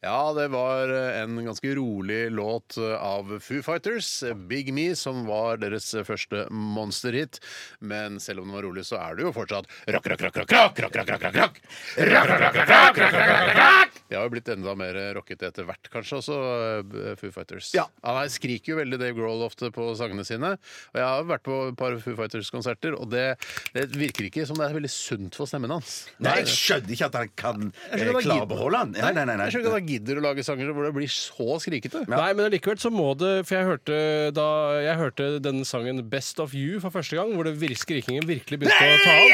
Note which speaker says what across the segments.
Speaker 1: Ja, det var eh, en ganske rolig låt eh, av Foo Fighters, Big Me, som var deres eh, første monsterhit. Men selv om den var rolig, så er det jo fortsatt rock, rock, rock, rock, rock, rock, rock, rock, rock, rock. Rock, rock, rock, rock, rock, rock, rock, rock, rock. Det har jo blitt enda mer rockete etter hvert, kanskje, også eh, Foo Fighters.
Speaker 2: Ja.
Speaker 1: Han er- skriker jo veldig Dave Grohl ofte på sangene sine. Og jeg har vært på et par Foo Fighters-konserter, og det, det virker ikke som det er veldig sunt for stemmen hans.
Speaker 2: Nei, jeg skjønner ikke at han kan
Speaker 1: Jeg
Speaker 2: eh,
Speaker 1: skjønner ikke at han
Speaker 2: klare å beholde han. Nei, nei,
Speaker 1: Jeg
Speaker 2: nei,
Speaker 1: skjønner ikke
Speaker 2: nei.
Speaker 1: at han gidder å lage sanger hvor det blir så skrikete.
Speaker 3: Nei, men allikevel så må det For jeg hørte, da, jeg hørte denne sangen 'Best of You' for første gang, hvor det vir skrikingen virkelig begynte å ta av.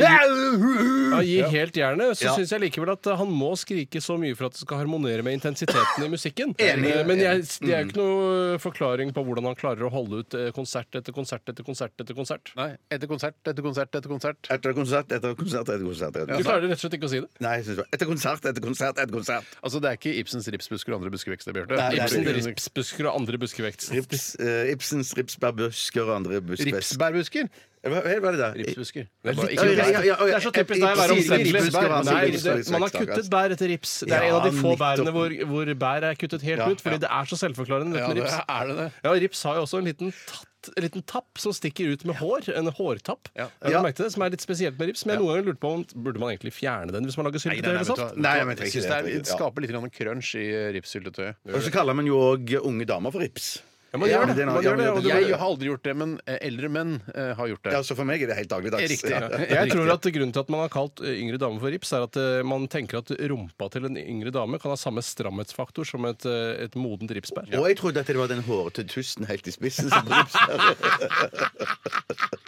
Speaker 3: Han gir helt jernet. Så
Speaker 2: Ja.
Speaker 3: syns jeg likevel at han må skrike så mye for at det skal harmonere med intensiteten i musikken.
Speaker 2: Enig.
Speaker 3: Eh, Men jeg, det
Speaker 2: Mm.
Speaker 3: er jo ikke noe forklaring på hvordan han klarer å holde ut eh, konsert etter konsert etter konsert etter konsert.
Speaker 1: Nei, etter konsert, etter konsert, etter konsert.
Speaker 2: Etter konsert, etter konsert, etter konsert. Etter
Speaker 3: Du
Speaker 2: konsert.
Speaker 3: klarer rett og slett ikke å si det.
Speaker 2: Nei, jeg synes det var- etter konsert, etter konsert, etter konsert.
Speaker 1: Altså, Det er ikke Ibsens ripsbusker og andre buskevekster, Bjarte.
Speaker 2: Nei, det er
Speaker 3: Ibsen,
Speaker 2: det
Speaker 3: ripsbusker og andre buskevekst.
Speaker 2: Rips, eh, Ibsens ripsbærbusker og andre busker.
Speaker 1: Ripsbærbusker.
Speaker 2: Hva hva er det der?
Speaker 1: Ripsbusker.
Speaker 3: Det er, bare,
Speaker 2: Ja, ja, ja, ja, ja.
Speaker 3: det er så typisk deg å være
Speaker 2: Ibsen-
Speaker 3: omstendelig.
Speaker 2: Ibsen- Ibsen-
Speaker 3: Nei,
Speaker 2: Ibsen-
Speaker 3: det- Man har kuttet bær etter rips. Det er
Speaker 2: Ja,
Speaker 3: en av de få
Speaker 2: nettopp.
Speaker 3: bærene hvor, hvor bær er kuttet helt ut, fordi det er så selvforklarende.
Speaker 1: Ja,
Speaker 3: dette med
Speaker 1: det
Speaker 3: rips.
Speaker 1: er det det.
Speaker 3: Ja, rips har jo også en liten, tatt, en liten tapp som stikker ut med hår. En hårtapp.
Speaker 1: Ja.
Speaker 3: Har du
Speaker 2: Ja.
Speaker 3: merket det, som er litt spesielt med rips. Men jeg noen ganger lurte på om burde man egentlig fjerne den hvis man lager syltetøy eller saft.
Speaker 2: Nei, jeg
Speaker 1: jeg
Speaker 2: vet ikke,
Speaker 1: synes det,
Speaker 2: jeg
Speaker 1: er,
Speaker 2: vet ikke,
Speaker 1: det
Speaker 2: ja.
Speaker 1: skaper litt grann crunch i eh, ripssyltetøyet.
Speaker 2: Og så kaller man jo òg unge damer for rips.
Speaker 3: Ja, man gjør
Speaker 2: men
Speaker 3: det.
Speaker 2: er noe-
Speaker 3: Man
Speaker 2: ja,
Speaker 3: gjør
Speaker 2: men
Speaker 3: det, og
Speaker 2: det-
Speaker 1: Jeg har aldri gjort det, men eh, eldre menn eh, har gjort det.
Speaker 2: Ja, så for meg er det helt dagligdags.
Speaker 1: Riktig.
Speaker 2: Ja.
Speaker 3: Jeg tror at grunnen til at man har kalt eh, yngre damer for rips, er at eh, man tenker at rumpa til en yngre dame kan ha samme stramhetsfaktor som et, eh, et modent ripsbær.
Speaker 2: Og jeg trodde at det var den hårete tusten helt i spissen som rips.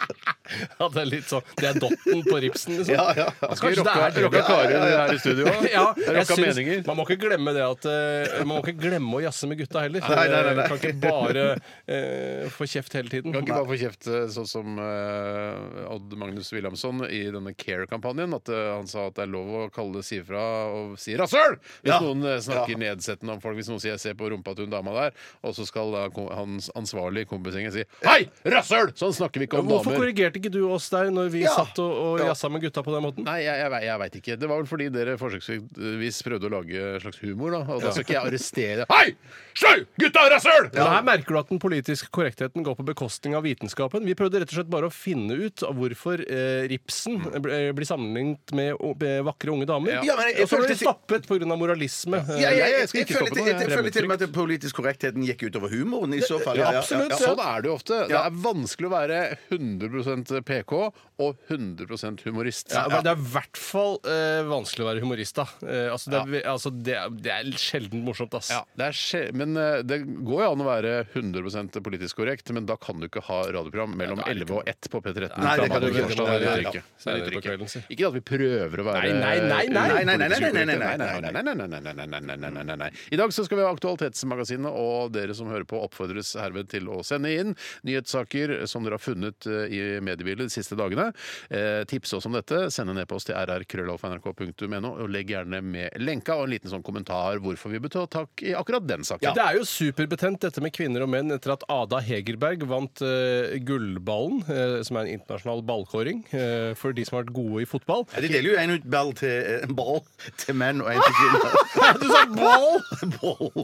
Speaker 3: Ja, det er litt sånn Det er dotten på ripsen, liksom.
Speaker 2: Ja, ja.
Speaker 1: Skal vi rocka rocka Kari her i studio også?
Speaker 3: Ja, jeg
Speaker 1: Rocka
Speaker 3: syns,
Speaker 1: meninger.
Speaker 3: man må ikke glemme det at eh, Man må ikke glemme å jazze med gutta heller.
Speaker 2: Nei, nei, nei, nei.
Speaker 3: Kan ikke bare eh, få kjeft hele tiden.
Speaker 1: Kan ikke bare få kjeft eh, sånn som eh, Odd Magnus Wilhelmsson i denne Care-kampanjen. At eh, han sa at det er lov å kalle det si fra og si 'rasshøl' hvis
Speaker 2: Ja.
Speaker 1: noen eh, snakker
Speaker 2: Ja.
Speaker 1: nedsettende om folk. Hvis noen sier 'se på rumpa til hun dama der', og så skal da kom- hans ansvarlige kompisgjengen si 'hei, rasshøl'! Sånn snakker vi ikke om
Speaker 3: Hvorfor
Speaker 1: damer.
Speaker 3: korrigerte ikke du oss der når vi
Speaker 2: Ja.
Speaker 3: satt og, og jazza med gutta på den måten?
Speaker 1: Nei, jeg, jeg, ve- jeg veit ikke. Det var vel fordi dere forsøksvis prøvde å lage en slags humor, da. Og da skal ikke jeg arrestere Hei! Sjau! Gutta, rasshøl!
Speaker 3: Men Her merker du at den politiske korrektheten går på bekostning av vitenskapen. Vi prøvde rett og slett bare å finne ut av hvorfor eh, ripsen eh, blir sammenlignet med, o- med vakre unge damer.
Speaker 2: Mm. Ja, men jeg- jeg
Speaker 3: og så ble
Speaker 2: følte-
Speaker 3: det stoppet pga. moralisme. eh,
Speaker 2: Ja, ja, jeg
Speaker 1: skal ikke
Speaker 2: føler
Speaker 1: stoppe
Speaker 2: til-
Speaker 1: noe, jeg
Speaker 2: jeg
Speaker 1: er
Speaker 2: føler til og med at politisk korrektheten gikk utover humoren i så fall. Ja, ja, ja, ja.
Speaker 3: absolutt,
Speaker 1: Ja,
Speaker 3: ja.
Speaker 1: sånn er det jo ofte. Det
Speaker 2: Ja.
Speaker 1: er vanskelig å være 100 PK og 100 humorist.
Speaker 3: Ja, men Det er i hvert fall eh, vanskelig å være humorist, da. Eh, altså, det, er, altså, det, er, det er sjelden morsomt, ass.
Speaker 1: Ja, det er skje men eh, det går jo an å være 100 politisk korrekt, men da kan du ikke ha radioprogram mellom 11 og 1 på P13.
Speaker 2: Nei, det kan du ikke.
Speaker 1: Torsdag, det
Speaker 2: Nei,
Speaker 1: nytter
Speaker 2: ja.
Speaker 1: ikke. Det
Speaker 3: Senere
Speaker 1: nytter
Speaker 3: på
Speaker 1: ikke.
Speaker 3: kvelden, si.
Speaker 1: Ikke at vi prøver å være
Speaker 3: Nei, nei, nei, nei.
Speaker 1: eh,
Speaker 2: Nei, nei, nei, nei,
Speaker 1: politisk
Speaker 2: nei, nei,
Speaker 1: korrekte.
Speaker 2: nei,
Speaker 1: nei, nei, nei, nei, nei, nei, nei, nei, nei, nei, nei, nei. I dag så skal vi ha Aktualitetsmagasinet, og dere som hører på, oppfordres herved til å sende inn nyhetssaker som dere har funnet eh, i mediebildet de siste dagene. Eh, Tips oss om dette. Send en e-post til rrkrøllalfa.nrk.no, og legg gjerne med lenka og en liten sånn kommentar hvorfor vi bør ta tak i akkurat den saken.
Speaker 3: Det er jo superbetent dette med kvinner og menn etter at Ada Hegerberg vant eh, gullballen, eh, som er en internasjonal ballkåring eh, for de som har vært gode i fotball.
Speaker 2: Ja, De deler jo en ut ball til, eh, en ball til menn og en til kvinner.
Speaker 3: Du sa ball!
Speaker 2: Ball.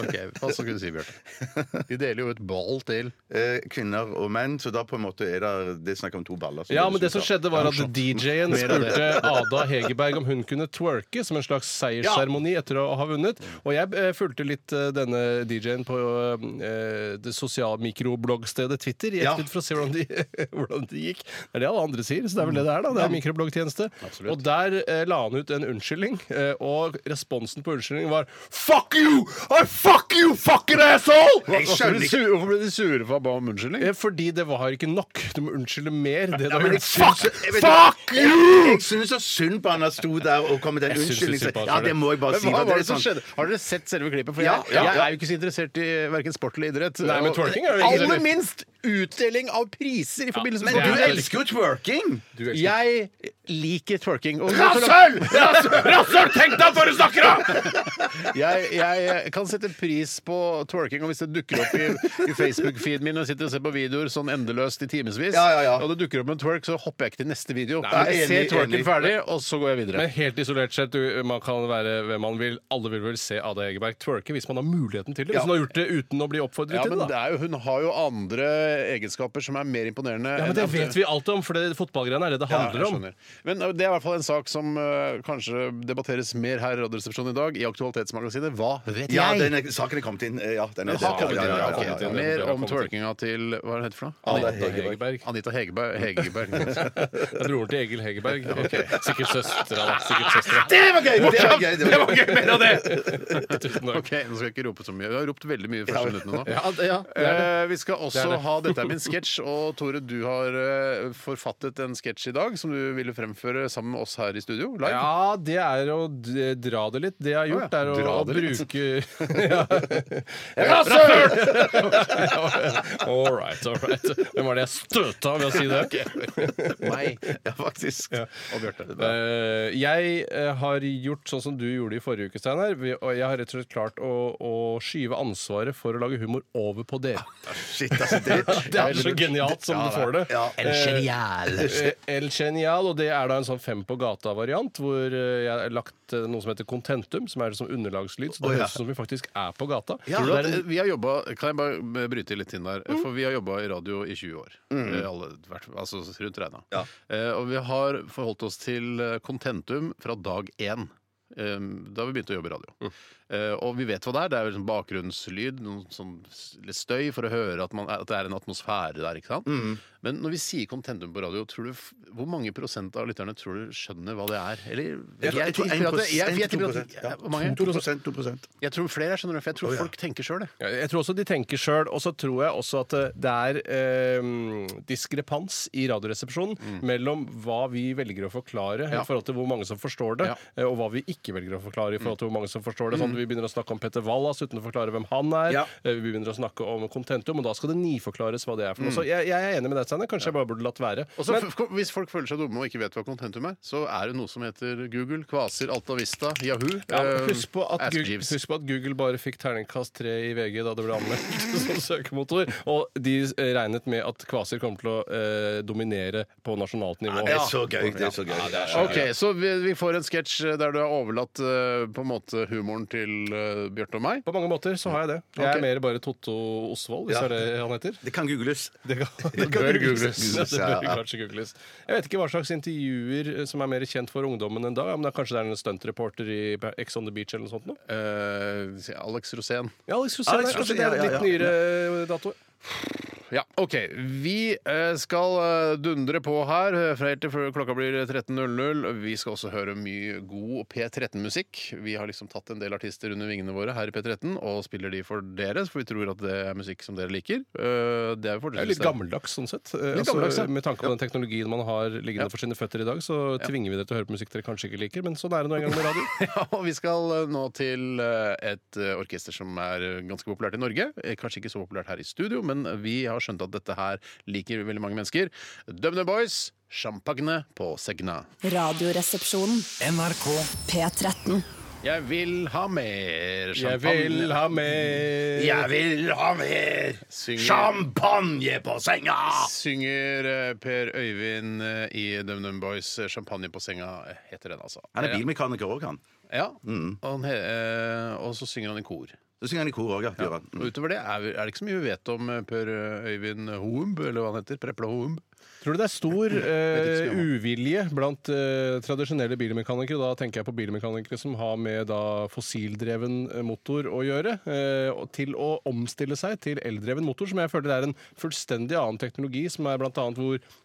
Speaker 1: Ok, Hva skal du si, Bjarte? De deler jo et ball til
Speaker 2: Eh, Kvinner og menn, så da på en måte er det, det er snakk om to baller.
Speaker 3: Ja, men det som
Speaker 2: skjer
Speaker 3: skjedde var at DJ-en spurte Ada Hegerberg om hun kunne twerke som en slags seiersseremoni etter å ha vunnet. Og jeg eh, fulgte litt eh, denne DJ-en på eh, det sosiale mikrobloggstedet Twitter i
Speaker 2: Ja.
Speaker 3: ettertid for å se hvordan de, hvordan de gikk. Det er det alle andre sier, så det er vel det det er, da. Det er mikrobloggtjeneste. Og der eh, la han ut en unnskyldning, eh, og responsen på unnskyldningen var Fuck you! I fuck you, fucking asshole!
Speaker 1: Hvorfor ble de sure- hvorfor ble de sure for å ba om unnskyldning?
Speaker 3: Eh, Fordi det var ikke nok. Du må unnskylde mer. Det du har
Speaker 2: men jeg
Speaker 3: gjort.
Speaker 2: syns- jeg vet-
Speaker 3: fuck
Speaker 2: Jeg syns så synd på han at sto der og kom med den
Speaker 3: Jeg syns litt synd
Speaker 2: unnskyldningen.
Speaker 3: på han
Speaker 2: Ja,
Speaker 3: for
Speaker 2: det må jeg bare
Speaker 1: Men
Speaker 2: si.
Speaker 1: hva
Speaker 2: for det
Speaker 1: var det
Speaker 2: er
Speaker 1: som
Speaker 2: sånn-
Speaker 1: skjedde? Har dere sett selve klippet? For
Speaker 2: Ja,
Speaker 1: jeg,
Speaker 2: ja,
Speaker 1: jeg
Speaker 2: ja.
Speaker 1: er jo ikke så interessert i verken sport eller idrett.
Speaker 3: Nei, men
Speaker 1: Og-
Speaker 3: twerking er jo ikke så
Speaker 1: Aller
Speaker 3: veldig-
Speaker 1: minst utdeling av priser i forbindelse
Speaker 2: Men
Speaker 1: med
Speaker 2: du
Speaker 1: twerking.
Speaker 2: elsker jo twerking!
Speaker 1: Jeg liker twerking. Og
Speaker 2: Rasshøl!
Speaker 3: Rasshøl! Tenk deg før du snakker, da!
Speaker 1: Jeg, jeg kan sette pris på twerking, og hvis det dukker opp i, i Facebook-feeden min og jeg sitter og ser på videoer sånn endeløst i timevis,
Speaker 2: Ja, ja, ja.
Speaker 1: og det dukker opp en twerk, så hopper jeg ikke til neste video.
Speaker 2: Nei,
Speaker 1: jeg
Speaker 2: enig,
Speaker 1: ser twerken
Speaker 2: enig.
Speaker 1: ferdig, og så går jeg videre.
Speaker 3: Men helt isolert sett, du, man kan være hvem man vil. Alle vil vel se Ada Egeberg twerke hvis man har muligheten til det. Hvis hun har gjort det uten å bli oppfordret
Speaker 1: Ja,
Speaker 3: til
Speaker 1: men
Speaker 3: det,
Speaker 1: det
Speaker 3: da.
Speaker 1: er jo, hun har jo andre egenskaper som er mer imponerende.
Speaker 3: Ja, men Det vet vi alt om, for det fotballgreiene er det det handler
Speaker 1: jeg
Speaker 3: om.
Speaker 1: skjønner. Men uh, det er i hvert fall en sak som uh, kanskje debatteres mer her i Radioresepsjonen i dag, i Aktualitetsmagasinet. Hva vet
Speaker 2: Ja,
Speaker 1: jeg?
Speaker 2: den er, saken er kommet inn. eh, Ja, den er
Speaker 1: Den har kommet inn,
Speaker 2: ja,
Speaker 1: den
Speaker 2: ja,
Speaker 1: har
Speaker 2: ja,
Speaker 1: kommet
Speaker 2: ja,
Speaker 1: inn.
Speaker 2: ja.
Speaker 1: Mer
Speaker 3: den
Speaker 1: om
Speaker 3: har kommet inn.
Speaker 1: twerkinga til Hva er det heter for noe?
Speaker 2: Ada
Speaker 3: Ada Hegerberg.
Speaker 1: Anita Hegeberg. Hegeberg.
Speaker 3: Det er broren til Egil Hegerberg. Sikkert søstera, da. Sikkert søstera.
Speaker 2: Det var gøy! Det var gøy! Det var gøy.
Speaker 3: Mer av det! Tusen takk.
Speaker 1: OK, nå skal jeg ikke rope så mye. Vi har ropt veldig mye de første minuttene nå.
Speaker 3: Ja, det- ja, det er det.
Speaker 1: Eh, vi skal også
Speaker 3: Det er det.
Speaker 1: ha Dette er min sketsj, og Tore, du har eh, forfattet en sketsj i dag som du ville fremføre sammen med oss her i studio. Live.
Speaker 3: Ja, det er å d- dra det litt. Det jeg har
Speaker 1: Å
Speaker 3: gjort,
Speaker 1: ja,
Speaker 3: er å,
Speaker 1: dra
Speaker 3: å
Speaker 1: det litt.
Speaker 3: bruke Ja. all right, all right. Hvem var det jeg støta ved å si det?
Speaker 1: Nei.
Speaker 2: Ja, faktisk.
Speaker 1: Og Bjarte.
Speaker 3: Eh, jeg eh, har gjort sånn som du gjorde i forrige uke, Steinar. Vi- Og jeg har rett og slett klart å, å skyve ansvaret for å lage humor over på dere.
Speaker 2: Shit, altså. Det,
Speaker 3: Det er så genialt som du får det.
Speaker 2: Ja.
Speaker 4: El Genial.
Speaker 3: Eh, El Genial, og det er da en sånn Fem på gata-variant, hvor eh, jeg har lagt eh, noe som heter contentum, som er som underlagslyd, så det
Speaker 2: Å, ja.
Speaker 3: høres ut som vi faktisk er på gata.
Speaker 1: Tror du
Speaker 3: Det
Speaker 1: at
Speaker 3: er en-
Speaker 1: eh, vi har jobbet, Kan jeg bare bryte litt inn der?
Speaker 2: Mm.
Speaker 1: For vi har jobba i radio i 20 år. Eh, Alle, hvert- altså rundt regna.
Speaker 2: Ja.
Speaker 1: Eh, og vi har forholdt oss til eh, kontentum fra dag én. eh, Da vi begynte å jobbe i radio.
Speaker 2: Mm.
Speaker 1: Eh, og vi vet hva det er. Det er vel sånn bakgrunnslyd, noen sånn s- litt støy, for å høre at, man, at det er en atmosfære der. ikke sant?
Speaker 2: Mm.
Speaker 1: Men når vi sier kontentum på radio, tror du, f- hvor mange prosent av lytterne tror du skjønner hva det er? Eller,
Speaker 2: Jeg tror- jeg tror
Speaker 1: tipper at det- jeg- jeg
Speaker 2: 1%,
Speaker 1: tipper at-
Speaker 2: 2%, ja.
Speaker 1: Hvor mange?
Speaker 2: 2%, 2%.
Speaker 1: Jeg tror flere skjønner det, for jeg tror folk tenker sjøl, det.
Speaker 3: Ja, Jeg tror også de tenker sjøl, og så tror jeg også at eh, det er eh, diskrepans i Radioresepsjonen mellom hva vi velger å forklare
Speaker 1: Mm. Ja.
Speaker 3: i forhold til hvor mange som forstår det,
Speaker 1: Ja. Mm.
Speaker 3: eh, og hva vi ikke velger å forklare i forhold til hvor mange som forstår det. Sånn at Vi begynner å snakke om Petter Wallas uten å forklare hvem han er.
Speaker 2: Ja.
Speaker 3: Eh, Vi begynner å snakke om Contentum, og da skal det niforklares hva det er for noe. Så jeg, jeg er enig med deg, Steinar. Kanskje jeg bare burde latt være.
Speaker 1: Mm. Og så f- f- Hvis folk føler seg dumme og ikke vet hva contentum er, så er det noe som heter Google, Kvasir, Altavista, Yahoo
Speaker 3: Ja, men
Speaker 1: eh,
Speaker 3: husk, på at
Speaker 1: Ask
Speaker 3: Google,
Speaker 1: Jeeves.
Speaker 3: husk på at Google bare fikk terningkast tre i VG da det ble anmeldt som søkemotor. Og de eh, regnet med at Kvasir kom til å eh, dominere på nasjonalt nivå.
Speaker 2: Det er så gøy. Det er så gøy.
Speaker 1: Ok, Så vi, vi får en sketsj der du har overlatt eh, på en måte humoren til uh, Bjarte og meg.
Speaker 3: På mange måter så har jeg det. Jeg
Speaker 1: Ok.
Speaker 3: er mer bare Totto Osvold, hvis
Speaker 2: Ja.
Speaker 3: det er det han heter.
Speaker 2: Det kan googles.
Speaker 3: Det, kan, det
Speaker 1: bør googles.
Speaker 3: Ja, det
Speaker 2: Ja,
Speaker 3: bør
Speaker 2: ja.
Speaker 3: kanskje googles. Jeg vet ikke hva slags intervjuer eh, som er mer kjent for ungdommen enn da. Ja, men da kanskje det er en stuntreporter i Ex on the Beach eller noe sånt? Nå.
Speaker 1: Eh, Alex Rosén.
Speaker 3: Ja, Alex Rosén,
Speaker 2: Alex
Speaker 3: kanskje
Speaker 2: Rosén,
Speaker 3: det er
Speaker 2: ja, ja,
Speaker 3: litt
Speaker 2: ja.
Speaker 3: nyere eh, dato.
Speaker 1: Ja, OK. Vi eh, skal eh, dundre på her eh, fra helt til før klokka blir 13.00. Vi skal også høre mye god P13-musikk. Vi har liksom tatt en del artister under vingene våre her i P13 og spiller de for dere, for vi tror at det er musikk som dere liker. Eh, det er jo
Speaker 3: Det er litt gammeldags sånn sett. Eh, altså,
Speaker 1: gammeldags, ja.
Speaker 3: Med tanke på den teknologien man har
Speaker 1: Ja.
Speaker 3: liggende for sine føtter i dag, så tvinger vi dere til å høre på musikk dere kanskje ikke liker, men sånn er det nå en gang med radio.
Speaker 1: Ja, og vi skal eh, nå til eh, et eh, orkester som er eh, ganske populært i Norge. Eh, Kanskje ikke så populært her i studio, men vi har skjønt at dette her liker veldig mange mennesker. Dubner Boys, Champagne på Segna.
Speaker 5: Radioresepsjonen.
Speaker 4: NRK
Speaker 5: P13.
Speaker 1: Jeg vil ha mer
Speaker 3: Jeg
Speaker 1: champagne.
Speaker 3: vil ha mer
Speaker 2: Jeg vil ha mer
Speaker 1: Synger,
Speaker 2: champagne på senga!
Speaker 1: synger eh, Per Øyvind eh, i DumDum Boys. eh, 'Champagne på senga' eh, heter den, altså.
Speaker 2: Han er Mm. bilmekaniker òg, han.
Speaker 1: Ja, og, han, he- eh, og så synger han i kor.
Speaker 2: Så synger han i kor òg, ja. gjør han.
Speaker 1: Og utover det er, vi- er det ikke så mye vi vet om eh, Per Øyvind Hoemb, eller hva han heter. Prepla Hoemb.
Speaker 3: Tror du det er stor
Speaker 1: ikke
Speaker 3: eh,
Speaker 1: så mye om
Speaker 3: uvilje blant eh, tradisjonelle bilmekanikere? Da tenker jeg på bilmekanikere som har med da, fossildreven eh, motor å gjøre. Eh, og til å omstille seg til eldreven motor, som jeg føler er en fullstendig annen teknologi, som er blant annet hvor eh,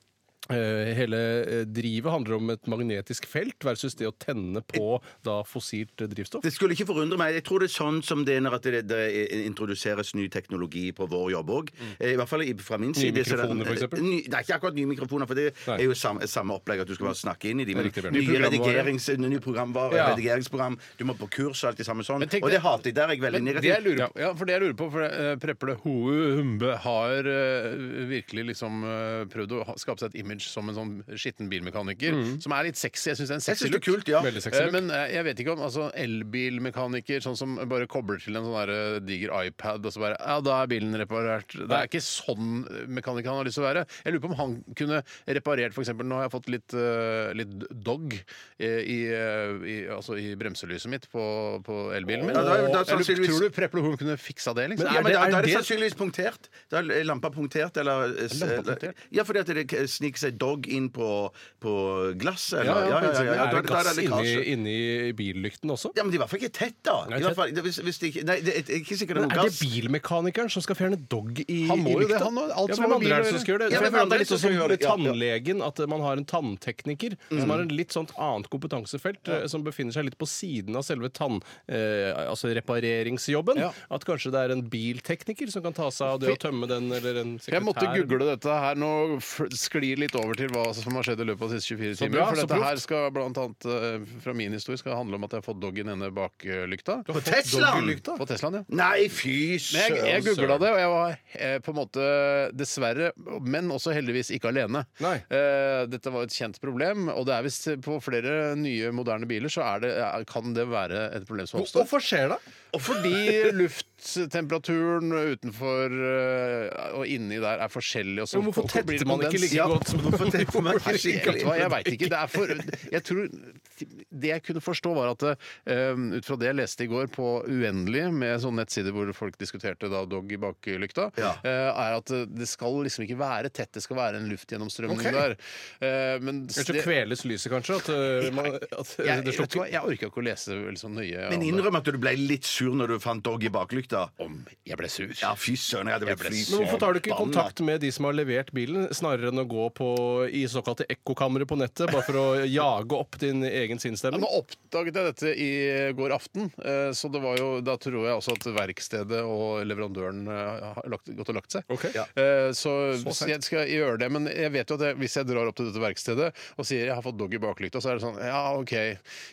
Speaker 3: Hele eh, drivet handler om et magnetisk felt versus det å tenne på da fossilt eh, drivstoff.
Speaker 2: Det skulle ikke forundre meg. Jeg tror det er sånn som det er når at det, det introduseres ny teknologi på vår jobb òg. I hvert fall i- fra min side. så er det-
Speaker 3: Mm. mikrofoner, for eksempel?
Speaker 2: Ny, det er ikke akkurat nye mikrofoner, for det
Speaker 3: Nei.
Speaker 2: er jo samme, samme opplegg at du skal bare snakke inn i dem.
Speaker 3: Riktig, Bjørn.
Speaker 2: Nye
Speaker 3: Nye programvare.
Speaker 2: redigerings, nye programvarer,
Speaker 3: Ja.
Speaker 2: redigeringsprogram, du må på kurs og alt det samme sånn.
Speaker 1: Men tenk
Speaker 2: Og det
Speaker 1: deg-
Speaker 2: hater jeg. Der er jeg veldig
Speaker 1: Men det
Speaker 2: negativ.
Speaker 1: jeg lurer på, ja, for det eh, jeg lurer på, for uh, Preple Hoe Humbe har eh, virkelig liksom eh, prøvd å ha, skape seg et image som en sånn skitten bilmekaniker, som er litt sexy. Jeg syns det er en
Speaker 2: Jeg
Speaker 1: sexy
Speaker 2: synes det er kult, ja.
Speaker 3: Veldig sexy
Speaker 1: Eh,
Speaker 3: look.
Speaker 1: Men eh, jeg vet ikke om altså, elbilmekaniker sånn som bare kobler til en sånn der, eh, diger iPad og så bare Ja, da er bilen reparert. Det er ikke sånn mekaniker han har lyst til å være. Jeg lurer på om han kunne reparert f.eks. Nå har jeg fått litt, eh, litt dog eh, i, eh, i, altså, i bremselyset mitt på, på elbilen min.
Speaker 2: Ja, da er- da er
Speaker 1: Jeg lurer-
Speaker 2: sannsynligvis-
Speaker 1: Tror du Preple Horn kunne fiksa det? liksom?
Speaker 2: Ja, men
Speaker 3: det-
Speaker 2: da,
Speaker 3: er
Speaker 2: da er det
Speaker 3: det-
Speaker 2: sannsynligvis punktert. Da er lampa punktert, eller s-
Speaker 1: Lampa punktert?
Speaker 2: Ja, fordi at det k- sniker seg dog inn på, på glasset. Eller?
Speaker 1: Ja, ja, på innsiden.
Speaker 2: Da-
Speaker 3: Er det
Speaker 2: da
Speaker 3: gass inni,
Speaker 2: lekkasje.
Speaker 3: inni billykten også?
Speaker 2: Ja, men de er i hvert fall ikke tett, da.
Speaker 3: Nei,
Speaker 2: I hvert fall, det- hvis, hvis det ikke, nei, det er ikke sikkert det er
Speaker 3: Men
Speaker 2: noe
Speaker 3: er det
Speaker 2: gass.
Speaker 3: bilmekanikeren som skal fjerne dog i
Speaker 1: Han må jo
Speaker 3: i lykta?
Speaker 1: det, han må- alt
Speaker 3: ja,
Speaker 1: som
Speaker 3: hvem
Speaker 1: har med
Speaker 3: andre
Speaker 1: bil å
Speaker 3: er det som skal gjøre det?
Speaker 2: Ja,
Speaker 3: For jeg
Speaker 2: hvem
Speaker 3: føler at det er
Speaker 2: andre
Speaker 3: litt sånn
Speaker 2: som
Speaker 3: som
Speaker 2: skal
Speaker 3: med
Speaker 2: gjøre det? Ja, ja.
Speaker 3: tannlegen, at man har en tanntekniker som
Speaker 1: Mm.
Speaker 3: har en litt sånt annet kompetansefelt, eh, som befinner seg litt på siden av selve tann... Eh, altså repareringsjobben.
Speaker 1: Ja.
Speaker 3: At kanskje det er en biltekniker som kan ta seg av det å tømme den, eller en sekretær
Speaker 1: Jeg måtte google dette her. Nå f- sklir litt over til hva som har skjedd i løpet av de siste 24 timer.
Speaker 3: bra,
Speaker 1: for
Speaker 3: så
Speaker 1: dette
Speaker 3: proft.
Speaker 1: her skal blant annet, eh, fra min historie skal det handle om at jeg har fått dog i denne baklykta.
Speaker 2: På Teslaen!
Speaker 1: På Teslaen, ja.
Speaker 2: Nei, fy
Speaker 1: Men jeg, jeg
Speaker 2: søren!
Speaker 1: googla det, og jeg var eh, på en måte dessverre, men også heldigvis ikke alene.
Speaker 3: Nei.
Speaker 1: Eh, dette var et kjent problem, og det er visst på flere nye, moderne biler så er det, er- kan det være et problem som oppstår.
Speaker 3: Hvorfor skjer det?
Speaker 1: Og fordi lufttemperaturen utenfor eh, og inni der er forskjellig. Og så
Speaker 3: Men hvorfor
Speaker 1: blir det
Speaker 3: tetter man ikke
Speaker 1: kondens?
Speaker 3: like
Speaker 1: Ja,
Speaker 3: godt?
Speaker 2: Hvorfor tetter man ikke
Speaker 1: jeg,
Speaker 2: skikkelig?
Speaker 1: vet du hva, jeg veit ikke. Det, er for, jeg tror, det jeg kunne forstå, var at eh, ut fra det jeg leste i går på Uendelige, med sånne nettsider hvor folk diskuterte da dog i baklykta,
Speaker 2: Ja.
Speaker 1: eh, er at det skal liksom ikke være tett, det skal være en luftgjennomstrømning
Speaker 2: Ok.
Speaker 1: der. Eh, men
Speaker 3: Eller så
Speaker 1: det-
Speaker 3: kveles lyset, kanskje? At, eh, man, at eh,
Speaker 1: jeg, vet
Speaker 3: det
Speaker 1: du hva,
Speaker 3: slukker?
Speaker 1: jeg orka ikke å lese så nøye.
Speaker 2: Men
Speaker 1: om det.
Speaker 2: innrøm at du ble litt sur når du fant dog i baklykta.
Speaker 1: om eh, jeg ble sur.
Speaker 2: Ja, fy søren, jeg hadde blitt
Speaker 1: Jeg ble
Speaker 2: fly
Speaker 1: sur.
Speaker 3: Men hvorfor tar du ikke
Speaker 2: forbanna.
Speaker 3: kontakt med de som har levert bilen, snarere enn å gå på, i såkalte ekkokamre på nettet, bare for å jage opp din egen
Speaker 1: Ja,
Speaker 3: sinnsstemning?
Speaker 1: nå oppdaget jeg dette i går aften, eh, så det var jo, da tror jeg også at verkstedet og leverandøren eh, har lagt, gått og lagt seg.
Speaker 3: Ok. Ja.
Speaker 1: Eh, Så,
Speaker 3: Så
Speaker 1: så jeg skal gjøre det, men jeg vet jo at jeg, hvis jeg drar opp til dette verkstedet og sier jeg har fått dog i baklykta, så er det sånn ja, OK,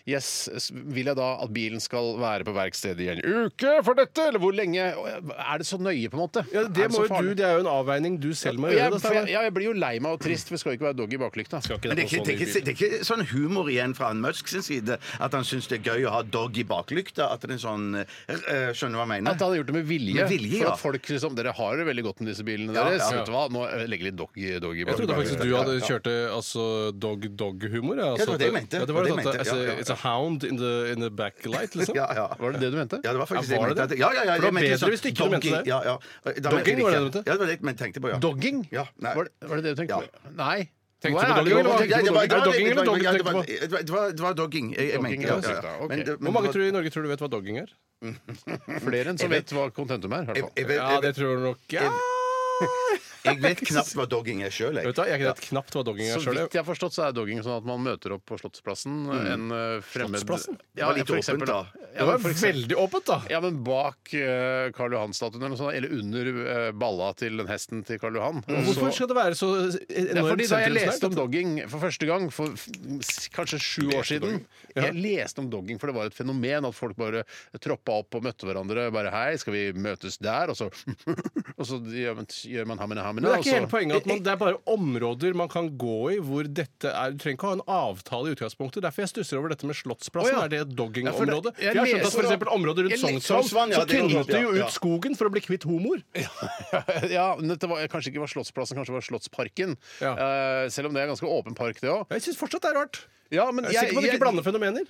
Speaker 1: yes, s- vil jeg da at bilen skal være på verkstedet i en uke for dette, eller hvor lenge? Er det så nøye, på en måte?
Speaker 3: Ja,
Speaker 1: Er
Speaker 3: det,
Speaker 1: så
Speaker 3: må jo du,
Speaker 1: farlig?
Speaker 3: det er jo en avveining du selv må gjøre.
Speaker 1: jeg,
Speaker 3: da,
Speaker 1: for jeg,
Speaker 3: Steinar.
Speaker 1: ja, jeg blir jo lei meg og trist, for det skal jo ikke være dog i baklykta.
Speaker 2: Men det er, ikke, det, er ikke, det er ikke sånn humor igjen fra han Musk sin side at han syns det er gøy å ha dog i baklykta. At det er en sånn eh, eh, Skjønner du hva jeg mener?
Speaker 1: At han hadde gjort det med vilje.
Speaker 2: Med vilje,
Speaker 1: for
Speaker 2: ja.
Speaker 1: at folk liksom, Dere har det veldig godt med disse bilene
Speaker 2: Ja,
Speaker 1: deres.
Speaker 2: ja.
Speaker 1: Vet du hva, Nå eh, legger jeg litt dog, dog i
Speaker 3: Jeg trodde faktisk du hadde
Speaker 1: Ja, ja.
Speaker 3: kjørte altså, dog-dog-humor. ja, Altså,
Speaker 2: det var det jeg mente.
Speaker 3: Ja, det var det,
Speaker 2: Det var det
Speaker 3: sånn at,
Speaker 2: jeg mente, ja, ja.
Speaker 3: It's a hound in the, in the backlight, liksom.
Speaker 2: Ja, ja.
Speaker 1: Var det det du mente?
Speaker 2: Ja, det var faktisk
Speaker 3: Ja, var
Speaker 2: det jeg
Speaker 3: det
Speaker 2: mente.
Speaker 3: det?
Speaker 2: Ja, ja, ja,
Speaker 3: For det var
Speaker 2: jeg mente
Speaker 3: bedre
Speaker 2: sånn
Speaker 3: hvis du ikke mente
Speaker 2: doggy,
Speaker 3: det.
Speaker 2: Ja, ja. Da mente
Speaker 3: Dogging
Speaker 2: jeg
Speaker 3: var det
Speaker 2: ikke.
Speaker 3: du mente?
Speaker 2: Ja, det var det jeg tenkte på, ja.
Speaker 1: Dogging?
Speaker 2: Ja, nei.
Speaker 1: var, det, var det det du tenkte
Speaker 2: Ja.
Speaker 1: på? Nei. Hva
Speaker 3: Tenkte på
Speaker 1: er
Speaker 3: dogging,
Speaker 1: det
Speaker 3: eller
Speaker 1: du tenkte
Speaker 3: hva tenkte
Speaker 1: på
Speaker 3: du?
Speaker 1: dogging?
Speaker 3: Er det dogging eller doggy du
Speaker 2: det
Speaker 3: tenker
Speaker 2: var-
Speaker 3: på?
Speaker 2: det var- det var- det var dogging. Jeg, jeg
Speaker 1: Dogging,
Speaker 2: mente
Speaker 1: ja,
Speaker 2: ja, ja,
Speaker 1: sikkert,
Speaker 2: ja.
Speaker 1: ja, ok.
Speaker 2: Men det-
Speaker 3: Hvor
Speaker 2: men
Speaker 3: mange
Speaker 2: det
Speaker 3: tror
Speaker 2: var-
Speaker 3: du i Norge tror du vet hva dogging er?
Speaker 1: Flere enn som vet hva kontentum er. i hvert
Speaker 2: Jeg-
Speaker 1: fall.
Speaker 2: jeg vet-
Speaker 3: Ja,
Speaker 2: jeg
Speaker 3: det
Speaker 2: vet-
Speaker 3: tror du nok ja.
Speaker 2: Jeg vet knapt hva dogging er sjøl, jeg.
Speaker 3: Vet du hva, Jeg vet knapt hva dogging er
Speaker 1: Så
Speaker 3: sjøl.
Speaker 1: vidt jeg har forstått, så er dogging sånn at man møter opp på Slottsplassen en eh, fremmed
Speaker 3: Mm. Slottsplassen?
Speaker 1: Ja,
Speaker 2: Det var litt
Speaker 1: for
Speaker 2: åpent,
Speaker 1: eksempel,
Speaker 2: da.
Speaker 1: Ja,
Speaker 3: Det var
Speaker 1: for eksempel-
Speaker 3: veldig åpent, da.
Speaker 1: Ja, men bak eh, Karl Johan-statuen eller noe sånt, eller under eh, balla til den hesten til Karl Johan. Og så-
Speaker 3: Mm. Hvorfor skal det være så
Speaker 1: Det er
Speaker 3: enormt
Speaker 1: fordi Da jeg
Speaker 3: sentrumsnært?
Speaker 1: leste om dogging for første gang for f- s- kanskje sju år siden Jeg leste om dogging, for det var et fenomen at folk bare troppa opp og møtte hverandre. Bare 'hei, skal vi møtes der?' Og så, og så gjør man- gjør man hamina hamina.
Speaker 3: Men det er ikke
Speaker 1: og så-
Speaker 3: hele poenget at man, det er bare områder man kan gå i hvor dette er Du trenger ikke ha en avtale i utgangspunktet. Derfor jeg stusser over dette med
Speaker 1: Å,
Speaker 3: Slottsplassen.
Speaker 1: ja.
Speaker 3: Er det et
Speaker 1: Ja, for det- jeg
Speaker 3: doggingområde? Jeg har skjønt at
Speaker 1: leser
Speaker 3: for eksempel
Speaker 1: om-
Speaker 3: området rundt
Speaker 1: jeg le-
Speaker 2: Sognsvann,
Speaker 3: Sognsvann
Speaker 2: ja,
Speaker 3: så
Speaker 2: det er jo
Speaker 3: tynnet de jo
Speaker 2: godt, ja, ja.
Speaker 3: ut skogen for å bli kvitt homoer.
Speaker 1: ja, men dette var, kanskje ikke var Slottsplassen, kanskje det var Slottsparken. Eh, selv om det er ganske åpen park, det òg.
Speaker 3: Jeg syns fortsatt det er rart.
Speaker 1: Ja, men
Speaker 3: Jeg er sikker på at du ikke blander fenomener.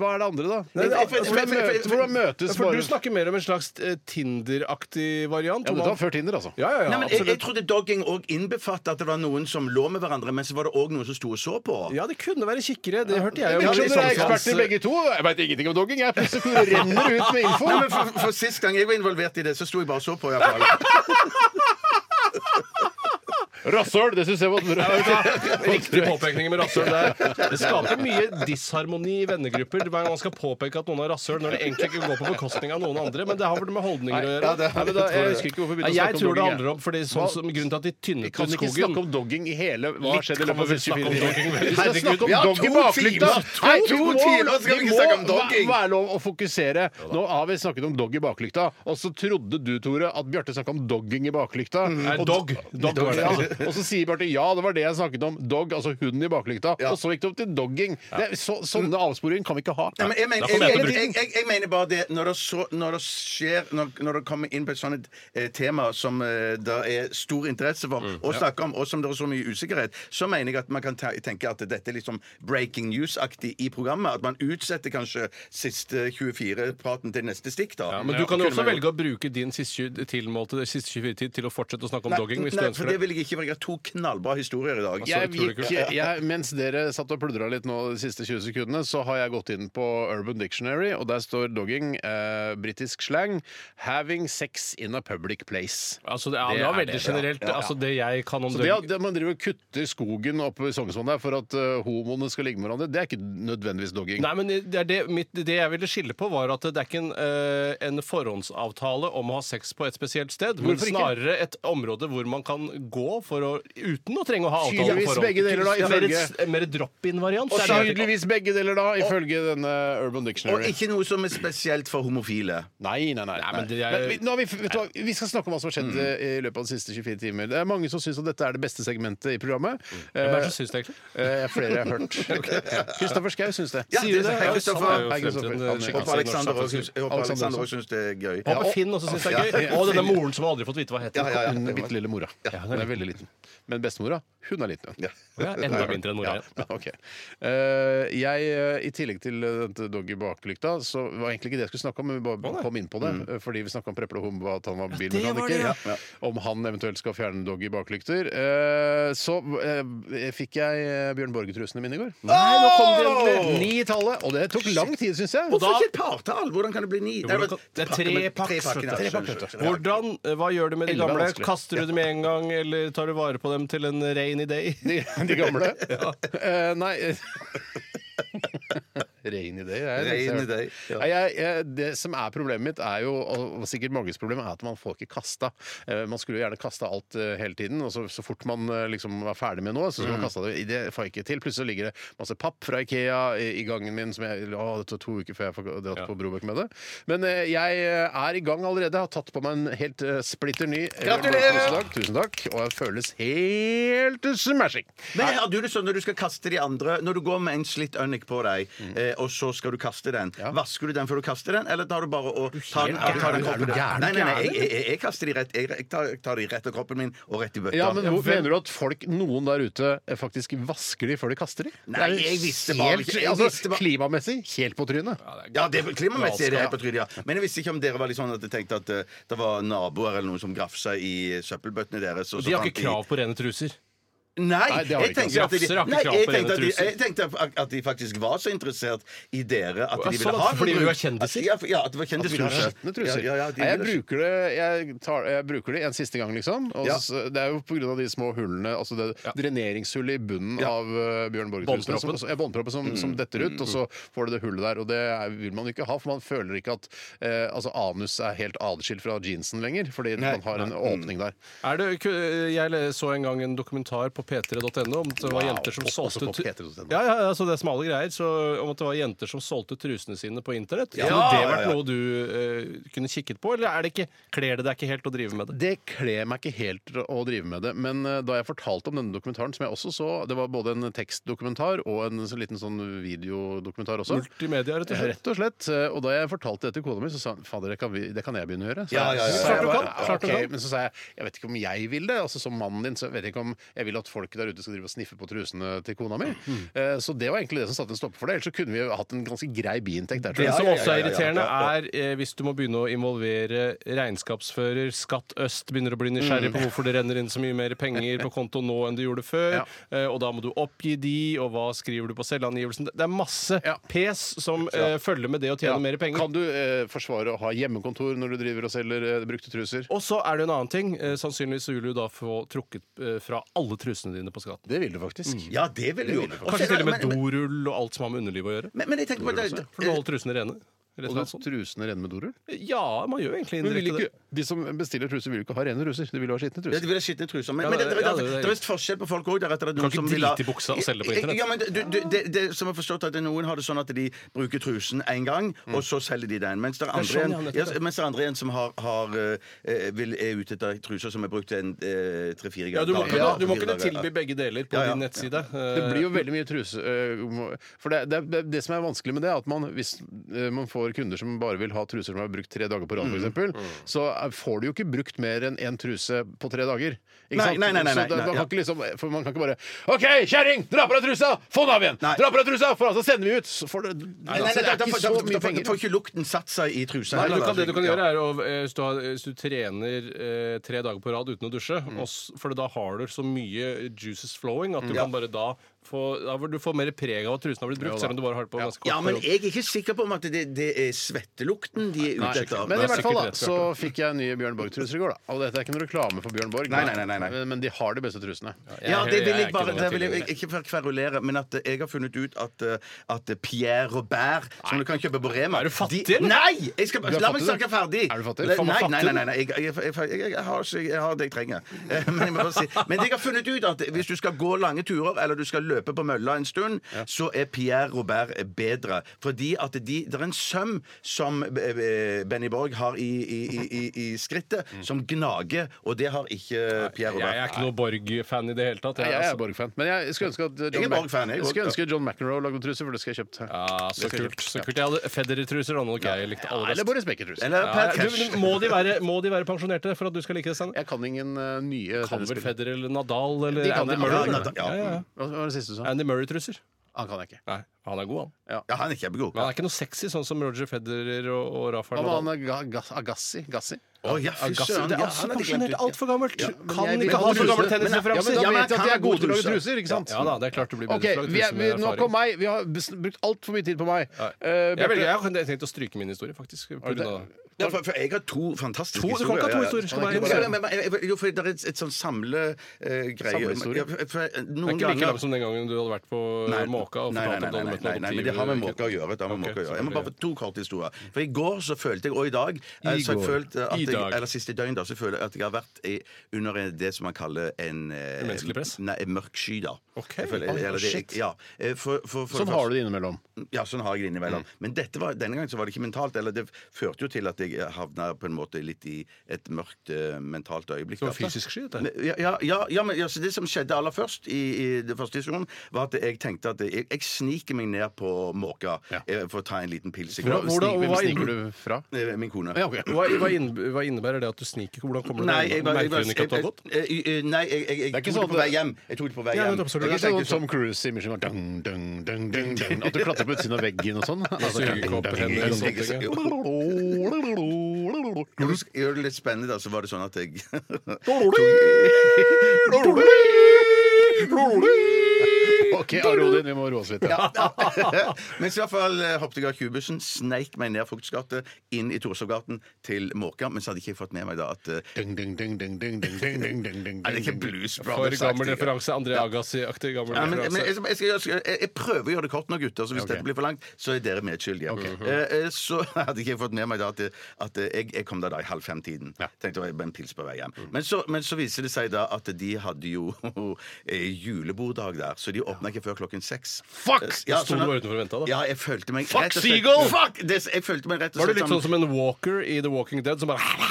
Speaker 1: Hva er det andre, da?
Speaker 3: Nei, det-
Speaker 1: Hvordan møtes- Hvordan
Speaker 3: Ja,
Speaker 1: møtes
Speaker 3: For du
Speaker 1: bare
Speaker 3: snakker mer om en slags eh, Tinder-aktig variant.
Speaker 1: Ja,
Speaker 3: om
Speaker 1: men dette var
Speaker 3: at-
Speaker 1: før Tinder, altså.
Speaker 3: ja, ja,
Speaker 2: Nei,
Speaker 3: ja,
Speaker 2: men jeg, jeg
Speaker 3: absolutt.
Speaker 2: trodde dogging òg innbefattet at det var noen som lå med hverandre, men så var det òg noen som sto og så på.
Speaker 3: Ja, det kunne være kikkere. Det hørte jeg
Speaker 1: Jeg
Speaker 3: om.
Speaker 1: skjønner dere er eksperter
Speaker 3: Sognsvanns-
Speaker 1: begge to. Jeg veit ingenting om dogging. Jeg plutselig renner ut med info.
Speaker 2: Nei, men for, for Sist gang jeg var involvert i det, så sto jeg bare og så på. i hvert fall.
Speaker 1: Rasshøl! Det syns jeg var
Speaker 3: Riktig påpekning med rasshøl der. Det skaper mye disharmoni i vennegrupper hver gang man skal påpeke at noen har rasshøl, når det egentlig ikke går på bekostning av noen andre. Men det har vel med holdninger å gjøre.
Speaker 1: Nei, men da, jeg husker ikke hvorfor vi
Speaker 3: Nei,
Speaker 1: begynte å
Speaker 3: jeg
Speaker 1: snakke om
Speaker 3: tror det
Speaker 1: dogging.
Speaker 3: handler om fordi sånn som grunnen til at de
Speaker 1: Vi kan
Speaker 3: tynnet ut
Speaker 1: ikke snakke
Speaker 3: skogen
Speaker 1: om dogging i hele Hva har skjedd i
Speaker 3: kan
Speaker 1: løpet av
Speaker 3: vi snakke om
Speaker 1: 24
Speaker 3: dogging?
Speaker 1: timer? Vi skal
Speaker 3: Herregud,
Speaker 1: snakke om
Speaker 2: vi har
Speaker 1: dogg i
Speaker 2: to
Speaker 1: baklykta!
Speaker 2: timer. To
Speaker 1: Nei, vi må-
Speaker 2: timer skal vi ikke snakke om dogging.
Speaker 1: må være lov å fokusere. Nå har vi snakket om dogg i baklykta, og så trodde du, Tore, at Bjarte snakka om dogging i baklykta.
Speaker 3: Nei,
Speaker 1: Og-
Speaker 3: dog. Dog var det.
Speaker 1: Ja, Og så sier Bjarte ja, det var det jeg snakket om. Dog, altså hunden i baklykta. Og så gikk det opp til dogging. Det er, så, sånne avsporinger kan vi ikke ha.
Speaker 2: Nei, men jeg, mener,
Speaker 3: Da
Speaker 2: jeg,
Speaker 3: får vi
Speaker 2: jeg,
Speaker 3: etter
Speaker 2: jeg, jeg, jeg mener bare det Når det, så, når det skjer når, når det kommer inn på et sånt eh, tema som eh, det er stor interesse for
Speaker 3: Mm,
Speaker 2: å snakke om, og som det er så mye usikkerhet, så mener jeg at man kan te tenke at dette er liksom breaking news-aktig i programmet. At man utsetter kanskje siste 24-praten til neste stikk, da.
Speaker 3: Ja, men du kan jo også velge å bruke din siste tju- tilmålte siste 24-tid til å fortsette å snakke om
Speaker 2: Nei,
Speaker 3: dogging. hvis
Speaker 2: nei,
Speaker 3: du ønsker
Speaker 2: for det
Speaker 3: det. Altså,
Speaker 2: vil jeg ikke, for jeg har to knallbra historier i dag.
Speaker 1: Jeg
Speaker 3: utrolig
Speaker 1: gikk,
Speaker 3: kult.
Speaker 1: jeg, mens dere satt og pludra litt nå de siste 20 sekundene, så har jeg gått inn på Urban Dictionary, og der står dogging, eh, britisk slang, 'having sex in a public place'.
Speaker 3: Altså, det, ja,
Speaker 1: Det
Speaker 3: det var
Speaker 1: er
Speaker 3: veldig
Speaker 1: det, ja.
Speaker 3: generelt. Altså, det jeg kan om
Speaker 1: Så det
Speaker 3: dogging
Speaker 1: at Man driver og kutter skogen oppe i Sognsvann der for at eh, homoene skal ligge med hverandre, det er ikke nødvendigvis dogging.
Speaker 3: Nei, men det, er det, mitt, det jeg ville skille på, var at det er ikke en, eh, en forhåndsavtale om å ha sex på et spesielt sted, men
Speaker 1: Hvorfor ikke?
Speaker 3: snarere et område hvor man kan gå for å, uten å trenge å ha avtale på
Speaker 1: Tydeligvis
Speaker 3: forhånd.
Speaker 1: begge deler, da,
Speaker 3: Ja, mer,
Speaker 1: ifølge-
Speaker 3: et- mer drop-in-variant.
Speaker 1: Og
Speaker 3: Det er det jeg tenker.
Speaker 1: tydeligvis begge deler, da, ifølge denne Urban
Speaker 2: Og
Speaker 1: Dictionary.
Speaker 2: ikke noe som er spesielt for homofile.
Speaker 1: Nei, nei, nei.
Speaker 3: men det er- Mm.
Speaker 1: Men vi, nå har vi, vet du hva, vi skal snakke om hva som har skjedd eh, i løpet av de siste 24 timer. Det er mange som syns at dette er det beste segmentet i programmet.
Speaker 3: Hvem er det
Speaker 1: Eh,
Speaker 3: som syns det, egentlig?
Speaker 1: Eh, flere jeg har hørt. Kristoffer Schau syns det.
Speaker 2: Ja,
Speaker 3: Sier du
Speaker 2: det-
Speaker 3: det?
Speaker 2: hei,
Speaker 3: Ja,
Speaker 2: Kristoffer.
Speaker 3: sånn er jo
Speaker 1: Hei, Kristoffer.
Speaker 3: fremtiden, eh,
Speaker 1: Han er-
Speaker 3: skikkelsen i
Speaker 2: Håper
Speaker 3: norsk
Speaker 2: Alexander
Speaker 3: samfunn.
Speaker 2: også- håper
Speaker 1: Alexander
Speaker 2: Alexander
Speaker 1: også.
Speaker 2: også syns det er gøy.
Speaker 3: Håper Finn også syns det er gøy. Og denne moren som aldri har fått vite hva heter.
Speaker 2: Ja, ja, ja.
Speaker 1: Hun bitte lille mora. Hun er veldig liten. Men bestemora, hun er liten.
Speaker 2: Ja.
Speaker 3: Ja, enda mindre enn mora
Speaker 1: Ja,
Speaker 3: igjen.
Speaker 1: men ok. Eh, jeg, eh, I tillegg til eh, dette doggy baklykta, så var egentlig ikke det jeg skulle snakke om, men vi bare kom inn på det. eh, Fordi vi snakka om Preple og Humba, at han var bilmekaniker. Ja. Om han eventuelt skal fjerne doggy baklykter. Eh, så eh, fikk jeg eh, Bjørn Borge-trusene mine i går. Nei, nå kom de endelig. Ni i tallet. Og det tok lang tid, syns jeg.
Speaker 2: Hvorfor ikke et partall? Hvordan kan det bli ni?
Speaker 3: hvordan kan- det er
Speaker 2: pakker
Speaker 3: tre
Speaker 2: med-
Speaker 3: pakk,
Speaker 2: tre pakker, ja,
Speaker 3: tre
Speaker 2: skjønner,
Speaker 1: pakk,
Speaker 2: skjønner, skjønner.
Speaker 3: Hvordan, eh, Hva gjør du med de
Speaker 1: Elleve er
Speaker 3: gamle?
Speaker 1: vanskelig.
Speaker 3: Kaster du dem med en gang, eller tar du vare på dem til en rainy day?
Speaker 1: De, de gamle? Eh, nei Rein idé. Jeg,
Speaker 2: Rein idé, ja.
Speaker 1: Nei, jeg, jeg, det som er problemet mitt, er jo, og sikkert manges problem, er at man får ikke kasta. Eh, man skulle jo gjerne kasta alt eh, hele tiden, og så, så fort man eh, liksom var ferdig med noe, så skulle man kasta det. Det får jeg ikke til. Plutselig så ligger det masse papp fra Ikea i, i gangen min som jeg Å, det tar to uker før jeg får dratt på Brobekk med det. Men eh, jeg er i gang allerede. Jeg har tatt på meg en helt eh, splitter ny Tusen takk, tusen takk. Og jeg føles helt smashing.
Speaker 2: Men har du det sånn når du skal kaste de andre Når du går med en slitt ønik på deg, eh, og så skal du kaste den, vasker du den før du kaster den, eller tar du bare og tar den av tar
Speaker 1: gæren? Er du
Speaker 2: den kroppen din?
Speaker 1: gæren?
Speaker 2: Nei, nei, nei, jeg, jeg, jeg- jeg kaster de rett Jeg, jeg tar, jeg tar de rett av kroppen min og rett i bøtta.
Speaker 1: Ja, men hvor, Mener du at folk, noen der ute eh, faktisk vasker de før de kaster de?
Speaker 2: Nei,
Speaker 1: Det er jo
Speaker 2: jeg visste bare
Speaker 1: helt,
Speaker 2: ikke- jeg
Speaker 1: altså,
Speaker 2: visste bare-
Speaker 1: Klimamessig helt på trynet.
Speaker 2: Ja, det, klimamessig er det helt på trynet, ja. Men jeg visste ikke om dere var litt sånn at dere tenkte at eh, det var naboer eller noen som grafsa i søppelbøttene deres. og så
Speaker 3: De har
Speaker 2: fant
Speaker 3: ikke krav på rene truser.
Speaker 2: Nei,
Speaker 1: Nei, det har de
Speaker 2: jeg
Speaker 1: ikke.
Speaker 2: tenkte, at de,
Speaker 3: Grafser har ikke
Speaker 2: nei,
Speaker 3: krav
Speaker 2: jeg
Speaker 3: på
Speaker 2: tenkte, at de,
Speaker 3: rene truser.
Speaker 2: jeg tenkte at- at de faktisk var så interessert i dere at
Speaker 3: Ja,
Speaker 2: de ville
Speaker 3: sånn,
Speaker 2: ha
Speaker 3: fordi vi
Speaker 2: noe
Speaker 3: var
Speaker 2: bruk.
Speaker 3: kjendiser?
Speaker 2: Ja, for- ja, at det var
Speaker 1: At vi har
Speaker 2: kjendistruser.
Speaker 1: skitne truser.
Speaker 2: Ja, ja, ja, de
Speaker 1: Nei, jeg,
Speaker 2: ville-
Speaker 1: bruker det, jeg, tar, jeg bruker det en siste gang, liksom. Og
Speaker 2: Ja.
Speaker 1: s- det er jo pga. de små hullene, altså det dreneringshullet i bunnen
Speaker 2: Ja. Mm.
Speaker 1: av eh, Bjørn Borge-trusen.
Speaker 3: Båndproppen.
Speaker 1: som- ja, Båndproppen som, som detter ut, og så får du det hullet der. Og det er, vil man ikke ha, for man føler ikke at eh, altså anus er helt adskilt fra jeansen lenger, fordi man har en åpning der.
Speaker 3: Er det, ku- jeg le- så en gang en dokumentar på p3.no om at det var
Speaker 1: Wow,
Speaker 3: jenter som
Speaker 1: også
Speaker 3: solgte
Speaker 1: på
Speaker 3: tru-
Speaker 1: P3.no.
Speaker 3: ja, ja, altså det er smale greier så, om at det var jenter som solgte trusene sine på internett.
Speaker 2: Ja,
Speaker 3: Kunne det
Speaker 2: ja,
Speaker 3: vært
Speaker 2: ja.
Speaker 3: noe du eh, kunne kikket på, eller er det ikke, kler det deg ikke helt å drive med det?
Speaker 1: Det kler meg ikke helt å drive med det. Men eh, da jeg fortalte om denne dokumentaren, som jeg også så Det var både en tekstdokumentar og en så liten sånn videodokumentar også.
Speaker 3: Multimedia, rett og slett.
Speaker 1: Rett og slett. eh, Og da jeg fortalte det til kona mi, så sa hun fader, det kan, vi, det kan jeg begynne å gjøre. Så
Speaker 2: Ja, ja, ja,
Speaker 1: jeg- så
Speaker 2: ja.
Speaker 1: sa jeg
Speaker 2: Klart du
Speaker 1: bare,
Speaker 2: kan,
Speaker 1: "Ja,
Speaker 3: klart du
Speaker 1: ok."
Speaker 3: kan.
Speaker 1: Men så sa jeg jeg vet ikke om jeg vil det. Altså Som mannen din så vet jeg ikke om jeg vil at folk der ute skal drive og sniffe på trusene til kona mi. Eh, Så det var egentlig det som satte en stopper for det. Ellers så kunne vi jo hatt en ganske grei biinntekt der. tror
Speaker 3: Det
Speaker 1: jeg.
Speaker 3: som
Speaker 2: ja,
Speaker 3: også
Speaker 2: ja,
Speaker 3: er
Speaker 2: ja, ja.
Speaker 3: irriterende, er eh, hvis du må begynne å involvere regnskapsfører, Skatt Øst begynner å bli
Speaker 1: Mm.
Speaker 3: nysgjerrig på hvorfor det renner inn så mye mer penger på konto nå enn du gjorde før,
Speaker 1: Ja.
Speaker 3: eh, og da må du oppgi de, og hva skriver du på selvangivelsen Det er masse
Speaker 1: Ja.
Speaker 3: pes som eh, følger med det å tjene
Speaker 1: Ja.
Speaker 3: mer penger.
Speaker 1: Kan du eh, forsvare å ha hjemmekontor når du driver og selger eh, brukte truser?
Speaker 3: Og så er det en annen ting. Eh, Sannsynligvis så vil du da få trukket eh, fra alle trusene dine på skatten.
Speaker 1: Det vil du faktisk.
Speaker 2: Ja, det ville jo
Speaker 3: Kanskje til og med dorull og alt som har med underlivet å gjøre.
Speaker 2: Men, men jeg tenker på det,
Speaker 3: For du holder trusene rene.
Speaker 2: Mm.
Speaker 3: Rett
Speaker 1: Og
Speaker 3: og
Speaker 1: du,
Speaker 3: slett sånn.
Speaker 1: trusene renner med dorull?
Speaker 3: Ja, man gjør jo egentlig
Speaker 1: Eh, Men vil
Speaker 3: indirekte det.
Speaker 1: ikke, de som bestiller truser, vil jo ikke ha rene truser. De vil jo ha skitne
Speaker 2: Ja, de
Speaker 1: truser.
Speaker 2: vil ha skitne truser. Men,
Speaker 3: Ja,
Speaker 2: men det,
Speaker 3: det-
Speaker 2: det,
Speaker 3: ja,
Speaker 2: det,
Speaker 3: det-
Speaker 2: det, er visst forskjell på folk òg. Du kan
Speaker 3: ikke drite i buksa og selge det på internett.
Speaker 2: Ja, men du, du, det, det, som jeg har forstått at Noen har det sånn at de bruker trusen én gang, og så selger de den. Mens det er andre,
Speaker 3: sånn, Mm. ja,
Speaker 2: igjen-
Speaker 3: nettopp,
Speaker 2: ja, mens det er andre igjen som har, har, eh, vil, er ute etter truser som er brukt en eh, tre-fire
Speaker 3: Ja,
Speaker 2: ganger.
Speaker 3: du må kunne,
Speaker 2: Ja,
Speaker 3: du må
Speaker 2: fire
Speaker 3: kunne
Speaker 2: dager.
Speaker 3: tilby begge deler på
Speaker 2: Ja, ja.
Speaker 3: din nettside.
Speaker 1: Det blir jo veldig mye truse øh, må- For det, det, det, det som er vanskelig med det, er at man, hvis øh, man får kunder som bare vil ha truser som er brukt tre dager på rad,
Speaker 2: Mm.
Speaker 1: for eksempel så er- får du jo ikke brukt mer enn én truse på tre dager. Ikke
Speaker 2: Nei,
Speaker 1: sant?
Speaker 2: nei, nei, nei,
Speaker 1: så da,
Speaker 2: nei,
Speaker 1: da
Speaker 2: ja.
Speaker 1: kan ikke liksom, for man kan ikke bare OK, kjerring! Dra på deg trusa! Få den av igjen!
Speaker 2: Nei.
Speaker 1: Dra på deg trusa! For altså sender vi ut! Så får du
Speaker 2: Nei, nei,
Speaker 1: altså, det
Speaker 2: nei, da,
Speaker 1: er
Speaker 2: da,
Speaker 1: ikke
Speaker 2: da,
Speaker 1: så
Speaker 2: da,
Speaker 1: mye
Speaker 2: da,
Speaker 1: penger.
Speaker 2: får ikke lukten satt seg i trusa.
Speaker 3: Eh, Nei,
Speaker 2: heller,
Speaker 3: du kan,
Speaker 2: da.
Speaker 3: det du kan
Speaker 2: Ja.
Speaker 3: gjøre, er å, eh, hvis, du har, hvis du trener eh, tre dager på rad uten å dusje,
Speaker 2: Mm.
Speaker 3: og s- for da har du så mye juices flowing at du kan bare da få da vil Du får mer preg av at trusen har blitt brukt, selv om du bare har det på ganske kort
Speaker 2: Ja, men
Speaker 3: periode.
Speaker 2: jeg er ikke sikker på om at det, det er svettelukten de er ute etter.
Speaker 1: Men i
Speaker 3: Det er
Speaker 1: hvert fall da,
Speaker 3: sikkert rett,
Speaker 1: så fikk jeg nye Bjørn Borg-truser i går. da Og dette er ikke noe reklame for Bjørn Borg,
Speaker 2: Nei, nei, nei, nei, nei.
Speaker 1: Men, men de har de beste trusene.
Speaker 2: Ja, det vil
Speaker 3: er
Speaker 2: jeg
Speaker 3: ikke
Speaker 2: bare
Speaker 3: noen
Speaker 2: det vil jeg,
Speaker 3: tilhenger.
Speaker 2: Ikke for å kverulere, men at jeg har funnet ut at, eh, at Pierre Robert, som du kan kjøpe på Rema
Speaker 3: Er du fattig,
Speaker 2: de-
Speaker 3: eller?
Speaker 2: Nei! Jeg skal,
Speaker 1: Du er
Speaker 2: la meg
Speaker 1: fattig, du.
Speaker 2: snakke ferdig!
Speaker 1: Er du fattig?
Speaker 2: Nei,
Speaker 1: Faen,
Speaker 2: nei,
Speaker 1: fattig,
Speaker 2: nei. nei, nei, Jeg, jeg, jeg, jeg, jeg, har, ikke- jeg har det jeg trenger. Eh, Men jeg, må bare si. men jeg har funnet ut at hvis du skal gå lange turer, eller du skal løpe på mølla en stund, så er Pierre Robert bedre. Fordi at de, det er en søm som eh, Benny Borg har i, i, i, i, i skrittet, som gnager, og det har ikke Pierre Robert.
Speaker 3: Jeg er ikke noe Borg-fan i det hele tatt.
Speaker 1: Nei,
Speaker 3: jeg,
Speaker 1: jeg er
Speaker 3: altså.
Speaker 1: Borg-fan. Men jeg skulle ønske at John,
Speaker 2: Jeg er
Speaker 1: Mac-
Speaker 2: Borg-fan, jeg
Speaker 1: jeg skulle
Speaker 2: også.
Speaker 1: ønske John McEnroe lagde noen truser, for det skal jeg kjøpt her.
Speaker 3: Ja,
Speaker 1: Det
Speaker 3: så
Speaker 1: skal jeg
Speaker 3: kult.
Speaker 1: kjøpt.
Speaker 3: så kult Jeg hadde Federer-truser, og nok jeg likte aller
Speaker 1: Eller
Speaker 3: best.
Speaker 1: Boris Becker-truser.
Speaker 2: Eller
Speaker 3: Ja,
Speaker 2: Per
Speaker 3: ja,
Speaker 2: Cash.
Speaker 3: du, men må, de være, må de være pensjonerte for at du skal like det? Sanne?
Speaker 1: Jeg kan ingen eh, nye
Speaker 3: Kan vel
Speaker 1: tennisspillere.
Speaker 3: Federer eller Nadal eller
Speaker 1: De kan
Speaker 3: Andy
Speaker 1: det.
Speaker 3: Murray?
Speaker 1: Ja,
Speaker 3: eller?
Speaker 2: Nadal, ja.
Speaker 3: Ja, ja, ja.
Speaker 1: Hva hva var det siste du sa?
Speaker 3: Andy Murray-truser?
Speaker 1: Han kan jeg ikke.
Speaker 3: Nei, han er god, han.
Speaker 2: Ja, han er kjempegod.
Speaker 3: Men han er ikke noe sexy, sånn som Roger Federer og, og Rafael
Speaker 1: Hva med han
Speaker 3: Nadal.
Speaker 1: eh, Ga- Ga- Agassi? Gassi?
Speaker 2: Å, ja, fy søren,
Speaker 3: Det er
Speaker 2: ja,
Speaker 3: altså
Speaker 2: han hadde glemt
Speaker 3: pensjonert
Speaker 2: ut.
Speaker 3: altfor gammelt. kan
Speaker 1: jeg-
Speaker 3: ikke ha
Speaker 1: men-
Speaker 3: så gamle
Speaker 1: Men-
Speaker 3: tennisreferanser.
Speaker 1: Ja,
Speaker 2: Ja,
Speaker 1: men da
Speaker 2: men
Speaker 1: vet jeg
Speaker 2: han
Speaker 1: at de er
Speaker 2: er
Speaker 1: gode
Speaker 2: god
Speaker 1: til å lage
Speaker 2: truser.
Speaker 1: truser, ikke sant?
Speaker 3: Ja da, det er klart du blir bedre
Speaker 1: Ok,
Speaker 3: til å lage
Speaker 1: vi er,
Speaker 3: truser
Speaker 1: vi,
Speaker 3: med
Speaker 1: Nok om
Speaker 3: erfaring.
Speaker 1: meg. Vi har bes- brukt altfor mye tid på meg. Eh,
Speaker 3: Jeg, velger,
Speaker 1: Bjarte,
Speaker 3: jeg har tenkt å stryke min historie, faktisk. På grunn av det.
Speaker 2: Ja, for, for jeg har to fantastiske
Speaker 3: To? Du kan ikke ha to historier. Skal
Speaker 2: Ja,
Speaker 3: bare
Speaker 2: ja.
Speaker 3: ha en historie.
Speaker 2: Ja, men- men- men- Jo, for det er et, et sånn samlegreie.
Speaker 1: Samlehistorie.
Speaker 3: Det
Speaker 2: eh,
Speaker 3: er
Speaker 2: noen
Speaker 3: ikke like
Speaker 2: ganger
Speaker 3: langt som den gangen du hadde vært på Måka og
Speaker 2: nei, nei,
Speaker 3: fortalt om
Speaker 2: nei,
Speaker 3: du
Speaker 2: nei,
Speaker 3: hadde
Speaker 2: nei,
Speaker 3: møtt
Speaker 2: nei,
Speaker 3: noen
Speaker 2: nei, men det har med måke å gjøre. Det har
Speaker 3: Ok,
Speaker 2: med måke å gjøre. Jeg må
Speaker 3: selvfølgelig.
Speaker 2: bare få to korte historier. For i går så følte jeg, og i dag eh, så har jeg
Speaker 3: går.
Speaker 2: følt at
Speaker 3: I
Speaker 2: jeg,
Speaker 3: dag.
Speaker 2: Eller siste døgn, da, så føler jeg at jeg har vært i, under en- det som man kaller en eh,
Speaker 3: Umenneskelig press?
Speaker 2: Nei, en mørk sky, da.
Speaker 3: Ok.
Speaker 2: Jeg føler-
Speaker 3: Oi,
Speaker 2: eller det-
Speaker 3: shit.
Speaker 2: Ja. eh, For, for, for,
Speaker 1: Sånn har du det innimellom.
Speaker 2: Ja, sånn har jeg det innimellom.
Speaker 1: Mm.
Speaker 2: Men dette var, denne gangen så var det ikke mentalt. Eller det førte jo til at jeg havna på en måte litt i et mørkt eh, mentalt øyeblikk.
Speaker 3: Det var
Speaker 2: da.
Speaker 3: fysisk sky, dette.
Speaker 2: Ne- Ja, ja, ja, ja, men altså, Det som skjedde aller først, i, i det første diskusjonen, var at jeg tenkte at jeg, jeg sniker meg ned på Måka eh, for å ta en liten pils. Jeg-
Speaker 3: Hvordan- hvordan-
Speaker 2: sniker meg-
Speaker 1: Hvem
Speaker 3: hva er-
Speaker 1: sniker du fra?
Speaker 2: sniker- eh, Min kone.
Speaker 1: Ja, ok.
Speaker 3: Hva, hva, innebærer, hva innebærer det at du sniker? Hvordan kommer du
Speaker 2: Nei,
Speaker 3: deg
Speaker 2: jeg,
Speaker 3: unna?
Speaker 2: var- jeg,
Speaker 3: Merker
Speaker 2: var-
Speaker 3: hun ikke at det har gått?
Speaker 2: jeg, jeg, jeg, nei, jeg, jeg,
Speaker 1: Det er ikke
Speaker 2: jeg tok det
Speaker 1: sånn
Speaker 2: på
Speaker 1: at-
Speaker 2: vei hjem. Jeg tok det på vei
Speaker 3: Ja,
Speaker 2: hjem.
Speaker 3: men absolutt.
Speaker 1: Det er
Speaker 2: Jeg
Speaker 1: ikke sånn
Speaker 2: tenkte
Speaker 1: som Cruise i Mission Impossible, dung, dung, dung, dung, dung, At du klatrer på utsiden av veggen og sånn. Altså, dung,
Speaker 3: Sugekopp,
Speaker 1: dung,
Speaker 3: hender og sånne ting, ja.
Speaker 1: dung.
Speaker 2: Ja, men sk- Gjør det litt spennende, da, så var det sånn at jeg
Speaker 1: OK, Are Odin, vi må roe oss litt. Ja.
Speaker 2: Men så i hvert fall eh, hoppet jeg av kubussen, sneik meg ned Fuktsgatet, inn i Torshovgaten til Måka, men så hadde ikke jeg fått med meg da at eh,
Speaker 1: Dung, dung, dung, dung, dung, dung, dung, dung, dung, dung,
Speaker 2: Er det ikke
Speaker 1: dung, dung.
Speaker 2: Blues
Speaker 3: For
Speaker 2: Brothers?
Speaker 3: gammel referanse. André Agassi-aktig gammel
Speaker 2: Ja, men, men jeg,
Speaker 3: referanse.
Speaker 2: skal- jeg, skal, gjøre- jeg, jeg prøver å gjøre det kort nå, gutter. Så hvis
Speaker 1: Ok.
Speaker 2: dette blir for langt, så er dere medskyldige. eh, eh, så hadde ikke jeg fått med meg da at, at jeg, jeg kom da, da i halv fem-tiden. Tenkte det var en pils på vei hjem. Men, så, men så viser det seg da at de hadde jo eh, juleborddag der, så de åpna ikke før klokken seks.
Speaker 1: Fuck!
Speaker 2: Eh,
Speaker 3: Da sto du
Speaker 2: at-
Speaker 3: bare utenfor og ventet, da.
Speaker 2: Ja, jeg følte meg
Speaker 3: Fuck
Speaker 2: rett og slett-
Speaker 3: Seagull!
Speaker 2: Fuck! Det, jeg følte meg rett og
Speaker 3: Var du
Speaker 2: slett
Speaker 3: litt sånn som en walker i The Walking Dead som bare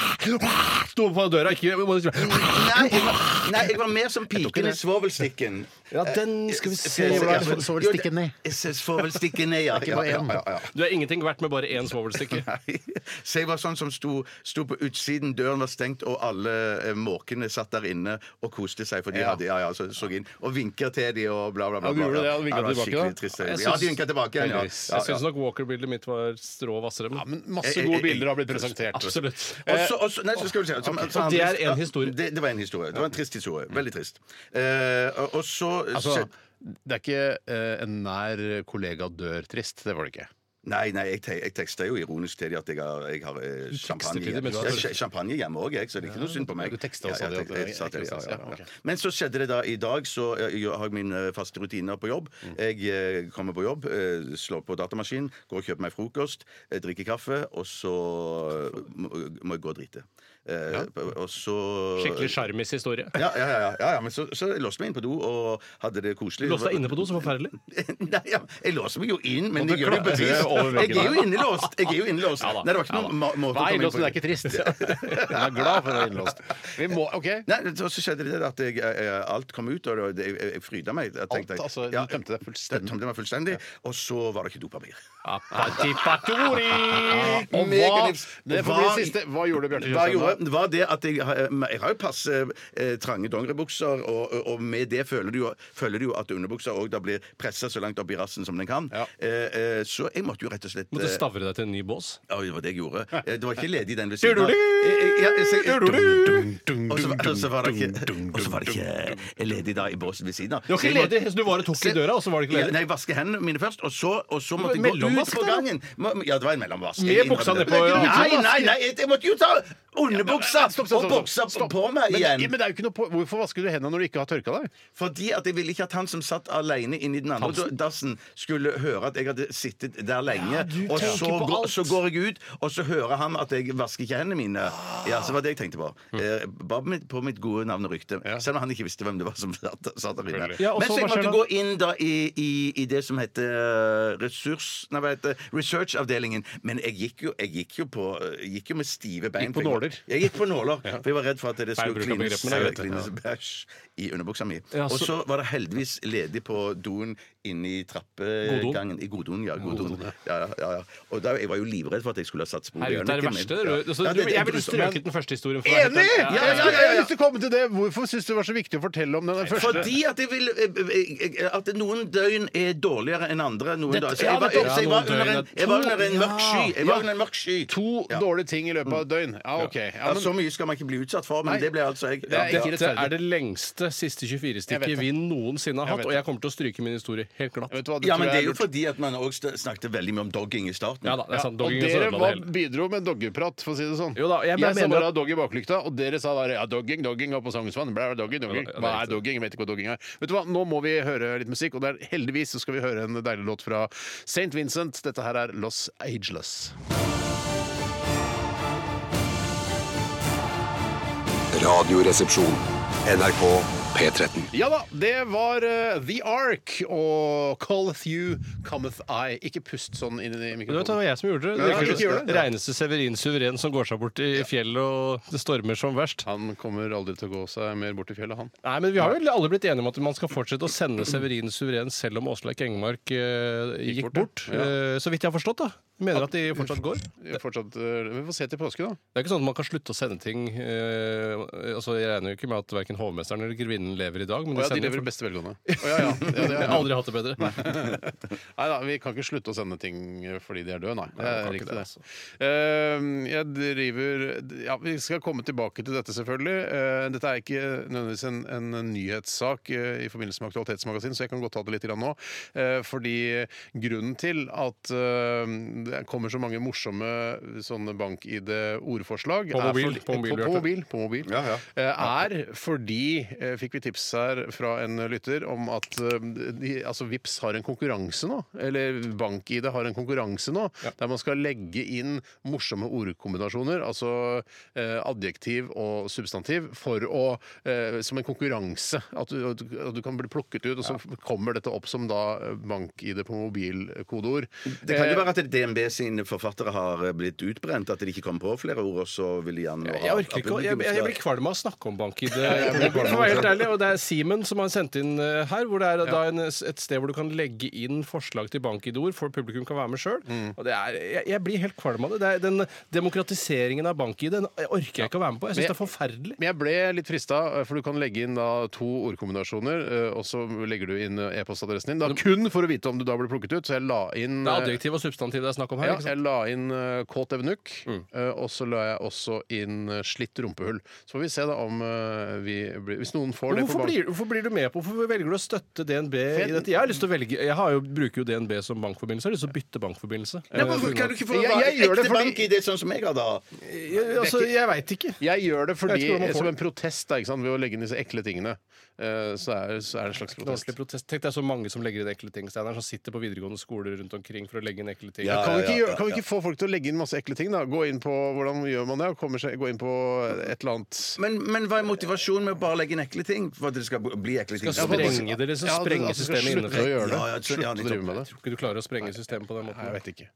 Speaker 3: sto på døra? Ikke, må du ikke-
Speaker 2: Nei, jeg var, nei, jeg var mer som piken i svovelstikken. Eh,
Speaker 3: ja, den Eh, skal vi se
Speaker 1: hvor er det
Speaker 2: Ja,
Speaker 1: svovelstikken ned?
Speaker 2: Jeg ser Svovelstikken ned, ja.
Speaker 1: bare
Speaker 2: ja,
Speaker 1: en.
Speaker 2: ja, ja,
Speaker 3: Du er ingenting verdt med bare én svovelstikke.
Speaker 2: Nei. Så jeg var sånn som sto, sto på utsiden, døren var stengt, og alle eh, måkene satt der inne og koste seg, for de
Speaker 1: Ja.
Speaker 2: hadde ja, ja, så, så inn, og vinker til de og bla, bla, bla.
Speaker 1: Ja, du
Speaker 2: bla,
Speaker 1: gjorde
Speaker 2: bla.
Speaker 1: det, og vinket
Speaker 2: Ja, var
Speaker 1: tilbake, da?
Speaker 2: skikkelig trist,
Speaker 3: Jeg
Speaker 2: Ja, de
Speaker 3: syns-
Speaker 2: vinka tilbake igjen, ja. ja,
Speaker 3: Jeg
Speaker 2: ja.
Speaker 3: syns nok Walker-bildet mitt var strå hvassere. men-
Speaker 1: Ja, men masse gode bilder har blitt presentert.
Speaker 3: Absolutt.
Speaker 2: Og så- og så- nei, så skal vi se. så- så-
Speaker 3: Eh, Og det er en historie.
Speaker 2: Ja, det, det var en historie. Det var en trist historie. Veldig trist. Eh, og, og så
Speaker 1: Altså, det er ikke eh, en nær kollega dør trist. Det var det ikke.
Speaker 2: Nei, nei, jeg, te jeg tekster jo ironisk til de at jeg har, jeg har eh, champagne,
Speaker 1: til de, men du har-
Speaker 2: Jeg har champagne hjemme òg, jeg, så det er ikke noe synd på meg.
Speaker 1: du tekster og sa de at-
Speaker 2: jeg- jeg sa til de, ja, ja,
Speaker 1: Ja, ok.
Speaker 2: ja. Men så skjedde det da i dag, så eh, jeg har jeg mine faste rutiner på jobb. Jeg eh, kommer på jobb, eh, slår på datamaskinen, går og kjøper meg frokost, eh, drikker kaffe, og så eh, må må jeg gå og drite. Eh, Og så
Speaker 3: Skikkelig sjarmis historie.
Speaker 2: ja, ja, ja, ja, ja, ja, men så, så jeg låste meg inn på do og hadde det koselig.
Speaker 3: Låst deg inne på do, så forferdelig.
Speaker 2: Nei, ja, jeg låser meg jo inn, men
Speaker 3: Og
Speaker 2: jeg
Speaker 3: du
Speaker 2: gjør det jo
Speaker 3: klatrer
Speaker 2: bevisst.
Speaker 3: over veggen
Speaker 2: Jeg er jo
Speaker 3: der.
Speaker 2: innelåst! Jeg er jo innelåst.
Speaker 3: Ja da,
Speaker 2: Nei, det var ikke
Speaker 3: ja da.
Speaker 2: noen ma- måte
Speaker 1: Hva er innlåst, men det er
Speaker 2: inn på.
Speaker 1: ikke trist. Jeg er glad for at det er innlåst. Vi må, ok
Speaker 2: Nei, og så skjedde det at jeg, eh, alt kom ut, og det- jeg, jeg fryda meg. Jeg tenkte,
Speaker 1: Alt, altså, du tømte deg fullstendig.
Speaker 2: jeg Tømte meg fullstendig, og så var det ikke dopapir.
Speaker 3: Appatipatori!
Speaker 1: Og hva,
Speaker 2: Meganivs-
Speaker 1: det får bli
Speaker 2: Hva-
Speaker 1: det siste. Hva gjorde Bjarte
Speaker 2: Hva
Speaker 1: Tjøstheim?
Speaker 2: gjorde, var det at jeg, har- jeg har jo passe eh, trange dongeribukser, og, og- og med det føler du jo, føler du jo at underbuksa òg da blir pressa så langt opp i rassen som den kan.
Speaker 1: Ja.
Speaker 2: Eh, eh, så jeg måtte jo rett og slett
Speaker 3: Måtte
Speaker 2: eh,
Speaker 3: stavre deg til en ny bås.
Speaker 2: Ja, det var det jeg gjorde. Eh, Det var ikke ledig den ved siden av.
Speaker 3: Du-du-du!
Speaker 2: Eh, eh, ja, jeg ser-
Speaker 3: Du-du-du!
Speaker 2: Dum-dum-dum, Og så var- og så var det ikke Og så var det ikke ledig da i båsen ved siden av.
Speaker 3: Du var
Speaker 2: Så jeg
Speaker 3: ikke
Speaker 2: måtte-
Speaker 3: ledig, så du var og tok i døra, og så var det ikke
Speaker 2: Ja,
Speaker 3: ledig.
Speaker 2: Nei, jeg vasker hendene mine først, og så, og så måtte jeg gå ut
Speaker 3: Mellomvask,
Speaker 2: på
Speaker 3: da?
Speaker 2: gangen. Må- Ja, det var en mellomvask.
Speaker 3: Med
Speaker 2: Jeg innrømmer
Speaker 3: buksa
Speaker 2: det.
Speaker 3: nedpå, ja.
Speaker 2: Nei, nei, nei, jeg- jeg måtte jo ta underbuksa
Speaker 1: Stopp, stopp,
Speaker 2: og
Speaker 1: stopp,
Speaker 2: buksa
Speaker 1: stopp. Stopp.
Speaker 2: på meg
Speaker 1: Men-
Speaker 2: igjen.
Speaker 1: Men det er jo ikke noe på, hvorfor vasker du hendene når du ikke har tørka deg?
Speaker 2: Fordi at jeg ville ikke at han som satt alene inni den andre
Speaker 3: Hansen?
Speaker 2: dassen, skulle høre at jeg hadde sittet der lenge.
Speaker 3: du
Speaker 2: og
Speaker 3: tenker
Speaker 2: så,
Speaker 3: på
Speaker 2: går-
Speaker 3: alt. Ah.
Speaker 2: så går jeg ut, og så hører han at jeg vasker ikke hendene mine. Ja, så var det jeg tenkte på.
Speaker 3: Mm.
Speaker 2: Eh, bare mitt- på mitt gode navn og rykte. Selv om han ikke visste hvem det var som satt, satt der inne.
Speaker 3: Ja, og
Speaker 2: Men
Speaker 3: så
Speaker 2: så jeg
Speaker 3: hva skjer
Speaker 2: måtte
Speaker 3: da?
Speaker 2: gå inn da i, i, i det som heter ressurs... Nei, hva heter det? researchavdelingen. Men jeg gikk jo, jeg gikk jo på eh, Gikk jo med stive bein.
Speaker 1: Gikk på
Speaker 2: for jeg var-
Speaker 1: nåler.
Speaker 2: Jeg gikk på nåler. For jeg var redd for at det
Speaker 3: Feil
Speaker 2: skulle
Speaker 3: bruk av
Speaker 2: klines, eh,
Speaker 3: begrep, men det er greit, det.
Speaker 2: klines bæsj i underbuksa mi.
Speaker 3: Ja,
Speaker 2: Og
Speaker 3: så-
Speaker 2: så var det heldigvis ledig på doen inni trappegangen. I goddoen, ja. Goddoen. Ja, ja, ja, ja. Og da, jeg var jo livredd for at jeg skulle ha satt spor
Speaker 3: Herregud, det er det verste.
Speaker 2: Ja.
Speaker 3: du- Så,
Speaker 2: Ja,
Speaker 3: du,
Speaker 2: det- det-
Speaker 3: jeg ville
Speaker 2: det- men-
Speaker 3: strøket den første historien. for deg.
Speaker 1: Enig!
Speaker 3: Ja, ja,
Speaker 1: Jeg
Speaker 3: ja.
Speaker 1: skulle jeg har lyst til å komme til det. Hvorfor syns du det var så viktig å fortelle om den første?
Speaker 2: Fordi at jeg vil eh, eh, At noen døgn er dårligere enn andre. Noen døgn. Så jeg var,
Speaker 3: nettopp.
Speaker 2: så jeg
Speaker 3: Ja,
Speaker 2: var
Speaker 3: noen
Speaker 2: under en,
Speaker 3: døgn er
Speaker 2: jeg var under en
Speaker 1: to.
Speaker 2: mørk sky. Jeg var
Speaker 1: Ja.
Speaker 2: under en mørk sky.
Speaker 1: To
Speaker 2: Ja.
Speaker 1: dårlige ting i løpet av et døgn. Ja, OK. Ja,
Speaker 2: Ja,
Speaker 1: men,
Speaker 2: så mye skal man ikke bli utsatt for, men
Speaker 1: Nei.
Speaker 2: det ble altså jeg.
Speaker 1: Det er
Speaker 2: Ja.
Speaker 1: ikke
Speaker 3: Dette er det lengste siste
Speaker 1: Jeg vet
Speaker 3: 24-stikket
Speaker 1: det.
Speaker 3: vi noensinne har
Speaker 1: Jeg
Speaker 3: hatt,
Speaker 1: vet
Speaker 3: og jeg kommer til å stryke min historie helt glatt.
Speaker 1: vet du hva, det
Speaker 2: Ja,
Speaker 1: tror
Speaker 2: men det
Speaker 1: jeg
Speaker 2: er jo
Speaker 1: lurt.
Speaker 2: fordi at man også snakket veldig mye om dogging i starten.
Speaker 3: Ja da, det er
Speaker 1: Ja,
Speaker 3: sant.
Speaker 1: og
Speaker 3: Dogging
Speaker 1: dere
Speaker 3: ødela det
Speaker 1: var,
Speaker 3: hele.
Speaker 1: bidro med doggeprat, for å si det sånn.
Speaker 3: Jo da,
Speaker 1: jeg
Speaker 3: jeg- jeg
Speaker 1: sa
Speaker 3: mener
Speaker 1: bare
Speaker 3: at-
Speaker 1: dogg i baklykta, og dere sa bare ja, dogging, dogging og på Sognsvann. Blæ, dogging, dogging.
Speaker 3: Ja, det er
Speaker 1: Hva er
Speaker 3: riktig.
Speaker 1: dogging? Jeg vet ikke hva dogging er. Vet du hva, nå må vi høre litt musikk, og det er, heldigvis så skal vi høre en deilig låt fra St. Vincent. Dette her er Los Ageless.
Speaker 6: Radioresepsjon. NRK P13.
Speaker 1: Ja da, det var eh, The Ark og Calleth You Cometh I. Ikke pust sånn inn i
Speaker 3: Men vet du, det
Speaker 1: mikrofonen.
Speaker 3: var jeg som gjorde det.
Speaker 1: Ja,
Speaker 3: det.
Speaker 1: ikke gjør
Speaker 3: det. Reineste Severin suveren som går seg bort i fjellet og det stormer som verst.
Speaker 1: Han kommer aldri til å gå seg mer bort i fjellet, han.
Speaker 3: Nei, men Vi har vel alle blitt enige om at man skal fortsette å sende Severin suveren selv om Åslaug Engmark eh, gikk,
Speaker 1: bort,
Speaker 3: bort.
Speaker 1: ja. Ja.
Speaker 3: Eh, så vidt jeg har forstått, da. Mener at de fortsatt går.
Speaker 1: Jeg Fortsatt, eh, vi får se til påske, da.
Speaker 3: Det er ikke sånn at man kan slutte å sende ting eh, altså Jeg regner jo ikke med at verken hovmesteren eller grevinnen lever i dag,
Speaker 1: Å
Speaker 3: men de
Speaker 1: ja, de
Speaker 3: sender
Speaker 1: lever i beste velgående. Å ja, ja. ja, det
Speaker 3: Jeg
Speaker 1: er-
Speaker 3: har aldri hatt det bedre.
Speaker 1: Nei da, vi kan ikke slutte å sende ting fordi de er døde, nei. Det
Speaker 3: man
Speaker 1: er
Speaker 3: kan ikke
Speaker 1: riktig,
Speaker 3: det,
Speaker 1: det.
Speaker 3: altså.
Speaker 1: Eh, Jeg driver Ja, vi skal komme tilbake til dette, selvfølgelig. Eh, Dette er ikke nødvendigvis en, en nyhetssak eh, i forbindelse med Aktualitetsmagasin, så jeg kan godt ta det litt grann nå. Eh, Fordi grunnen til at eh, det kommer så mange morsomme sånne bank-ID-ordforslag
Speaker 3: På
Speaker 1: er
Speaker 3: mobil,
Speaker 1: fordi-
Speaker 3: på mobil,
Speaker 1: på,
Speaker 3: Bjarte.
Speaker 1: på mobil, på mobil
Speaker 2: Ja, ja.
Speaker 1: eh, er fordi eh, fikk vi tips her fra en lytter om at eh, de, altså Vips har en konkurranse nå, eller BankID har en konkurranse nå, der man skal legge inn morsomme ordkombinasjoner, altså eh, adjektiv og substantiv, for å, eh, som en konkurranse. At du, at du- at du kan bli plukket ut, og så kommer dette opp som da eh, BankID på mobilkodeord. Eh,
Speaker 2: Det
Speaker 3: Eh,
Speaker 2: kan jo være at DNB sine forfattere har eh, blitt utbrent, at de ikke kom på flere ord, og så vil de gjerne ha-
Speaker 3: Jeg orker ikke, å- jeg, jeg, jeg blir kvalm av å snakke om bank-ID.
Speaker 1: blir
Speaker 3: For å være helt ærlig, og Det er Simen som har sendt inn eh, her, hvor det er da en, et sted hvor du kan legge inn forslag til bank-ID-ord, for publikum kan være med sjøl.
Speaker 1: Mm.
Speaker 3: Jeg, jeg blir helt kvalm av det. det er, den demokratiseringen av bank-ID den orker jeg ikke å være med på. Jeg syns det er forferdelig.
Speaker 1: Men jeg ble litt frista, for du kan legge inn da to ordkombinasjoner, eh, og så legger du inn eh, e-postadressen din. Da kun for å vite om du da blir plukket ut. Så jeg la inn
Speaker 3: Det er
Speaker 1: eh,
Speaker 3: adjektiv og substantiv det er snakk om her.
Speaker 1: ja,
Speaker 3: ikke sant?
Speaker 1: jeg
Speaker 3: Mm.
Speaker 1: la inn eh, kåt evnukk, eh, og så la jeg også inn eh, slitt rumpehull. Så får vi se da om eh, vi blir Hvis noen får får det på
Speaker 3: hvorfor,
Speaker 1: bank.
Speaker 3: blir, hvorfor blir du med på Hvorfor velger du å støtte DNB i dette? Jeg har lyst til å velge Jeg har jo, bruker jo DNB som bankforbindelse. Jeg har lyst til å bytte bankforbindelse.
Speaker 2: Nei, hvorfor kan du ikke få
Speaker 1: Jeg- jeg
Speaker 2: en
Speaker 1: gjør det
Speaker 2: ekte
Speaker 1: fordi-
Speaker 2: bank i det sånn som jeg har, da?
Speaker 3: Eh, altså, jeg veit ikke.
Speaker 1: Jeg gjør det
Speaker 3: Jeg vet
Speaker 1: fordi,
Speaker 3: ikke hvordan man får
Speaker 1: som
Speaker 3: det.
Speaker 1: en protest da, ikke sant? ved å legge inn disse ekle tingene. eh, Så er, så er det en slags protest.
Speaker 3: Ordentlig protest. Tenk, det er så mange som legger inn ekle ting, Steinar, som sitter på videregående skoler rundt omkring for å legge inn ekle ting.
Speaker 1: Ja,
Speaker 2: Ja,
Speaker 1: kan, vi
Speaker 2: ja,
Speaker 1: ikke,
Speaker 2: ja,
Speaker 1: gjøre- kan vi
Speaker 2: ja.
Speaker 1: ikke få folk til å legge inn masse ekle ting? da? Gå inn på, Hvordan gjør man det? Og Kommer seg, gå inn på et eller annet
Speaker 2: Men, men hva er motivasjonen med å bare legge inn ekle ting? For at det skal bli ekle ting?
Speaker 3: Skal sprenge det, liksom.
Speaker 1: Ja, det er
Speaker 3: Sprenge
Speaker 1: da, så skal
Speaker 3: systemet
Speaker 1: slutte å
Speaker 3: innenfra.
Speaker 1: gjøre det.
Speaker 2: Ja, ja,
Speaker 1: Slutte
Speaker 2: ja,
Speaker 1: å drive med det.
Speaker 3: Tror ikke du klarer å sprenge systemet på den måten.
Speaker 1: Nei, jeg vet ikke.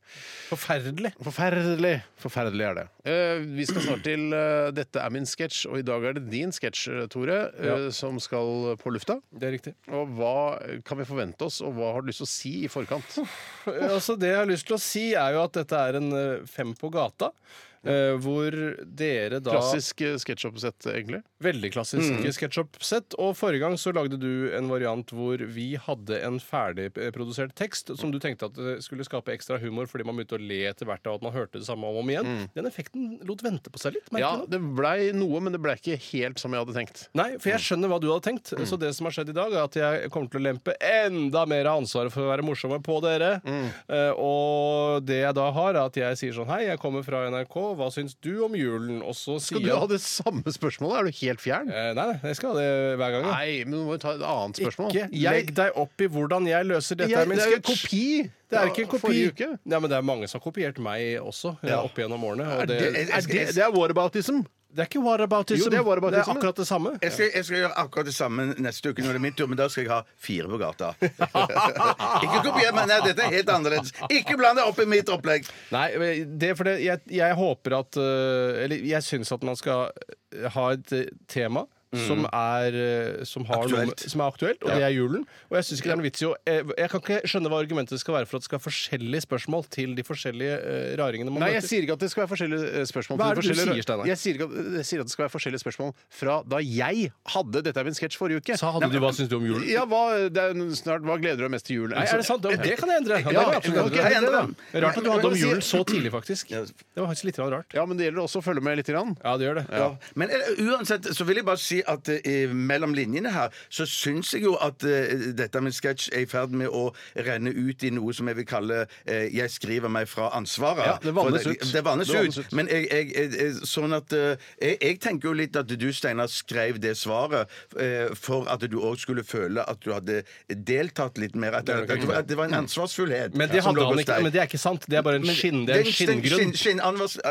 Speaker 3: Forferdelig.
Speaker 1: Forferdelig. Forferdelig er det. Eh, vi skal snart til eh, Dette er min sketsj, og i dag er det din sketsj, Tore, eh,
Speaker 3: Ja.
Speaker 1: som skal på lufta.
Speaker 3: Det er riktig.
Speaker 1: Og hva kan vi forvente oss, og hva har du lyst til å si i forkant?
Speaker 3: Altså, det jeg har lyst til å si, er jo at dette er en eh, fem på gata. eh, hvor dere da
Speaker 1: Klassisk eh, sketsjoppsett, egentlig.
Speaker 3: Veldig klassisk sketsjup-sett. Og forrige gang så lagde du en variant hvor vi hadde en ferdigprodusert tekst som du tenkte at eh, skulle skape ekstra humor fordi man begynte å le etter hvert av at man hørte det samme om og om igjen. Den effekten lot vente på seg litt. merker
Speaker 1: Ja,
Speaker 3: du det?
Speaker 1: det blei noe, men det blei ikke helt som jeg hadde tenkt.
Speaker 3: Nei, for
Speaker 1: Mm.
Speaker 3: jeg skjønner hva du hadde tenkt. Så det som har skjedd i dag, er at jeg kommer til å lempe enda mer av ansvaret for å være morsommere på dere.
Speaker 1: Mm.
Speaker 3: Eh, og det jeg da har, er at jeg sier sånn Hei, jeg kommer fra NRK, hva syns du om julen? Og så sier
Speaker 1: Skal du
Speaker 3: jeg
Speaker 1: ha det samme spørsmålet? Er du helt fjern?
Speaker 3: Eh, Nei, nei, jeg skal ha det hver gang. ja.
Speaker 1: Nei, men du må jo ta et annet spørsmål.
Speaker 3: Ikke legg deg opp i hvordan jeg løser dette.
Speaker 1: Jeg-
Speaker 3: er min
Speaker 1: det er jo en
Speaker 3: sketsj.
Speaker 1: kopi
Speaker 3: Det er ikke en
Speaker 1: fra
Speaker 3: kopi.
Speaker 1: forrige uke.
Speaker 3: Ja, men det er mange som har kopiert meg også eh, opp gjennom årene. Og
Speaker 1: Det,
Speaker 3: det,
Speaker 1: er, det, det er whataboutism.
Speaker 3: det er ikke whataboutism.
Speaker 1: Jo, det er whataboutism, ja.
Speaker 3: akkurat det samme.
Speaker 2: Jeg skal, jeg skal gjøre akkurat det samme neste uke når det er min tur, men da skal jeg ha fire på gata. ikke kopier, men nei, dette er helt annerledes. Ikke bland deg opp i mitt opplegg.
Speaker 3: Nei, men det er fordi jeg, jeg håper at eh, Eller jeg syns at man skal eh, ha et eh, tema. Som er, eh, som, har noe, med-
Speaker 2: Aktuelt.
Speaker 3: som er aktuelt, og det er julen. Og Jeg synes ikke det er noe vits i å Jeg, jeg kan ikke skjønne hva argumentet skal være for at det skal være forskjellige spørsmål til de forskjellige eh, raringene man
Speaker 1: Nei, jeg
Speaker 3: møter.
Speaker 1: sier ikke at det skal være forskjellige eh, spørsmål. til
Speaker 3: Hva er det du
Speaker 1: forskjellige-
Speaker 3: sier, Steinar?
Speaker 1: Jeg sier, ikke at, jeg sier at det skal være forskjellige spørsmål fra da jeg hadde Dette er min sketsj forrige uke.
Speaker 3: Sa hadde du hva syns du om julen?
Speaker 1: Ja, hva, det er en- snart, hva gleder du deg mest til jul?
Speaker 3: Nei, er det sant? Ja, Det kan jeg endre. Ja,
Speaker 1: Ja,
Speaker 3: det kan jeg
Speaker 1: ok,
Speaker 3: absolutt endre.
Speaker 2: endre den.
Speaker 3: Det er Rart at du hadde om
Speaker 1: Men-
Speaker 3: julen så tidlig, faktisk.
Speaker 2: Ja.
Speaker 3: Det var faktisk litt grann rart.
Speaker 1: Ja, men det gjelder også å følge med litt. Grann.
Speaker 3: Ja, det gjør det.
Speaker 2: Men eh, uansett så vil jeg bare si at eh, mellom linjene her så syns jeg jo at eh, dette med sketsj er i ferd med å renne ut i noe som jeg vil kalle eh, 'jeg skriver meg fra ansvaret'.
Speaker 3: Ja, det vannes
Speaker 2: For
Speaker 3: ut.
Speaker 2: Det, det vannes
Speaker 1: Det vannes
Speaker 2: ut.
Speaker 1: ut.
Speaker 2: Men jeg, jeg, jeg, jeg- sånn at eh, jeg, jeg tenker jo litt at du, Steinar, skrev det svaret eh, for at du òg skulle føle at du hadde deltatt litt mer. At, at, at, det var en ansvarsfullhet.
Speaker 3: Mm. Men det,
Speaker 2: som
Speaker 3: hadde
Speaker 2: lå
Speaker 3: han
Speaker 2: hos
Speaker 3: ikke,
Speaker 2: deg.
Speaker 3: men det er ikke sant. Det er bare en, skinn, det er en skinngrunn.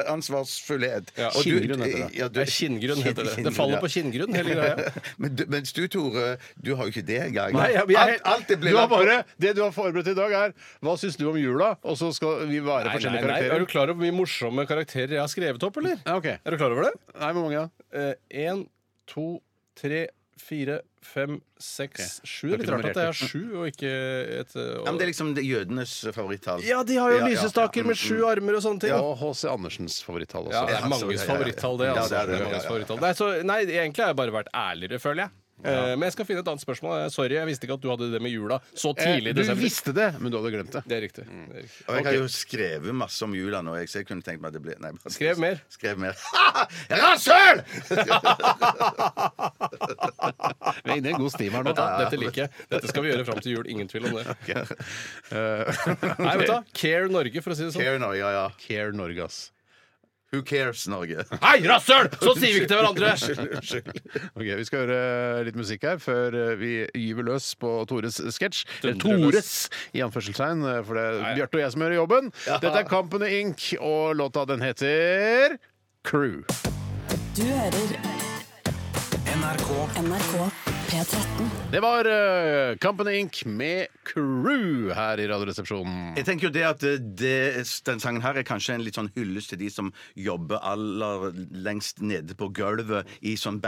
Speaker 2: Skinnansvarsfullhet.
Speaker 3: Ja.
Speaker 1: Skinngrunn heter det.
Speaker 3: Det er skinngrunn, heter det. Det faller på skinngrunn, hele greia.
Speaker 2: Men du, mens du, Tore, du har jo ikke det engang.
Speaker 3: Nei, jeg- jeg-
Speaker 2: alt, alt det ble
Speaker 1: Du har
Speaker 2: lagt på-
Speaker 1: bare, det du har forberedt i dag, er 'Hva syns du om jula?' Og så skal vi være
Speaker 3: Nei, nei,
Speaker 1: forskjellige
Speaker 3: nei. Er
Speaker 1: karakterer.
Speaker 3: du klar over hvor mye morsomme karakterer jeg har skrevet opp, eller?
Speaker 1: Ja, ok.
Speaker 3: Er du klar over det?
Speaker 1: Nei, hvor mange da?
Speaker 3: Én, to, tre, fire, fem, seks, sju. Det er
Speaker 1: Har ikke
Speaker 3: litt rart at det
Speaker 1: nummerert
Speaker 3: er sju og ikke et eh,
Speaker 2: Ja, men det er liksom det jødenes favorittall.
Speaker 3: Ja, de har jo
Speaker 2: Ja, ja,
Speaker 3: lysestaker
Speaker 2: ja.
Speaker 3: med sju armer og sånne ting.
Speaker 1: Og H.C. Andersens favorittall også.
Speaker 3: Ja, det er
Speaker 2: Ja,
Speaker 3: manges
Speaker 2: så- ja, ja.
Speaker 3: favorittall, det.
Speaker 2: Ja,
Speaker 3: Altså.
Speaker 2: det er det,
Speaker 3: Det er manges
Speaker 2: ja, ja.
Speaker 3: favorittall. Nei, så, nei, egentlig har jeg bare vært ærligere, føler jeg. Eh, Men jeg skal finne et annet spørsmål. Eh, Sorry, jeg visste ikke at du hadde det med jula så
Speaker 2: Eh,
Speaker 3: tidlig i
Speaker 1: Eh, du
Speaker 3: desember.
Speaker 1: visste det, men du hadde glemt det.
Speaker 3: Det er riktig. Det er riktig.
Speaker 2: Og jeg har jo skrevet masse om jula nå, jeg, så jeg kunne tenkt meg at det ble nei, bare-
Speaker 3: Skrev mer.
Speaker 2: Skrev mer. Rasshøl!
Speaker 1: Vi er inne i en god stim her nå.
Speaker 3: Ja, dette liker jeg. Dette skal vi gjøre fram til jul. Ingen tvil om det. Nei, vet du hva? Care Norge, for å si det sånn.
Speaker 2: Care Norge, ja, ja.
Speaker 1: Care Norge, ass.
Speaker 2: Who cares, Norge?
Speaker 3: Hei, rasshøl! Så sier vi ikke til hverandre!
Speaker 1: Ok, Vi skal høre litt musikk her før eh, vi gyver løs på Tores sketsj. Eller
Speaker 3: Dundrer løs.
Speaker 1: Tores, i anførselstegn, eh, for det er Bjarte og jeg som gjør jobben. Dette er Kampene Inc., og låta den heter Crew.
Speaker 5: Du hører
Speaker 4: NRK
Speaker 5: NRK P13.
Speaker 1: Det var eh, Kampene Inc. med Crew her i Radioresepsjonen.
Speaker 2: Jeg tenker jo det at eh, det, Den sangen her er kanskje en litt sånn hyllest til de som jobber aller lengst nede på gulvet i sånn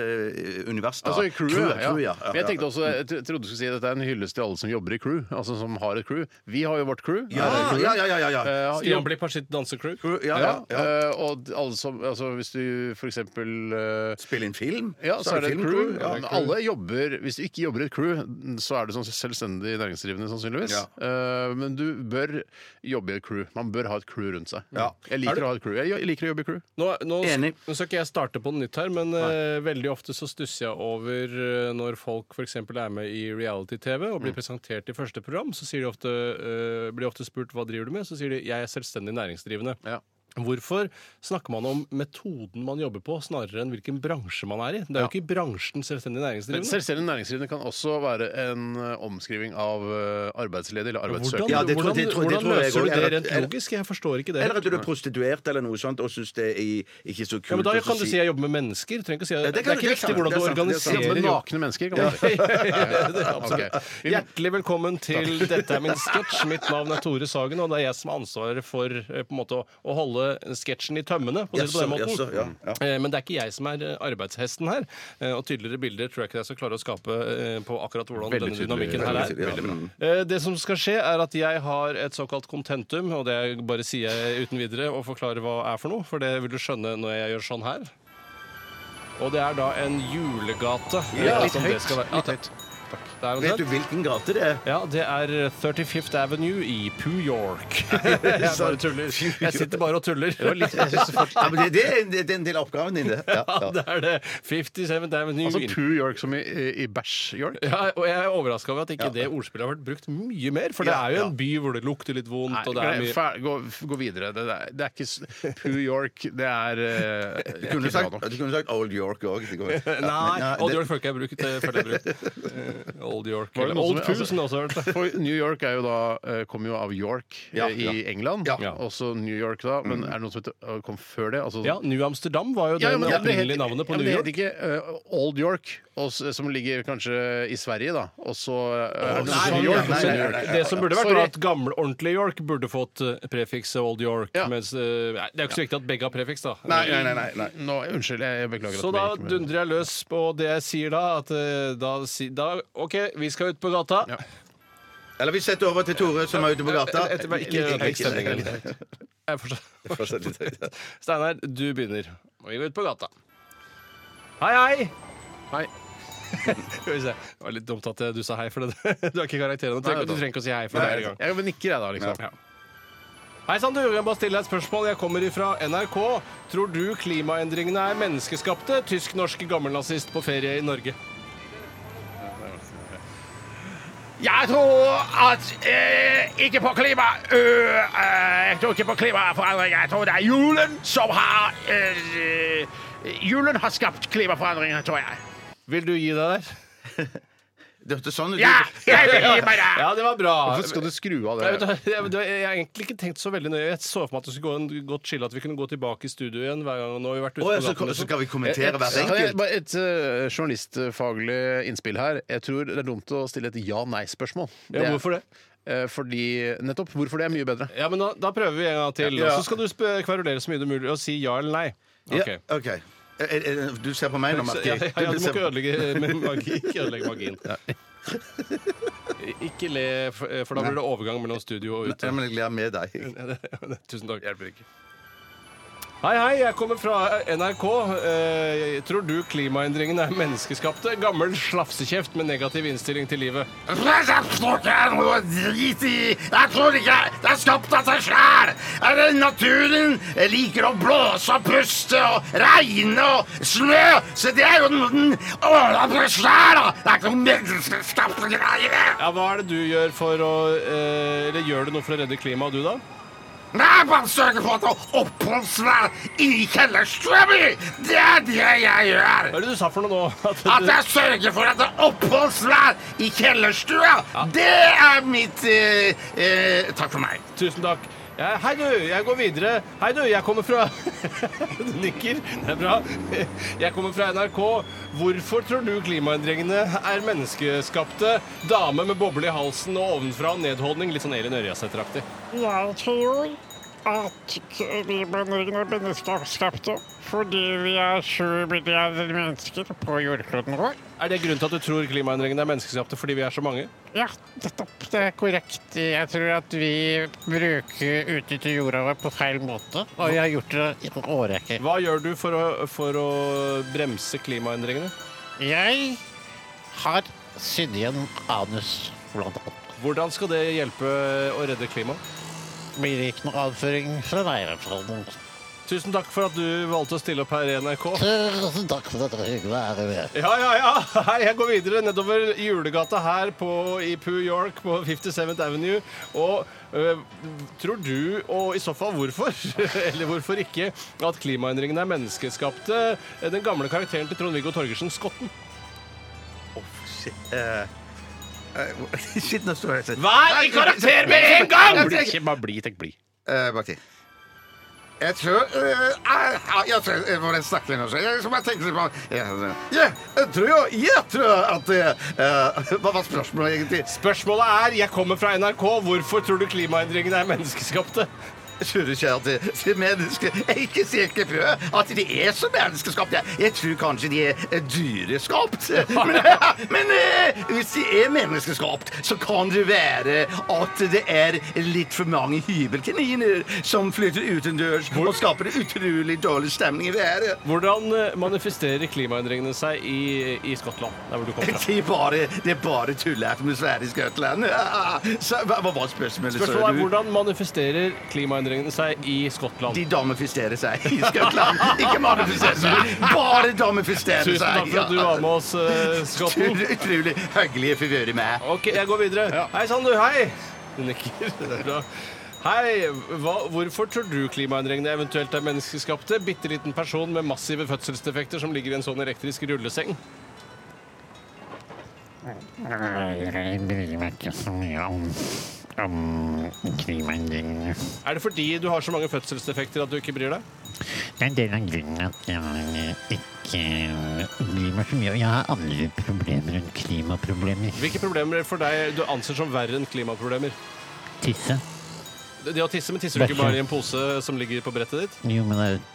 Speaker 2: bandunivers.
Speaker 1: Altså i crewet, ja.
Speaker 2: ja.
Speaker 1: Men jeg tenkte også, jeg tro- trodde du skulle si at dette er en hyllest til alle som jobber i crew. Altså som har et crew. Vi har jo vårt crew.
Speaker 2: Ja,
Speaker 1: Her er crewet.
Speaker 2: ja, ja, ja, ja, ja.
Speaker 1: Eh,
Speaker 3: Stian Blipp har sitt dansecrew.
Speaker 2: Crew, ja, ja,
Speaker 1: Ja,
Speaker 2: ja.
Speaker 1: eh, og alle som, altså hvis du for eksempel eh,
Speaker 2: Spille inn film?
Speaker 1: Ja, så er det et crew.
Speaker 2: Ja.
Speaker 1: men alle jobber Hvis du ikke jobber i et crew, så er du sånn selvstendig næringsdrivende sannsynligvis. Eh, men du bør jobbe i et crew. Man bør ha et crew rundt seg. Jeg
Speaker 3: Er
Speaker 1: liker
Speaker 3: du-
Speaker 1: å ha et crew. Jeg, jeg liker å jobbe i crew.
Speaker 3: Nå, nå,
Speaker 2: Enig.
Speaker 3: nå skal ikke jeg starte på nytt her, men eh, veldig ofte så stusser jeg over eh, når folk f.eks. er med i reality-TV og
Speaker 2: Mm.
Speaker 3: blir presentert i første program, så sier de ofte, eh, blir de ofte spurt hva driver du med, så sier de jeg er selvstendig næringsdrivende.
Speaker 1: Ja.
Speaker 3: Hvorfor snakker man om metoden man jobber på, snarere enn hvilken bransje man er i? Det er jo ikke i bransjen selvstendig
Speaker 1: Men
Speaker 3: næringsdrivende.
Speaker 1: selvstendig næringsdrivende kan også være en eh, omskriving av eh, arbeidsledig eller
Speaker 3: Hvordan,
Speaker 1: arbeidssøker.
Speaker 2: Ja, det tror-
Speaker 3: hvordan,
Speaker 2: det tror- det
Speaker 3: hvordan
Speaker 2: tror jeg
Speaker 3: løser
Speaker 2: også.
Speaker 3: du det
Speaker 2: Eller-
Speaker 3: rent logisk? Jeg forstår ikke det.
Speaker 2: Eller at du er prostituert eller noe sånt og syns det er ikke så kult.
Speaker 3: Ja, men da
Speaker 2: og så
Speaker 3: kan du si
Speaker 2: sier-
Speaker 3: jeg jobber med mennesker. Trenger ikke å si, det, er
Speaker 2: det kan du-
Speaker 3: ikke
Speaker 2: det er
Speaker 3: viktig
Speaker 2: sant,
Speaker 3: hvordan
Speaker 2: det
Speaker 3: du
Speaker 2: er sant, det er
Speaker 3: organiserer
Speaker 2: sant.
Speaker 1: Jobbe med
Speaker 3: jobben.
Speaker 1: nakne mennesker, kan man si.
Speaker 3: Det er absolutt.
Speaker 1: Ok. Vi-
Speaker 3: Hjertelig velkommen til Dette er min sketsj. Mitt navn er Tore Sagen, og det er jeg som har ansvaret for eh, på en måte, å- å holde sketsjen i tømmene. På å si det på den
Speaker 2: Jaså,
Speaker 3: måten.
Speaker 2: jaså, ja, ja.
Speaker 3: Eh, Men det er ikke jeg som er eh, arbeidshesten her. eh, Og tydeligere bilder tror jeg ikke jeg skal klare å skape eh, på akkurat hvordan
Speaker 1: Veldig
Speaker 3: denne
Speaker 1: tydelig.
Speaker 3: dynamikken her
Speaker 2: Veldig
Speaker 3: er.
Speaker 2: tydelig, ja. Mm.
Speaker 3: Eh, Det som skal skje, er at jeg har et såkalt kontentum, og det bare sier jeg uten videre og forklarer hva er for noe, for det vil du skjønne når jeg gjør sånn her. Og det er da en julegate. eh,
Speaker 1: litt
Speaker 3: som
Speaker 1: høyt,
Speaker 3: det skal være.
Speaker 1: litt høyt.
Speaker 3: Det er
Speaker 2: Vet
Speaker 3: omtrent.
Speaker 2: du hvilken gate det er?
Speaker 3: Ja, det er 35th Avenue i Poo York. Jeg bare tuller. Jeg sitter bare og tuller.
Speaker 2: Ja, men det, det, er, det er en del av oppgaven din, det. Ja,
Speaker 3: Ja,
Speaker 2: ja.
Speaker 3: det er det. 57th Avenue
Speaker 1: Altså
Speaker 3: in-
Speaker 1: Poo York som i, i Bæsj-York.
Speaker 3: Ja, og jeg er overraska over at ikke det ordspillet har vært brukt mye mer. For det
Speaker 2: Ja,
Speaker 3: er jo
Speaker 2: ja.
Speaker 3: en by hvor det lukter litt vondt,
Speaker 1: Nei,
Speaker 3: og det er
Speaker 1: glem-
Speaker 3: mye
Speaker 1: fer- gå, gå videre. Det, er- det er ikke s- Poo York, det er eh, det er
Speaker 2: Du
Speaker 1: ikke
Speaker 2: kunne
Speaker 1: bra
Speaker 2: sagt,
Speaker 1: nok.
Speaker 2: du kunne sagt Old York òg.
Speaker 3: Nei, Old York føler jeg brukt. det føler jeg brukt. Eh, Old York.
Speaker 1: Var det
Speaker 3: Eller
Speaker 1: noe som-
Speaker 3: Old Poo,
Speaker 1: altså-
Speaker 3: som det også har hørt.
Speaker 1: For New York er jo da, eh, kommer jo av York eh,
Speaker 2: Ja,
Speaker 1: i
Speaker 2: ja. Mm.
Speaker 1: England.
Speaker 3: Ja.
Speaker 1: Også New York, da. Men er det noe som heter, eh, kom før det? Altså,
Speaker 3: Ja, New Amsterdam var jo det
Speaker 1: Ja, ja, men det-
Speaker 3: opprinnelige navnet på
Speaker 1: ja, men
Speaker 3: New York.
Speaker 1: Det heter ikke eh, Old York, og, s- som ligger kanskje i Sverige, da. Og så eh, er det
Speaker 2: nei,
Speaker 1: New
Speaker 2: ja,
Speaker 1: York.
Speaker 2: nei,
Speaker 1: og så
Speaker 2: nei,
Speaker 1: New
Speaker 2: nei,
Speaker 1: York.
Speaker 3: altså, Det som burde vært,
Speaker 1: Sorry.
Speaker 3: var at gamle, ordentlige York burde fått eh, prefikset Old York.
Speaker 1: Ja.
Speaker 3: Mens, eh, nei, det er jo ikke så viktig at begge har prefiks, da.
Speaker 2: Nei, nei, nei, nei, nei.
Speaker 1: Nå, unnskyld, jeg, jeg beklager.
Speaker 3: Så
Speaker 1: at
Speaker 3: da
Speaker 1: jeg gikk med-
Speaker 3: dundrer jeg løs på det jeg sier da. At eh, da, si, da OK, vi skal ut på gata.
Speaker 1: Ja.
Speaker 2: Eller vi setter over til Tore, som er ute på gata.
Speaker 3: Etter hvert ikke ødelegg stemningen. Jeg forstår. Steinar, du begynner. Og vi går ut på gata. Hei, hei!
Speaker 1: Hei.
Speaker 3: Skal vi se. Det var litt dumt at du sa hei, for det. du har ikke karakter ennå. Du trenger- Du trenger ikke å si hei for hver gang.
Speaker 1: Jeg nikker, jeg, da, liksom.
Speaker 3: Ja. Hei sann, du. Jeg bare stiller deg et spørsmål. Jeg kommer ifra NRK. Tror du klimaendringene er menneskeskapte? Tysk-norsk gammelnazist på ferie i Norge.
Speaker 1: Jeg tror at ikke på klima Jeg tror ikke på klimaforandringer. Jeg tror det er julen som har Julen har skapt klimaforandringer, tror jeg.
Speaker 3: Vil du gi deg der?
Speaker 2: Det hørtes sånn ut.
Speaker 1: jeg vil gi meg
Speaker 3: Ja, det var bra.
Speaker 1: Hvorfor skal du skru av
Speaker 3: Nei, vet du,
Speaker 1: det?
Speaker 3: jeg, det var- jeg har egentlig ikke tenkt så veldig nøye. Jeg så for meg at det skulle gå en godt skille at vi kunne gå tilbake i studio igjen hver gang. Nå har vi vært ute
Speaker 2: Å, ja,
Speaker 3: på
Speaker 2: så,
Speaker 3: gaten.
Speaker 2: så
Speaker 3: Liksom.
Speaker 2: skal vi kommentere hvert
Speaker 1: Kan jeg,
Speaker 2: enkelt.
Speaker 1: bare et eh, journalistfaglig innspill her. Jeg tror det er dumt å stille et ja-nei-spørsmål. Eh,
Speaker 3: Ja, hvorfor det?
Speaker 1: fordi Nettopp. Hvorfor det er mye bedre.
Speaker 3: Ja, men da, da prøver vi en gang til.
Speaker 2: Ja.
Speaker 3: Og så skal du sp- kverulere så mye det er mulig og si ja eller nei.
Speaker 2: Ja,
Speaker 3: Ok.
Speaker 2: OK. Er- er- er- Du ser på meg nå,
Speaker 3: Så-
Speaker 2: Marti.
Speaker 3: Ja, ja, ja, du må ikke ødelegge med magi. Ikke ødelegge magien. Ikke le, for eh, for da blir det overgang mellom studio og ute.
Speaker 2: Ja, men jeg ler med deg.
Speaker 3: Tusen takk. Hjelper ikke. Hei, hei, jeg kommer fra NRK. Eh, tror du klimaendringene er menneskeskapte? Gammel slafsekjeft med negativ innstilling til livet.
Speaker 7: Jeg tror ikke det er skapt av seg sjæl. Naturen liker å blåse og puste og regne og snø. Så det er jo den ordna for sjæl, da. Det er ikke noen menneskeskapte greier.
Speaker 3: Ja, Hva er det du gjør for å eh, Eller gjør du noe for å redde klimaet, du, da?
Speaker 7: Nei, jeg bare sørger for at det er oppholdsvær inni kjellerstua mi. Det er det jeg gjør.
Speaker 3: Hva er det du sa for noe nå? At
Speaker 7: At
Speaker 3: du,
Speaker 7: jeg sørger for at det er oppholdsvær i kjellerstua, det er mitt eh, eh, Takk for meg.
Speaker 3: tusen takk. Ja, hei, du, jeg går videre. Hei, du, jeg kommer fra Du nikker. Det er bra. Jeg kommer fra NRK. Hvorfor tror du klimaendringene er menneskeskapte? Dame med boble i halsen og ovenfra og nedholdning. Litt sånn Elin Ørjasæter-aktig.
Speaker 8: Jeg tror at klimaendringene er menneskeskapte fordi vi er 20 milliarder mennesker på jordkloden vår.
Speaker 3: Er det grunnen til at du tror klimaendringene er menneskeskapte fordi vi er så mange?
Speaker 8: Ja, nettopp. Det er korrekt. Jeg tror at vi bruker utnytter jorda vår på feil måte, og vi har gjort det i en årrekke.
Speaker 3: Hva gjør du for å, for å bremse klimaendringene?
Speaker 8: Jeg
Speaker 9: har sydd igjen anus, blant annet.
Speaker 3: Hvordan skal det hjelpe å redde klimaet?
Speaker 9: Blir det ikke noe avføring fra deg, i hvert fall.
Speaker 3: Tusen takk for at du valgte å stille opp her i NRK.
Speaker 9: Tusen takk for at dere hyggelig er med.
Speaker 3: Ja, ja, ja. Hei, jeg går videre nedover julegata her på, i Poo York på 57th Avenue. Og øh, tror du, og i så fall hvorfor, eller hvorfor ikke, at klimaendringene er menneskeskapte? Den gamle karakteren til Trond-Viggo Torgersen, Skotten.
Speaker 10: Shit, eh, eh, shit, nå står jeg helt
Speaker 3: Vær i karakter med en gang!
Speaker 2: Bli, ikke bare bli, tenk bli. Baki. Eh, Jeg tror eh, ah, Jeg tror Jeg må snakke litt nå. så Jeg, som jeg tenkte litt på jeg, jeg, jeg tror jo Jeg tror at eh, Hva var spørsmålet egentlig?
Speaker 3: Spørsmålet er, jeg kommer fra NRK, hvorfor tror du klimaendringene er menneskeskapte?
Speaker 2: Tror du ikke at de, de mennesker Jeg er ikke sikker på at de er så menneskeskapte. Jeg tror kanskje de er eh, dyreskapt. Men, men eh, hvis de er menneskeskapt, så kan det være at det er litt for mange hybelkaniner som flytter utendørs og skaper en utrolig dårlig stemning i været.
Speaker 3: Hvordan øh, manifesterer klimaendringene seg i, i Skottland, der hvor du kommer fra?
Speaker 2: Det er bare, det er bare tullert med Sverige i Skottland. Så, hva, hva var spørsmålet? sa
Speaker 3: Spørsmålet er
Speaker 2: du?
Speaker 3: hvordan manifesterer klimaendringene seg i Skottland?
Speaker 2: De damifisterer seg i Skottland. Ikke manifisterer seg, bare damifisterer seg.
Speaker 3: Tusen takk for at du
Speaker 2: Ja.
Speaker 3: var med oss, eh, Skotten.
Speaker 2: Utrolig- Utrolig hyggelig å få være med.
Speaker 3: Ok, jeg går videre. Hei sann, du. Hei! Du nikker. Det er bra. Hei, hva, hvorfor tror du klimaendringene eventuelt er menneskeskapte? Bitte liten person med massive fødselsdefekter som ligger i en sånn elektrisk rulleseng.
Speaker 9: Jeg bryr meg ikke så mye om, om klimaendringene.
Speaker 3: Er det fordi du har så mange fødselsdefekter at du ikke bryr deg?
Speaker 9: Det er en del av grunnen at jeg ikke bryr meg så mye. Og jeg har andre problemer enn klimaproblemer.
Speaker 3: Hvilke problemer for deg du anser som verre enn klimaproblemer?
Speaker 9: Tisse.
Speaker 3: Det det å tisse, men tisser du ikke bare i en pose som ligger på brettet ditt?
Speaker 9: Jo, men det er jo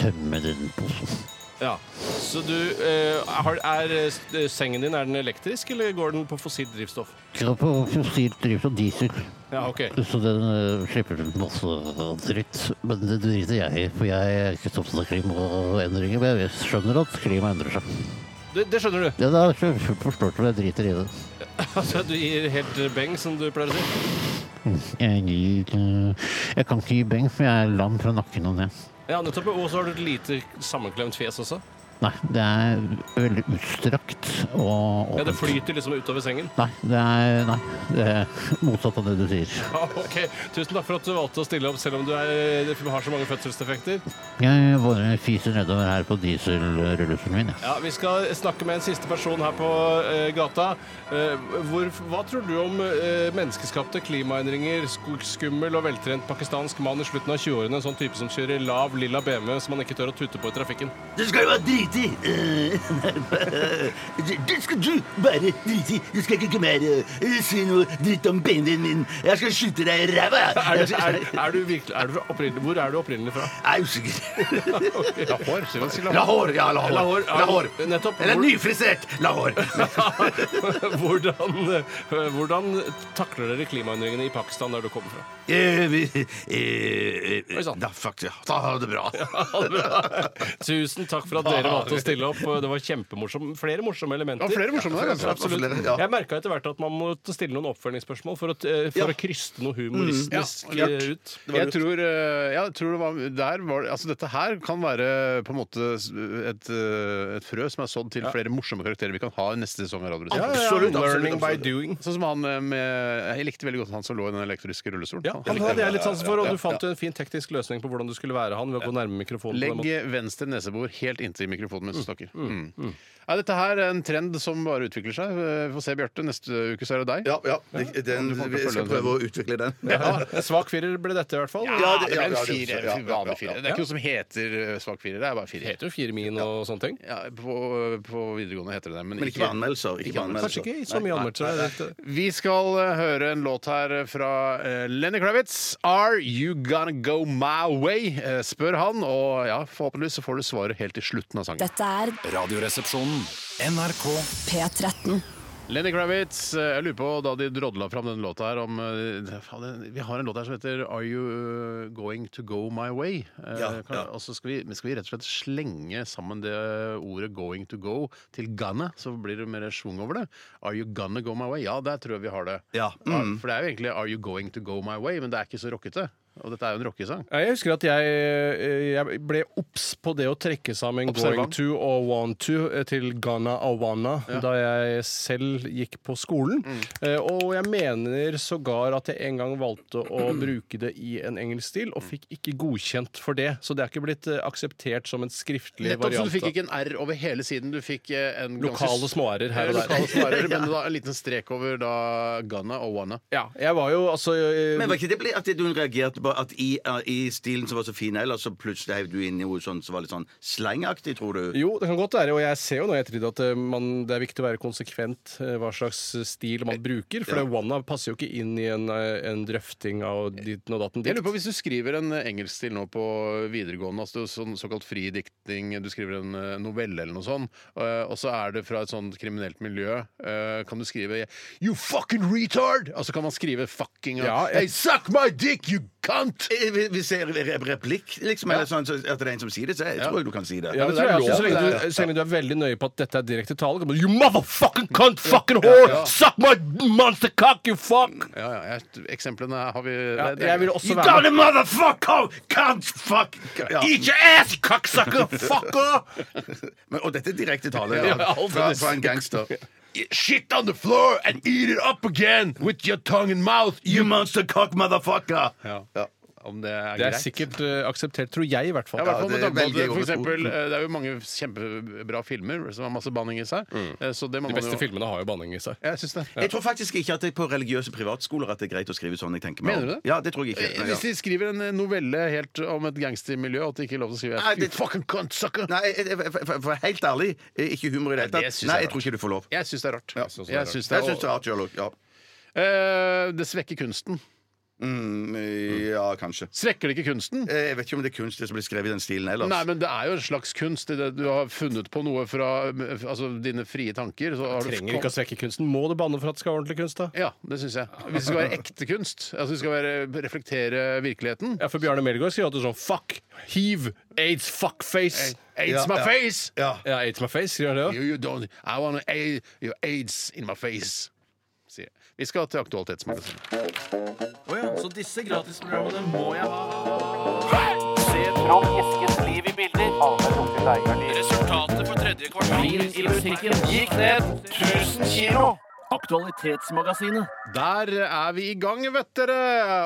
Speaker 9: tømme den posen.
Speaker 3: Ja. Så du eh, har, Er eh, sengen din er den elektrisk, eller går den på fossilt drivstoff?
Speaker 9: Skal på fossilt drivstoff diesel.
Speaker 3: Ja, ok.
Speaker 9: Så den eh, slipper ut masse dritt. Men det driter jeg i, for jeg er ikke så opptatt av klimaendringer. Men jeg skjønner at klimaet endrer seg.
Speaker 3: Det, det skjønner du.
Speaker 9: Ja, det er så fullt forstått, men jeg driter i det.
Speaker 3: Altså, du gir helt beng, som du pleier å si.
Speaker 9: Jeg, gir, eh, jeg kan ikke gi beng, for jeg er lam fra nakken og ned.
Speaker 3: Ja, nettopp. Og så har du et lite sammenklemt fjes også.
Speaker 9: Nei, det er veldig utstrakt og
Speaker 3: Ja, Det flyter liksom utover sengen.
Speaker 9: Nei, det er, nei, det er motsatt av det du sier.
Speaker 3: Ja, ok. Tusen takk for at du valgte å stille opp, selv om du er, eh, har så mange fødselsdefekter.
Speaker 9: Jeg bare fiser nedover her på dieselrullestolen min. jeg.
Speaker 3: Ja, Vi skal snakke med en siste person her på eh, gata. Eh, hvor, hva tror du om eh, menneskeskapte klimaendringer, sk- skummel og veltrent pakistansk mann i slutten av 20-årene, en sånn type som kjører lav, lilla BMW som man ikke tør å tute på i trafikken?
Speaker 2: Det skal du være drit i. Eh, Det skal du bare drite i. Du skal ikke mer eh, si noe dritt om benvinen min. Jeg skal skyte deg i ræva. jeg.
Speaker 3: Er,
Speaker 2: Jeg
Speaker 3: du-
Speaker 2: skal-
Speaker 3: er, er du virkelig, er du fra opprinnelig, hvor er du opprinnelig fra?
Speaker 2: Jeg er usikker.
Speaker 1: Lahore. sier man, sier Lahore.
Speaker 2: Lahore, ja. Lahore.
Speaker 3: Lahore, ja,
Speaker 2: Lahore.
Speaker 3: nettopp.
Speaker 2: Eller
Speaker 3: Hvor-
Speaker 2: nyfrisert Lahore.
Speaker 3: hvordan, eh, hvordan takler dere klimaendringene i Pakistan, der du kommer fra?
Speaker 2: Eh, vi- eh, eh,
Speaker 3: Oi, sann.
Speaker 2: Da, fuck, ja. Da har du det bra.
Speaker 3: Tusen takk for at dere valgte å stille opp. Det var kjempemorsomt. Flere morsomme
Speaker 1: Det
Speaker 3: elementer.
Speaker 1: var flere morsomme der. altså.
Speaker 3: Absolutt.
Speaker 10: Flere, ja.
Speaker 3: Jeg merka etter hvert at man måtte stille noen oppfølgingsspørsmål for å, eh, for å kryste noe humoristisk
Speaker 1: Mm, ja, lurt.
Speaker 3: eh, ut.
Speaker 1: Jeg tror, eh, ja, jeg tror det var, der var Altså, dette her kan være på en måte s- et, eh, et frø som er sådd til flere morsomme karakterer vi kan ha i neste sesong av Radioresepsjonen.
Speaker 3: Absolutt, learning by doing.
Speaker 1: Sånn som han eh, med Jeg likte veldig godt han som lå i den elektriske rullestolen.
Speaker 3: Ja,
Speaker 1: Han-
Speaker 3: han hadde jeg litt sansen for, og du fant jo en fin teknisk løsning på hvordan du skulle være han ved å gå nærme mikrofonen. på den
Speaker 1: Legg
Speaker 3: måten.
Speaker 1: venstre nesebor helt inntil mikrofonen mens du snakker. Mm. Nei, dette her er en trend som bare utvikler seg. Eh, Vi får se, Bjarte. Neste uke så er det deg.
Speaker 10: Ja, ja. det- Den,
Speaker 1: Du kommer til å
Speaker 10: vi skal
Speaker 1: følge den.
Speaker 10: prøve å utvikle den.
Speaker 3: Ja, en svak firer ble dette, i hvert fall.
Speaker 1: Ja, det,
Speaker 10: det- ja,
Speaker 1: ble en
Speaker 10: ja, det-
Speaker 1: fire,
Speaker 10: ja, ja,
Speaker 1: en vanlig fire. Det er
Speaker 3: Ja.
Speaker 1: ikke noe som heter eh, svak firer. Det er bare
Speaker 3: Det
Speaker 1: fire.
Speaker 3: heter jo fire min og sånne ting.
Speaker 1: Ja, på, på videregående heter det det. Men,
Speaker 10: Men ikke på anmeldelser. Ikke på
Speaker 3: Kanskje
Speaker 10: anmeldelser.
Speaker 3: ikke i så mye anmeldelser.
Speaker 1: Vi skal eh, høre en låt her fra eh, Lenny Kravitz. 'Are You Gonna Go My Way?' eh, spør han. Og ja, forhåpentligvis så får du svaret helt til slutten av sangen.
Speaker 11: Dette er
Speaker 5: Radioresepsjonen. NRK
Speaker 11: P13.
Speaker 1: Lenny Kravitz. eh, Jeg lurer på da de drodla fram denne låta her om eh, faen, Vi har en låt her som heter Are You eh, Going To Go My Way? Eh,
Speaker 2: Ja,
Speaker 1: kan,
Speaker 2: ja.
Speaker 1: Og så skal vi, men skal vi rett og slett slenge sammen det ordet going to go til gonna, så blir det mer schwung over det. Are you gonna go my way? Ja, der tror jeg vi har det.
Speaker 2: Ja,
Speaker 3: Mm.
Speaker 1: For det er jo egentlig Are you going to go my way? Men det er ikke så rockete. Og dette er jo en rockesang.
Speaker 3: Ja, Jeg husker at jeg, eh, jeg ble obs på det å trekke sammen
Speaker 1: Observant.
Speaker 3: Going to og Want to eh, til Ghana Awana da jeg selv gikk på skolen.
Speaker 1: Mm.
Speaker 3: Eh, Og jeg mener sågar at jeg en gang valgte å bruke det i en engelsk stil,
Speaker 1: Mm.
Speaker 3: og fikk ikke godkjent for det. Så det er ikke blitt eh, akseptert som en skriftlig
Speaker 1: Nettopp, så
Speaker 3: variant.
Speaker 1: du fikk
Speaker 3: da.
Speaker 1: ikke en R over hele siden. Du fikk eh, en ganske-
Speaker 3: Lokale småærer her og der.
Speaker 1: Eh, Lokale småærer, men da en liten strek over da Ghana og Wanna.
Speaker 3: Ja, jeg var jo altså eh,
Speaker 2: Men var ikke det ble at hun reagerte på at i, i stilen som var så fin ellers, så plutselig heiv du inn i noe sånn som var litt sånn slangaktig, tror du?
Speaker 3: Jo, det kan godt være, og jeg ser jo nå i ettertid at eh, man, det er viktig å være konsekvent eh, hva slags stil man bruker, for det Wanna passer jo ikke inn i en, eh, en drøfting av ditten og datten.
Speaker 1: Jeg lurer på Hvis du skriver en engelskstil nå på videregående, altså sånn såkalt fridiktning, du skriver en eh, novelle eller noe sånt, eh, og så er det fra et sånt kriminelt miljø, eh, kan du skrive 'You fucking retard'? Altså kan man skrive 'fucking' og
Speaker 3: Ja,
Speaker 1: 'Hey,
Speaker 3: jeg-
Speaker 1: suck my dick, you cunt'!
Speaker 2: Eh, vi- Hvis det er re- replikk, liksom, eller sånn, så at det er en som sier det, så jeg tror jeg du kan si det.
Speaker 3: Ja, det
Speaker 1: det
Speaker 3: tror jeg
Speaker 1: er
Speaker 3: også,
Speaker 1: lov,
Speaker 3: så, lenge
Speaker 1: det
Speaker 3: du, så lenge du er veldig nøye på at dette er direkte tale. kan du- You motherfucking cunt, fucking whore! Suck my monster cock, you fuck!
Speaker 1: Ja, ja, jeg, eksemplene har vi
Speaker 3: Ja,
Speaker 1: det- det-
Speaker 3: jeg vil også
Speaker 2: You
Speaker 3: være
Speaker 2: got a motherfucker! Can't fuck! Ja.
Speaker 3: Eat your ass, cocksucker! Fucker!
Speaker 2: Men, og dette er direkte tale
Speaker 1: Ja,
Speaker 2: da,
Speaker 1: alt
Speaker 2: fra,
Speaker 1: det-
Speaker 2: fra en gangster.
Speaker 1: Shit on the floor and eat it up again with your tongue and mouth!
Speaker 2: You monster cock motherfucker!
Speaker 1: Ja. Om det er,
Speaker 3: Det er
Speaker 1: greit.
Speaker 3: sikkert eh, akseptert, tror jeg i hvert fall.
Speaker 1: Ja, i hvert fall med
Speaker 2: det
Speaker 1: tanke på at
Speaker 2: velger jeg
Speaker 1: det- for
Speaker 2: også.
Speaker 1: eksempel, eh, det er jo mange kjempebra filmer som har masse banning i seg.
Speaker 2: Mm.
Speaker 1: eh, Så det må
Speaker 3: De
Speaker 1: man jo
Speaker 3: beste filmene har jo banning i seg.
Speaker 1: Jeg syns det.
Speaker 2: Jeg tror faktisk ikke at det er på religiøse privatskoler at det er greit å skrive sånn. jeg tenker meg om.
Speaker 1: Mener du det?
Speaker 2: Ja, det tror jeg
Speaker 1: Eh,
Speaker 2: ikke.
Speaker 1: Hvis de skriver en novelle helt om et gangstermiljø, at de ikke er lov til å skrive
Speaker 2: Nei,
Speaker 1: You
Speaker 2: det-
Speaker 1: fucking cunt sucker!
Speaker 2: Nei, jeg- jeg- for, for, for helt ærlig, eh, ikke humor i det hele
Speaker 1: Nei, det
Speaker 2: tatt.
Speaker 1: synes jeg
Speaker 2: Nei,
Speaker 1: er
Speaker 2: jeg tror ikke du får lov.
Speaker 1: Jeg syns det er rart.
Speaker 2: Ja.
Speaker 1: Jeg synes det,
Speaker 2: Jeg syns det er rart sjøl òg. Ja.
Speaker 1: Eh, det svekker kunsten.
Speaker 2: Mm, ja, kanskje.
Speaker 1: Svekker det ikke kunsten?
Speaker 2: Eh, Jeg vet ikke om det er kunst det som blir skrevet i den stilen ellers.
Speaker 1: Nei, men det er jo en slags kunst. i Det du har funnet på noe fra eh, altså, dine frie tanker. Så har du
Speaker 3: Trenger ikke å svekke kunsten. Må du banne for at det skal være ordentlig kunst, da?
Speaker 1: Ja, det syns jeg. Hvis det skal være ekte kunst, altså det skal være, reflektere virkeligheten
Speaker 3: Ja, for Bjarne Melgaard sier alltid sånn fuck, hiv, aids, fuckface.
Speaker 1: Aids my
Speaker 2: ja.
Speaker 1: face!
Speaker 2: ja.
Speaker 3: Ja, aids my face, sier han det
Speaker 1: You,
Speaker 3: òg?
Speaker 1: you don't I wanna aid, you aids in my face. Sier jeg. Vi skal til Aktualitetsmagasinet.
Speaker 4: Så disse gratisprogrammene må jeg ha. Resultatet for tredje kvartal i musikken gikk ned 1000 kilo. Aktualitetsmagasinet.
Speaker 1: Der er vi i gang, vet dere!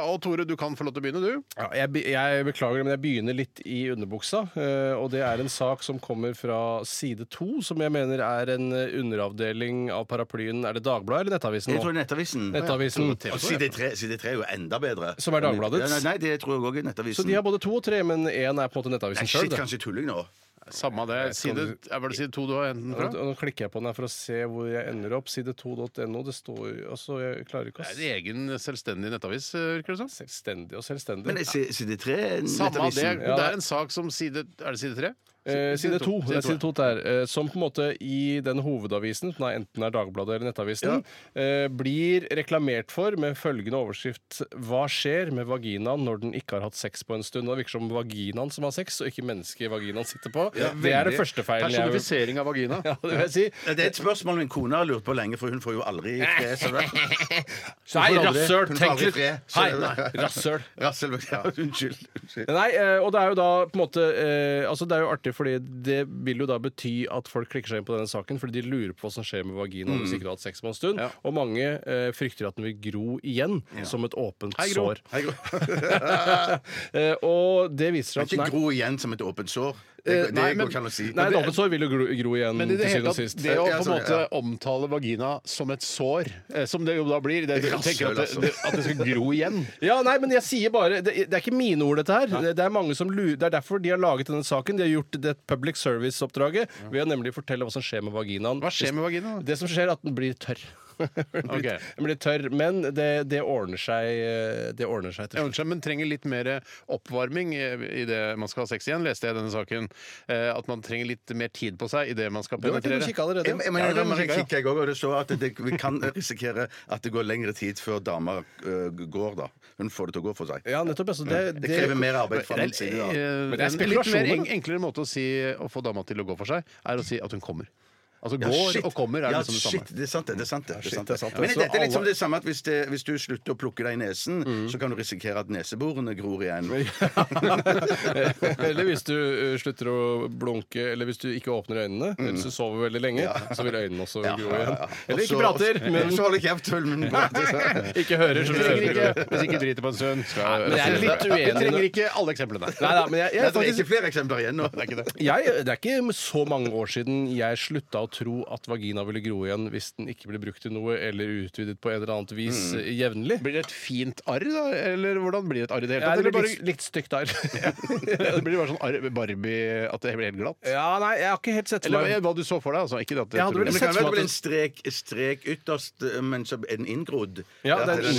Speaker 1: Og Tore, du kan få lov til å begynne, du.
Speaker 3: Ja, jeg, be- jeg beklager, men jeg begynner litt i underbuksa. eh, Og det er en sak som kommer fra side to, som jeg mener er en eh, underavdeling av paraplyen Er det Dagbladet eller Nettavisen?
Speaker 2: Jeg tror
Speaker 3: nå?
Speaker 2: det er Nettavisen.
Speaker 3: Nettavisen.
Speaker 2: Og side tre, side tre er jo enda bedre.
Speaker 3: Som er Dagbladets?
Speaker 2: Nei, nei, det tror jeg òg er Nettavisen.
Speaker 3: Så de har både to og tre, men én er på en måte
Speaker 2: Nei,
Speaker 3: Nettavisen sjøl.
Speaker 2: shit, kanskje tulling nå.
Speaker 1: Samme det. Side, er det side to du har enten fra?
Speaker 3: Og nå klikker jeg på den her for å se hvor jeg ender opp. Side2.no. Det står jo altså, Jeg klarer ikke
Speaker 1: Det
Speaker 3: å
Speaker 1: er en egen selvstendig nettavis, virker det som.
Speaker 3: s- Selvstendig og selvstendig.
Speaker 2: Men er si- side tre er
Speaker 1: Samme det.
Speaker 2: Nettavisen.
Speaker 1: Men det er en sak som side Er det side tre?
Speaker 3: Eh, side to. Det er
Speaker 1: Side
Speaker 3: side to der. Eh, som på en måte i den hovedavisen, som da enten er Dagbladet eller Nettavisen, eh, blir reklamert for med følgende overskrift Hva skjer med vaginaen når den ikke har hatt sex på en stund? Og Det virker som vaginaen som har sex, og ikke mennesket vaginaen sitter på. det er det første feilen jeg
Speaker 1: Personifisering av vagina.
Speaker 3: ja, det vil jeg si.
Speaker 2: Det er et spørsmål min kone har lurt på lenge, for hun får jo aldri fred. så det-
Speaker 3: Nei,
Speaker 2: får aldri-
Speaker 3: rasshøl!
Speaker 2: hun får
Speaker 3: Tenk
Speaker 2: aldri
Speaker 3: litt!
Speaker 2: fred,
Speaker 3: Hei,
Speaker 2: så-
Speaker 3: rasshøl!
Speaker 2: Rassel, ja, unnskyld. unnskyld.
Speaker 3: Nei, eh, og det er jo da på en måte eh, Altså Det er jo artig, fordi det vil jo da bety at folk klikker seg inn på denne saken fordi de lurer på hva som skjer med vaginaen
Speaker 1: Mm.
Speaker 3: hvis ikke du har hatt sex på en stund. Og mange eh, frykter at den vil gro igjen, som et åpent
Speaker 1: Hei, Gro.
Speaker 3: sår. eh, og det viser seg at
Speaker 2: Ikke
Speaker 3: nei,
Speaker 2: gro igjen som et åpent sår. Det, det
Speaker 1: nei,
Speaker 2: går
Speaker 1: men-
Speaker 2: ikke an å si.
Speaker 3: nei, et åpent sår vil jo gro, gro igjen
Speaker 1: Men i det
Speaker 3: til
Speaker 1: hele
Speaker 3: syvende og
Speaker 1: tatt,
Speaker 3: sist.
Speaker 1: det å
Speaker 2: Ja,
Speaker 1: på en
Speaker 2: sånn,
Speaker 1: måte omtale vagina som et sår, eh, som det jo da blir det, Du
Speaker 2: Rasshøl,
Speaker 1: tenker at det,
Speaker 2: altså.
Speaker 1: det, at det skal gro igjen.
Speaker 3: Ja, nei, men jeg sier bare Det, det er ikke mine ord, dette her. Det, det er mange som lurer, det er derfor de har laget denne saken. De har gjort det public service-oppdraget ved å nemlig fortelle hva som skjer med vaginaen.
Speaker 1: Hva skjer med vaginaen?
Speaker 3: Det som skjer, er at den blir tørr. Den blir,
Speaker 1: Ok.
Speaker 3: den blir tørr. Men det, det ordner seg eh, Det ordner seg til
Speaker 1: Jeg ønsker, men trenger litt mer oppvarming idet man skal ha sex igjen, leste jeg i denne saken. Eh, At man trenger litt mer tid på seg idet man skal
Speaker 3: Du har vært inne
Speaker 1: penetrere.
Speaker 3: og kikka allerede.
Speaker 2: Jeg, jeg, mener,
Speaker 1: Ja, det må
Speaker 2: jeg,
Speaker 1: kikke, ja.
Speaker 2: kikker jeg også, og det står at det, vi kan risikere at det går lengre tid før damer øh, går, da. Hun får det til å gå for seg.
Speaker 3: Ja, nettopp. Altså, det,
Speaker 2: Det krever mer arbeid fra min
Speaker 1: Det
Speaker 2: side.
Speaker 1: er,
Speaker 2: da.
Speaker 1: eh,
Speaker 3: Men det er
Speaker 1: en litt mer
Speaker 3: spekulasjoner.
Speaker 1: en- enklere måte å, si, å få dama til å gå for seg, er å si at hun kommer. Altså
Speaker 2: Ja,
Speaker 1: går
Speaker 2: shit.
Speaker 1: og kommer er
Speaker 2: ja,
Speaker 1: liksom det samme.
Speaker 2: Shit, det er sant, det. det er sant, det, det, er sant, det.
Speaker 3: det er sant, det.
Speaker 2: Men
Speaker 3: Så
Speaker 2: dette er litt
Speaker 3: alle-
Speaker 2: som det samme at hvis, det, hvis du slutter å plukke deg i nesen, så kan du risikere at neseborene gror igjen.
Speaker 3: eller hvis du eh, slutter å blunke, eller hvis du ikke åpner øynene, eller hvis du sover veldig lenge, så vil øynene også
Speaker 2: Ja,
Speaker 3: gro
Speaker 2: ja,
Speaker 3: igjen.
Speaker 2: ja.
Speaker 3: Eller ikke
Speaker 2: Og så-
Speaker 3: prater, men
Speaker 2: Så holder kjeft, hull, men prater.
Speaker 3: ikke hører. Så du
Speaker 1: Trenger
Speaker 3: hører.
Speaker 1: ikke, hvis ikke driter på en stund. Skal,
Speaker 3: men jeg er litt uenig.
Speaker 1: Vi trenger ikke alle eksemplene.
Speaker 3: Nei da, men jeg, jeg,
Speaker 2: Nei,
Speaker 3: er
Speaker 2: Det er
Speaker 3: faktisk,
Speaker 2: ikke flere eksempler igjen nå. Det er ikke det.
Speaker 3: jeg, det er ikke så mange år siden jeg slutta å tro at vagina ville gro igjen hvis den ikke ble brukt til noe eller utvidet på et eller annet vis eh, jevnlig.
Speaker 1: Mm. Blir det et fint arr, da? Eller hvordan blir det et arr i det hele
Speaker 3: Ja,
Speaker 1: tatt?
Speaker 3: det
Speaker 1: Eller
Speaker 3: blir
Speaker 1: bare,
Speaker 3: litt, litt stygt der.
Speaker 1: det blir bare sånn arr- Barbie At det blir helt glatt?
Speaker 3: Ja, nei, jeg har ikke helt sett for
Speaker 1: Eller
Speaker 3: meg
Speaker 1: hva du så for deg, altså. Ikke det at
Speaker 3: Ja,
Speaker 1: tror
Speaker 3: det
Speaker 1: jeg-
Speaker 2: Men det
Speaker 3: Sett
Speaker 2: kan
Speaker 3: for
Speaker 2: være
Speaker 3: meg
Speaker 2: vel
Speaker 3: at-
Speaker 2: en strek, strek ytterst, eh, men så er den inngrodd.
Speaker 3: Ja, det
Speaker 2: At
Speaker 3: er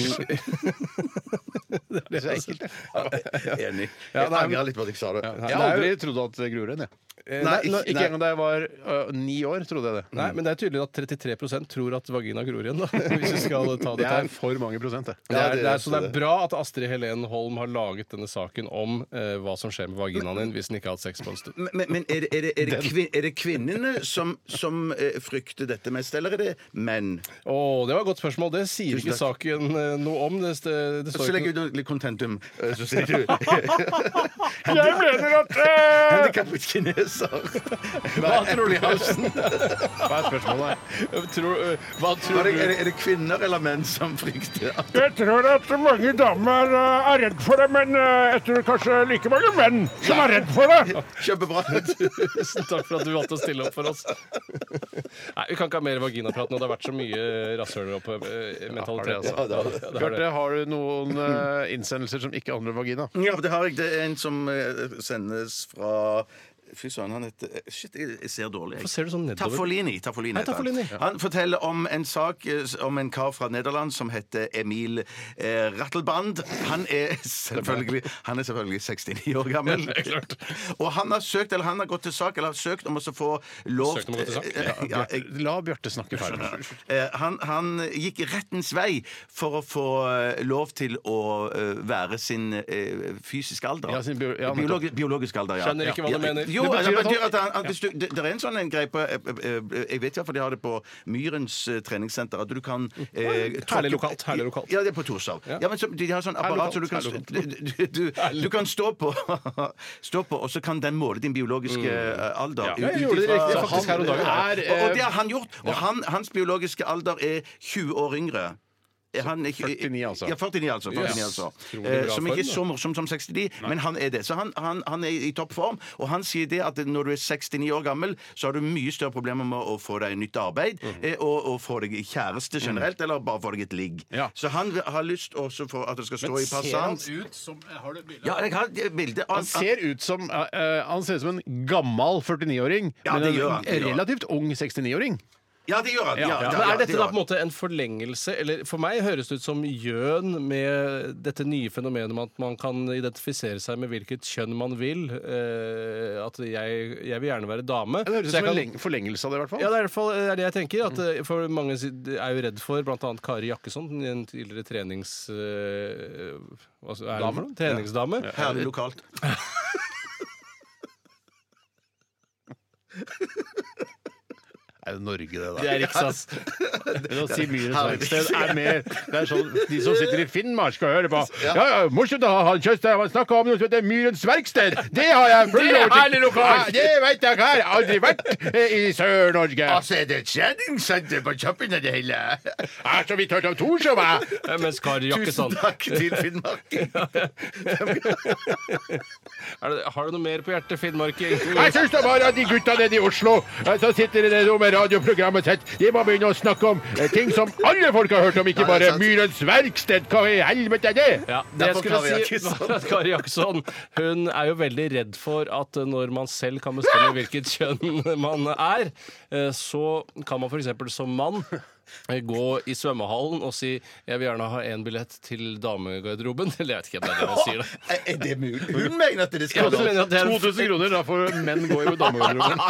Speaker 1: Det er så ekkelt, det.
Speaker 2: Enig.
Speaker 3: Ja,
Speaker 2: Jeg
Speaker 3: det er-
Speaker 2: angrer litt på at jeg sa det.
Speaker 1: Jeg har aldri trodd at det gror igjen, jeg.
Speaker 3: Eh,
Speaker 2: Nei,
Speaker 3: nå-
Speaker 2: ikke-
Speaker 1: Ikke engang da jeg var ø, ni år, trodde jeg det.
Speaker 3: Nei, men det er tydelig at 33 tror at vagina gror igjen, da. Hvis vi skal ta
Speaker 1: Det
Speaker 3: dette
Speaker 1: er
Speaker 3: her.
Speaker 1: for mange prosent, det.
Speaker 3: Det er, det er, så det er
Speaker 2: det.
Speaker 3: bra at Astrid Helen Holm har laget denne saken om eh, hva som skjer med vaginaen din hvis den ikke har hatt sex på en stund.
Speaker 2: Men, men- men er, det, er, det, er, det kvin, er det kvinnene som, som eh, frykter dette mest, eller er det menn?
Speaker 3: Å, det var et godt spørsmål. Det sier
Speaker 2: Tusen
Speaker 3: ikke saken eh, noe om. Det, det, det
Speaker 2: Så
Speaker 3: står
Speaker 2: legger
Speaker 3: ikke
Speaker 2: du ut litt kontentum, eh, så sier du
Speaker 3: Jeg mener at eh,
Speaker 2: Handikappet kineser. Hva tror du i halsen?
Speaker 1: Hva er spørsmålet her?
Speaker 3: Hva tror
Speaker 2: Er det, er,
Speaker 3: du?
Speaker 2: det, er det kvinner eller menn som frykter? at-
Speaker 4: Jeg tror at mange damer eh, er redd for det, men eh, jeg tror kanskje like mange menn som er redd for det.
Speaker 2: Kjempebra.
Speaker 3: Tusen takk for at du valgte å stille opp for oss. Nei, Vi kan ikke ha mer vaginaprat nå. Det har vært så mye rasshøler oppe. eh, Mentalitet.
Speaker 1: Ja,
Speaker 3: Ja, det har det.
Speaker 1: Bjarte, har du noen ø, innsendelser som ikke handler om vagina?
Speaker 2: Ja, det har jeg. Det er en som eh, sendes fra Fy søren, han heter eh, Shit, jeg jeg ser dårlig. jeg.
Speaker 3: Hvorfor ser du sånn nedover?
Speaker 2: Taffolini. Taffolini,
Speaker 3: Hei,
Speaker 2: heter han.
Speaker 3: Taffolini.
Speaker 2: Han forteller om en sak eh, s- om en kar fra Nederland som heter Emil eh, Rattelband. Han er selvfølgelig, han er selvfølgelig 69 år gammel.
Speaker 3: Ja, det er klart.
Speaker 2: Og han har søkt, eller han har gått til sak, eller har søkt om å så få lov
Speaker 3: Søkt om å gå til sak?
Speaker 2: Eh, eh, ja, jeg-
Speaker 1: La Bjarte snakke ferdig.
Speaker 2: Eh, Han, han gikk rettens vei for å få eh, lov til å eh, være sin eh, fysiske alder.
Speaker 1: Ja, sin bio- ja,
Speaker 2: Biologi- biologisk alder, ja.
Speaker 3: Skjønner ikke hva du mener.
Speaker 2: Jo,
Speaker 3: Det
Speaker 2: det
Speaker 3: betyr
Speaker 2: betyr,
Speaker 3: at han-
Speaker 2: at han, at hvis du, det, det er en sånn en greie på eh, eh, eh, Jeg vet i hvert fall de har det på Myrens eh, treningssenter. At du kan eh, tråkke-
Speaker 3: lokalt, herlig lokalt.
Speaker 2: Ja, det er på Torshov. Ja. men så, de har sånn
Speaker 1: lokalt,
Speaker 2: apparat så du kan,
Speaker 1: herlig lokalt.
Speaker 2: du, du, du, du kan stå på, stå på, og så kan den måle din biologiske eh, alder.
Speaker 3: Ja, jeg
Speaker 2: ut
Speaker 3: gjorde det
Speaker 2: ifra-
Speaker 3: riktig
Speaker 2: Så
Speaker 3: faktisk
Speaker 2: han
Speaker 3: her om dagen.
Speaker 2: er,
Speaker 1: Er,
Speaker 2: og, og
Speaker 1: eh,
Speaker 2: det har han gjort. Og han, hans biologiske alder er 20 år yngre. Er Han er ikke-
Speaker 1: 49 altså.
Speaker 2: Ja, 49 altså. 49
Speaker 3: Yes.
Speaker 2: altså.
Speaker 3: Utrolig
Speaker 2: Eh,
Speaker 3: bra
Speaker 2: som ikke er
Speaker 3: form,
Speaker 2: så morsom som 69, men han er det. Så han, han, han er i toppform, og han sier det at når du er 69 år gammel, så har du mye større problemer med å få deg nytt arbeid, eh, og, og få deg kjæreste generelt, eller bare få deg et ligg.
Speaker 1: Ja.
Speaker 2: Så han har lyst også for at det skal stå i passet hans.
Speaker 3: ut som Har du bilde?
Speaker 2: Ja, jeg har et bilde av
Speaker 1: Han ser ut som ø, ø, Han ser ut som en gammal 49-åring,
Speaker 2: Ja,
Speaker 1: men
Speaker 2: det gjør
Speaker 1: en
Speaker 2: han, det gjør han.
Speaker 1: relativt ung 69-åring.
Speaker 2: Ja, det gjør han.
Speaker 1: Ja, ja.
Speaker 3: Men
Speaker 2: ja,
Speaker 3: Er dette
Speaker 2: det
Speaker 3: da på
Speaker 2: gjør
Speaker 3: en måte en forlengelse? Eller For meg høres det ut som gjøn med dette nye fenomenet med at man kan identifisere seg med hvilket kjønn man vil. eh, at jeg, jeg vil gjerne være dame.
Speaker 1: Det høres ut
Speaker 3: så jeg
Speaker 1: som en
Speaker 3: kan-
Speaker 1: leng- forlengelse av det, i hvert fall.
Speaker 3: Ja, det er i hvert fall det, er det jeg tenker. At eh, for Mange si- er jo redd for bl.a. Kari Jakkesson, en tidligere trenings... eh, hva er det for noe? Treningsdame.
Speaker 2: han. Herlig lokalt.
Speaker 1: Er det Norge, det, da?
Speaker 3: Det er Riksas.
Speaker 1: Men å si Myrens verksted er mer Det er sånn de som sitter i Finnmark skal høre på. Ja, ja, morsomt å ha han Kjøstheim. Han snakka om noe som heter Myrens verksted. Det har jeg full
Speaker 3: Det er
Speaker 1: oversikt.
Speaker 3: herlig
Speaker 1: Ja,
Speaker 3: lokalt.
Speaker 1: det veit jeg her. Aldri vært eh, i Sør-Norge.
Speaker 7: Altså, er det et treningssenter på toppen av det hele?
Speaker 1: Jeg har så vidt hørt om Torshov, jeg.
Speaker 3: Ja, Eh, Mens Kari Jakkesson
Speaker 2: Tusen takk til Finnmark.
Speaker 3: Er det, Har du noe mer på hjertet, Finnmarking?
Speaker 1: Jeg syns da bare at de gutta nede i Oslo eh, som sitter i det nå med radioprogrammet sitt, de må begynne å snakke om eh, ting som alle folk har hørt om, ikke bare Myrens verksted. Hva i helvete er det?
Speaker 3: Ja, det jeg
Speaker 2: Derfor
Speaker 3: skulle si
Speaker 2: Kari Jakkesson.
Speaker 3: var at Kari Jakkesson Hun er jo veldig redd for at når man selv kan bestemme hvilket kjønn man er, eh, så kan man f.eks. som mann gå i svømmehallen og si 'jeg vil gjerne ha én billett til damegarderoben'. Eller jeg vet ikke om det er det man sier. da.
Speaker 2: Er er det mulig? Hun mener at det
Speaker 3: Ja,
Speaker 2: skal
Speaker 1: altså,
Speaker 3: du mener at det er-
Speaker 1: 2000 kroner, da får menn gå i damegarderoben.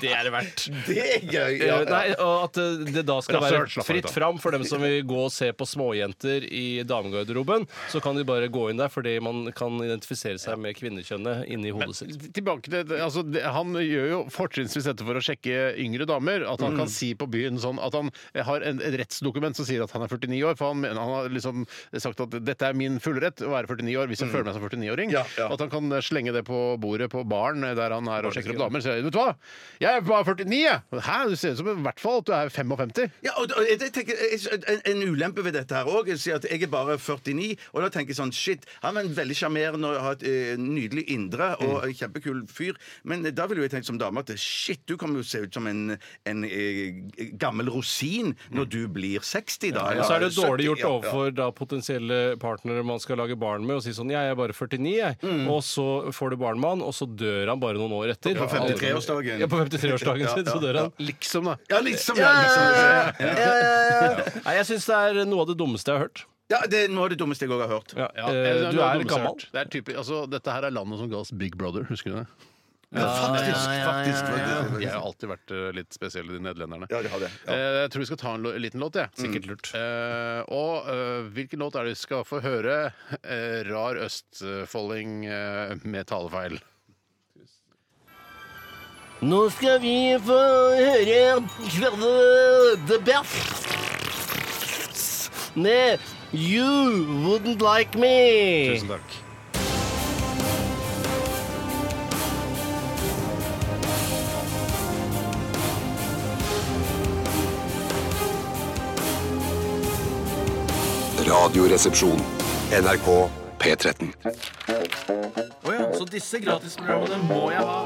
Speaker 3: Det er det verdt.
Speaker 2: Det er gøy.
Speaker 3: Eh,
Speaker 2: Ja, ja.
Speaker 3: Nei, og at eh, det da skal
Speaker 1: Rasshøl,
Speaker 3: være
Speaker 1: slapp av
Speaker 3: fritt
Speaker 1: litt av.
Speaker 3: fram for dem som vil gå og se på småjenter i damegarderoben. Så kan de bare gå inn der fordi man kan identifisere seg med kvinnekjønnet inni hodet sitt.
Speaker 1: Tilbake til, altså, det, Han gjør jo fortrinnsvis dette for å sjekke yngre damer. At han kan si på byen sånn at han har en, et rettsdokument som sier at han er 49 år. For han, mener- han har liksom sagt at dette er min fulle rett å være 49 år hvis jeg føler meg som 49-åring.
Speaker 2: Ja, ja.
Speaker 1: Og At han kan slenge det på bordet på baren der han er og sjekker opp damer. Så sier han, vet du hva, jeg er bare 49, jeg! Hæ, du ser ut som i hvert fall at du er 55.
Speaker 2: Ja, og, og jeg tenker, jeg- en, en ulempe ved dette her òg Jeg sier at jeg er bare 49, og da tenker jeg sånn Shit, han er en veldig sjarmerende og har et eh, nydelig indre og en kjempekul fyr, men da ville jo jeg tenkt som dame at shit, du kommer jo se ut som en, en eh, gammel rosin når du blir 60, da.
Speaker 3: Og så er det jo dårlig gjort
Speaker 2: Mm. Ja, ja.
Speaker 3: overfor da potensielle partnere man skal lage barn med, å si sånn 'jeg er bare 49', jeg.
Speaker 2: Mm.
Speaker 3: Og så får du barn med han, og så dør han bare noen år etter.
Speaker 2: På 53-årsdagen.
Speaker 3: Ja, på 53-årsdagen
Speaker 2: Ja,
Speaker 3: sin, så
Speaker 2: ja,
Speaker 3: dør han.
Speaker 1: Liksom, da.
Speaker 2: Ja, liksom. Ja, liksom, liksom.
Speaker 3: Nei, jeg syns det er noe av det dummeste jeg har hørt.
Speaker 2: ja det er noe av det dummeste jeg òg har hørt.
Speaker 3: Ja,
Speaker 1: Ja, det det
Speaker 3: eh, du
Speaker 1: noe
Speaker 3: er
Speaker 1: dummeste jeg har
Speaker 3: gammel.
Speaker 1: hørt. Det er typisk, altså, dette her er landet som ga oss Big Brother, husker du det?
Speaker 2: Faktisk, faktisk. faktisk.
Speaker 1: Jeg har alltid vært eh, litt spesiell i de nederlenderne.
Speaker 2: Ja, de har det. Ja.
Speaker 1: Eh, Jeg tror vi skal ta en lo- liten låt, jeg.
Speaker 3: Mm. Sikkert lurt.
Speaker 1: Eh, og eh, hvilken låt er det vi skal få høre? Eh, rar østfolding eh, med talefeil.
Speaker 12: Nå skal vi få høre The Best med You Wouldn't Like Me.
Speaker 1: Tusen takk.
Speaker 6: Radioresepsjon. NRK P13.
Speaker 4: Så disse gratisprogrammene må jeg ha.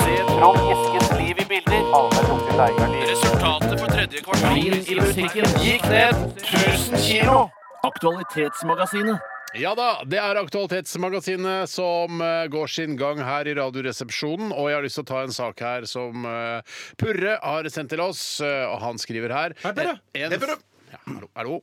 Speaker 4: Se Trond Eskens liv i bilder. Resultatet for tredje kvartal i musikken gikk ned 1000 kilo. Aktualitetsmagasinet.
Speaker 1: Ja da, det er Aktualitetsmagasinet som eh, går sin gang her i Radioresepsjonen. Og jeg har lyst til å ta en sak her som eh, Purre har sendt til oss, eh, og han skriver her
Speaker 3: Hei, Purre.
Speaker 1: En, ja, hallo, hallo.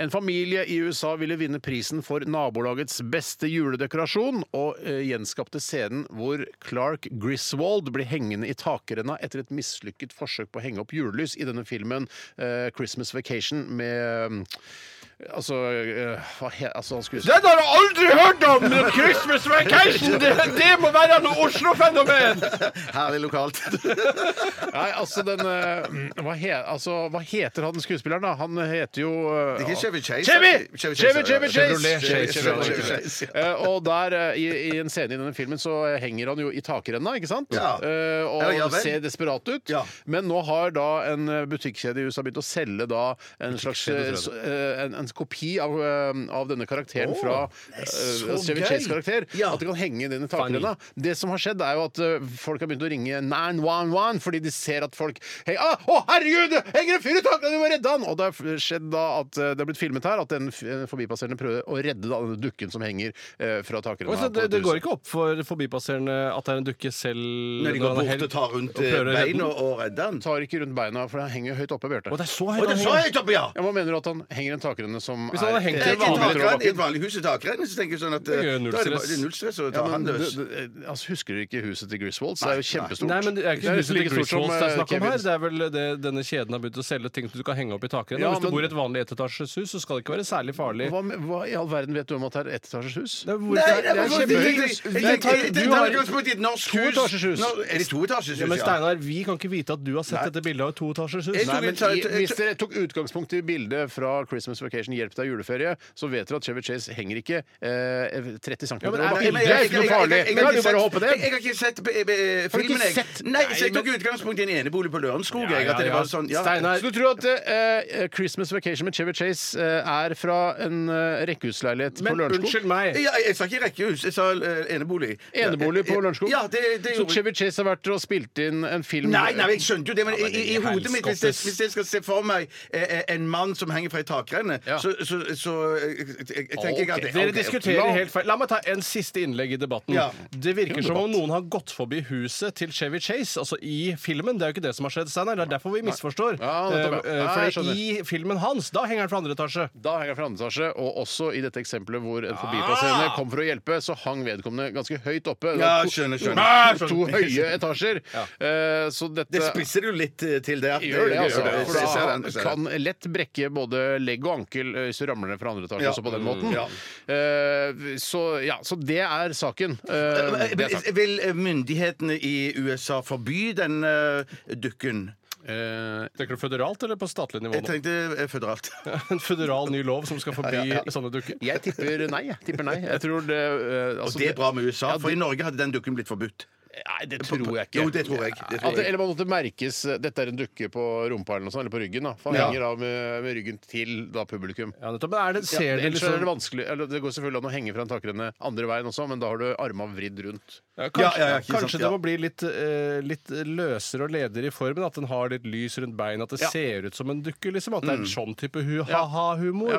Speaker 1: En familie i USA ville vinne prisen for nabolagets beste juledekorasjon, og eh, gjenskapte scenen hvor Clark Griswold blir hengende i takrenna etter et mislykket forsøk på å henge opp julelys i denne filmen eh, 'Christmas Vacation' med mm, Altså, eh, hva he, altså han skulle
Speaker 3: Den har jeg aldri hørt om! men Christmas vacation! Det, det må være noe Oslo-fenomen!
Speaker 2: Herlig lokalt.
Speaker 1: Nei, altså den eh, hva, he, altså hva heter han skuespilleren, da? Han heter jo eh,
Speaker 2: Ikke Chevy Chase.
Speaker 1: Chevy!
Speaker 2: Chevy Chase,
Speaker 1: Chevy, Chevy
Speaker 2: ja.
Speaker 1: Chase!
Speaker 2: Chevrolet Chase,
Speaker 1: Chevy
Speaker 2: Chevrolet
Speaker 1: Chase.
Speaker 2: Chase,
Speaker 1: Eh, Og der, eh, i, i en scene i denne filmen, så henger han jo i takrenna, ikke sant?
Speaker 2: Ja.
Speaker 1: Eh,
Speaker 2: Ja, ja
Speaker 1: Og
Speaker 2: vel.
Speaker 1: ser desperat ut.
Speaker 2: Ja.
Speaker 1: Men nå har da en eh, butikkjede i USA begynt å selge da en slags eh,
Speaker 3: Butikkjede,
Speaker 1: s- eh, en, en kopi av, eh, av denne karakteren fra eh,
Speaker 2: så
Speaker 1: Chevy
Speaker 2: gøy!
Speaker 1: Chase-karakter.
Speaker 2: Ja.
Speaker 1: At det kan henge den i takrenna. Det som har skjedd, er jo at eh, folk har begynt å ringe 911 fordi de ser at folk hey, ah, Å, herregud! det Henger en fyr i takrenna! Vi må redde han! Og det har skjedd da at eh, det har blitt filmet her at en f- en forbipasserende prøver å redde da, denne dukken som henger eh, fra takrenna.
Speaker 3: Altså, det, det går ikke opp for forbipasserende at det er en dukke selv
Speaker 2: Når de går bort og tar rundt eh,
Speaker 3: prøver å redde den.
Speaker 2: beina og redder den.
Speaker 1: Tar ikke rundt beina, for han henger høyt oppe, Bjarte.
Speaker 3: Å, det er så
Speaker 2: Og
Speaker 3: høyt!
Speaker 2: det er
Speaker 3: han
Speaker 2: så
Speaker 3: henger.
Speaker 2: høyt oppe, ja!
Speaker 1: Ja, Hva mener du at han henger i en takrenne som Eh,
Speaker 3: Hvis han hadde hengt i
Speaker 2: I
Speaker 3: en vanlig
Speaker 1: meter over
Speaker 2: takrenn- I
Speaker 1: bakken?
Speaker 2: et vanlig hus i takrenn så tenker jeg sånn at eh,
Speaker 3: Det gjør null
Speaker 2: da er det
Speaker 3: stress.
Speaker 2: bare- det er null stress å ta
Speaker 1: Ja, men
Speaker 2: han
Speaker 1: du,
Speaker 2: løs.
Speaker 1: du, altså, husker du ikke huset til Griswold? Så det er jo kjempestort.
Speaker 3: Nei, men det er ikke
Speaker 1: Det er
Speaker 3: huset til
Speaker 1: like stort som,
Speaker 3: Griswolds det er
Speaker 1: eh,
Speaker 3: snakk om her.
Speaker 1: Kevins.
Speaker 3: Det er vel det denne kjeden har begynt å selge ting som du kan henge opp i takrenna.
Speaker 1: Ja,
Speaker 3: Hvis du
Speaker 1: men-
Speaker 3: bor i et vanlig ettetasjes hus, så skal det ikke være særlig farlig.
Speaker 1: Hva, med- hva i all verden vet du om at det er ettasjes hus?
Speaker 3: Det er hvor-
Speaker 2: Nei,
Speaker 3: det er- det er
Speaker 2: det- det-
Speaker 3: kjempehøyt.
Speaker 2: det- det-
Speaker 3: Jeg tar-
Speaker 2: det- det-
Speaker 3: du
Speaker 2: det-
Speaker 3: har-
Speaker 2: det- utgangspunkt i et norsk hus.
Speaker 1: Toetasjes hus.
Speaker 2: Nå- Er det toetasjers
Speaker 3: Ja,
Speaker 2: hus,
Speaker 3: men
Speaker 2: ja?
Speaker 3: Steinar, vi kan ikke vite at du har sett dette bildet av et toetasjes hus.
Speaker 2: Jeg
Speaker 1: Nei,
Speaker 2: tok-
Speaker 1: men
Speaker 2: jeg
Speaker 1: i,
Speaker 2: tok- jeg
Speaker 1: Hvis dere tok utgangspunkt i bildet fra Christmas Vacation, 'Hjelp deg juleferie', så vet dere at Chevy Chase henger ikke eh, 30 cm
Speaker 3: Ja,
Speaker 1: over
Speaker 3: men er-
Speaker 1: bakken.
Speaker 2: Nei, men jeg-
Speaker 1: Det er ikke
Speaker 2: jeg-
Speaker 1: noe
Speaker 2: jeg-
Speaker 1: farlig.
Speaker 2: jeg- jeg-
Speaker 1: Da er
Speaker 2: jeg-
Speaker 1: det bare å hoppe
Speaker 2: Jeg jeg
Speaker 1: ned.
Speaker 2: har ikke sett eh,
Speaker 1: Har
Speaker 2: eh,
Speaker 1: du ikke
Speaker 2: filmen, jeg.
Speaker 1: sett?
Speaker 2: Nei,
Speaker 1: Nei,
Speaker 2: jeg tok
Speaker 1: men-
Speaker 2: utgangspunkt i en enebolig på Lørenskog. jeg, at det var sånn, ja.
Speaker 3: Steinar,
Speaker 1: Så du tror at eh, Christmas Vacation med Chevy Chase eh, er fra en eh, rekkehusleilighet på
Speaker 3: men
Speaker 1: Lørenskog?
Speaker 3: unnskyld meg.
Speaker 2: Ja, jeg sa ikke rekkehus, jeg sa eh, enebolig.
Speaker 1: Enebolig på Lørenskog?
Speaker 2: Ja, det, det
Speaker 1: Så
Speaker 2: gjorde
Speaker 1: Chevy Chase har vært og spilt inn en film
Speaker 2: Nei, nei, jeg skjønte jo det, men i, i, i
Speaker 3: er
Speaker 2: hodet mitt hvis jeg,
Speaker 3: helskottes.
Speaker 2: hvis jeg skal se for meg eh, eh, en mann som henger fra ei takrenne,
Speaker 1: Ja.
Speaker 2: Så, så, så eh, jeg, jeg, jeg tenker ikke at det
Speaker 3: Dere
Speaker 2: ok,
Speaker 3: diskuterer
Speaker 2: la-
Speaker 3: helt feil. La meg ta en siste innlegg i debatten.
Speaker 2: Ja.
Speaker 3: Det virker som om noen har gått forbi huset til Chevy Chase, altså i filmen. Det er jo ikke det som har skjedd, Steinar. Det er derfor vi misforstår.
Speaker 1: Ja,
Speaker 3: Eh,
Speaker 1: nettopp, ja. Ja,
Speaker 3: eh,
Speaker 1: jeg
Speaker 3: Fordi i filmen hans, da henger han fra andre etasje.
Speaker 1: Da henger han fra andre etasje, og også i dette eksempelet hvor en forbipasserende kom for å hjelpe, så hang vedkommende ganske høyt oppe. Det
Speaker 2: Ah! Ja,
Speaker 1: var to-
Speaker 2: skjønner, skjønner.
Speaker 1: To, to høye etasjer. Eh, så dette
Speaker 2: Det spisser jo litt eh, til der.
Speaker 1: Gjør det, altså.
Speaker 2: Jeg
Speaker 1: For
Speaker 2: ser den,
Speaker 1: da
Speaker 2: jeg ser den.
Speaker 1: kan lett brekke både legg og ankel eh, hvis du ramler ned fra andre etasje
Speaker 2: Ja.
Speaker 1: også på den måten.
Speaker 2: Ja.
Speaker 1: Eh, så ja, så det er saken. Eh,
Speaker 2: Men,
Speaker 1: det er saken.
Speaker 2: men, Vil myndighetene i USA forby den eh, dukken?
Speaker 1: Eh,
Speaker 3: Tenker du føderalt eller på statlig nivå?
Speaker 2: Jeg
Speaker 3: nå?
Speaker 2: tenkte eh, føderalt.
Speaker 3: En føderal ny lov som skal forby sånne dukker?
Speaker 1: jeg tipper nei. Jeg tipper nei. Jeg tror det eh,
Speaker 2: Og
Speaker 1: altså,
Speaker 2: det er bra med USA,
Speaker 1: Ja,
Speaker 2: for
Speaker 1: det-
Speaker 2: i Norge hadde den dukken blitt forbudt.
Speaker 1: Nei, det tror jeg ikke.
Speaker 2: Jo, det tror jeg. Det
Speaker 1: At
Speaker 2: tror
Speaker 1: det,
Speaker 2: jeg.
Speaker 1: eller man måtte merkes eh, Dette er en dukke på rumpa eller noe sånt, eller på ryggen. da For han
Speaker 2: Ja.
Speaker 1: henger da med, med ryggen til da publikum.
Speaker 3: Ja, nettopp. Men er det, ser
Speaker 1: Ellers
Speaker 3: det
Speaker 1: er det
Speaker 3: liksom
Speaker 1: vanskelig eller Det går selvfølgelig an å henge fra en takrenne andre veien også, men da har du arma vridd rundt.
Speaker 3: Ja,
Speaker 2: Ja,
Speaker 3: kanskje
Speaker 2: ja, ja, ikke sant,
Speaker 3: kanskje det
Speaker 2: ja.
Speaker 3: må bli litt, eh, litt løsere og ledere i formen. At den har litt lys rundt beina, at det
Speaker 1: Ja.
Speaker 3: ser ut som en dukke. liksom At det er en sånn type hu ha-ha-humor.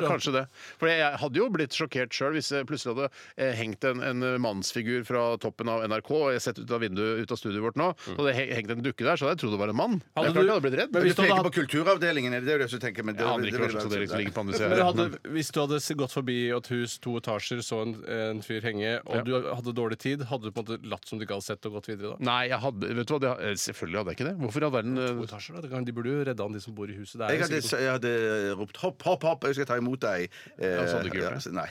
Speaker 1: Ja, kanskje det. For jeg hadde jo blitt sjokkert sjøl hvis jeg plutselig hadde eh, hengt en, en mannsfigur fra toppen av NRK og jeg sett ut av vinduet ut av studioet vårt nå,
Speaker 2: Mm.
Speaker 1: og det he- hengt en dukke der, så hadde jeg trodd det var en mann.
Speaker 3: Hadde
Speaker 1: jeg klart
Speaker 3: du-
Speaker 1: jeg hadde blitt redd.
Speaker 3: Men
Speaker 2: Du
Speaker 3: hvis du hadde
Speaker 2: peker
Speaker 3: hatt-
Speaker 2: på kulturavdelingen, er det det du også tenker? Men det,
Speaker 1: Jeg aner
Speaker 2: det
Speaker 1: ikke hva slags
Speaker 2: vil være-
Speaker 1: avdeling som ligger på andre
Speaker 3: Men
Speaker 1: sida.
Speaker 3: hadde, hvis du hadde s- gått forbi et hus to etasjer, så en, en fyr henge, og du hadde dårlig tid, hadde du på en måte latt som du ikke hadde sett og gått videre da?
Speaker 1: Nei, jeg hadde Vet du hva, det, eh, selvfølgelig hadde jeg ikke det. Hvorfor i all verden
Speaker 3: To
Speaker 1: eh,
Speaker 3: etasjer, da? Det kan- De burde jo redde han, de som bor i huset. Det er
Speaker 2: Jeg
Speaker 3: jo
Speaker 2: hadde,
Speaker 3: sikkert-
Speaker 2: jeg hadde ropt 'hopp, hopp, hopp, jeg skal ta imot deg'. Eh,
Speaker 1: så hadde du ikke gjort
Speaker 2: ja,
Speaker 1: det.
Speaker 2: så- Nei.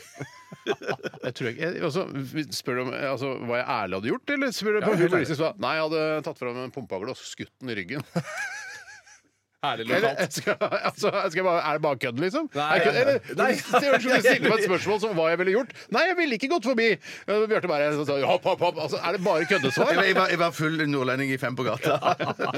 Speaker 1: Jeg tror ikke jeg, altså, vi- Spør du om eh, altså, hva jeg ærlig hadde gjort, eller spør du på
Speaker 3: Ja, helt
Speaker 1: humor? Nei, jeg hadde tatt fram en pumpagloss, skutt den i ryggen.
Speaker 3: Ærlig
Speaker 1: Eller
Speaker 3: lokalt.
Speaker 1: skal, altså, skal jeg bare, er det bare kødd, liksom?
Speaker 3: Nei,
Speaker 1: er det kødd, eller,
Speaker 3: nei.
Speaker 1: Det høres ut som du stiller meg et spørsmål som hva jeg ville gjort. Nei, jeg ville ikke gått forbi. Ja, Bjarte bare så, sa, hopp, hopp, hopp. Altså, er det bare
Speaker 2: Jeg,
Speaker 1: køddesvar?
Speaker 2: jeg, var, jeg var full nordlending i Fem på gata.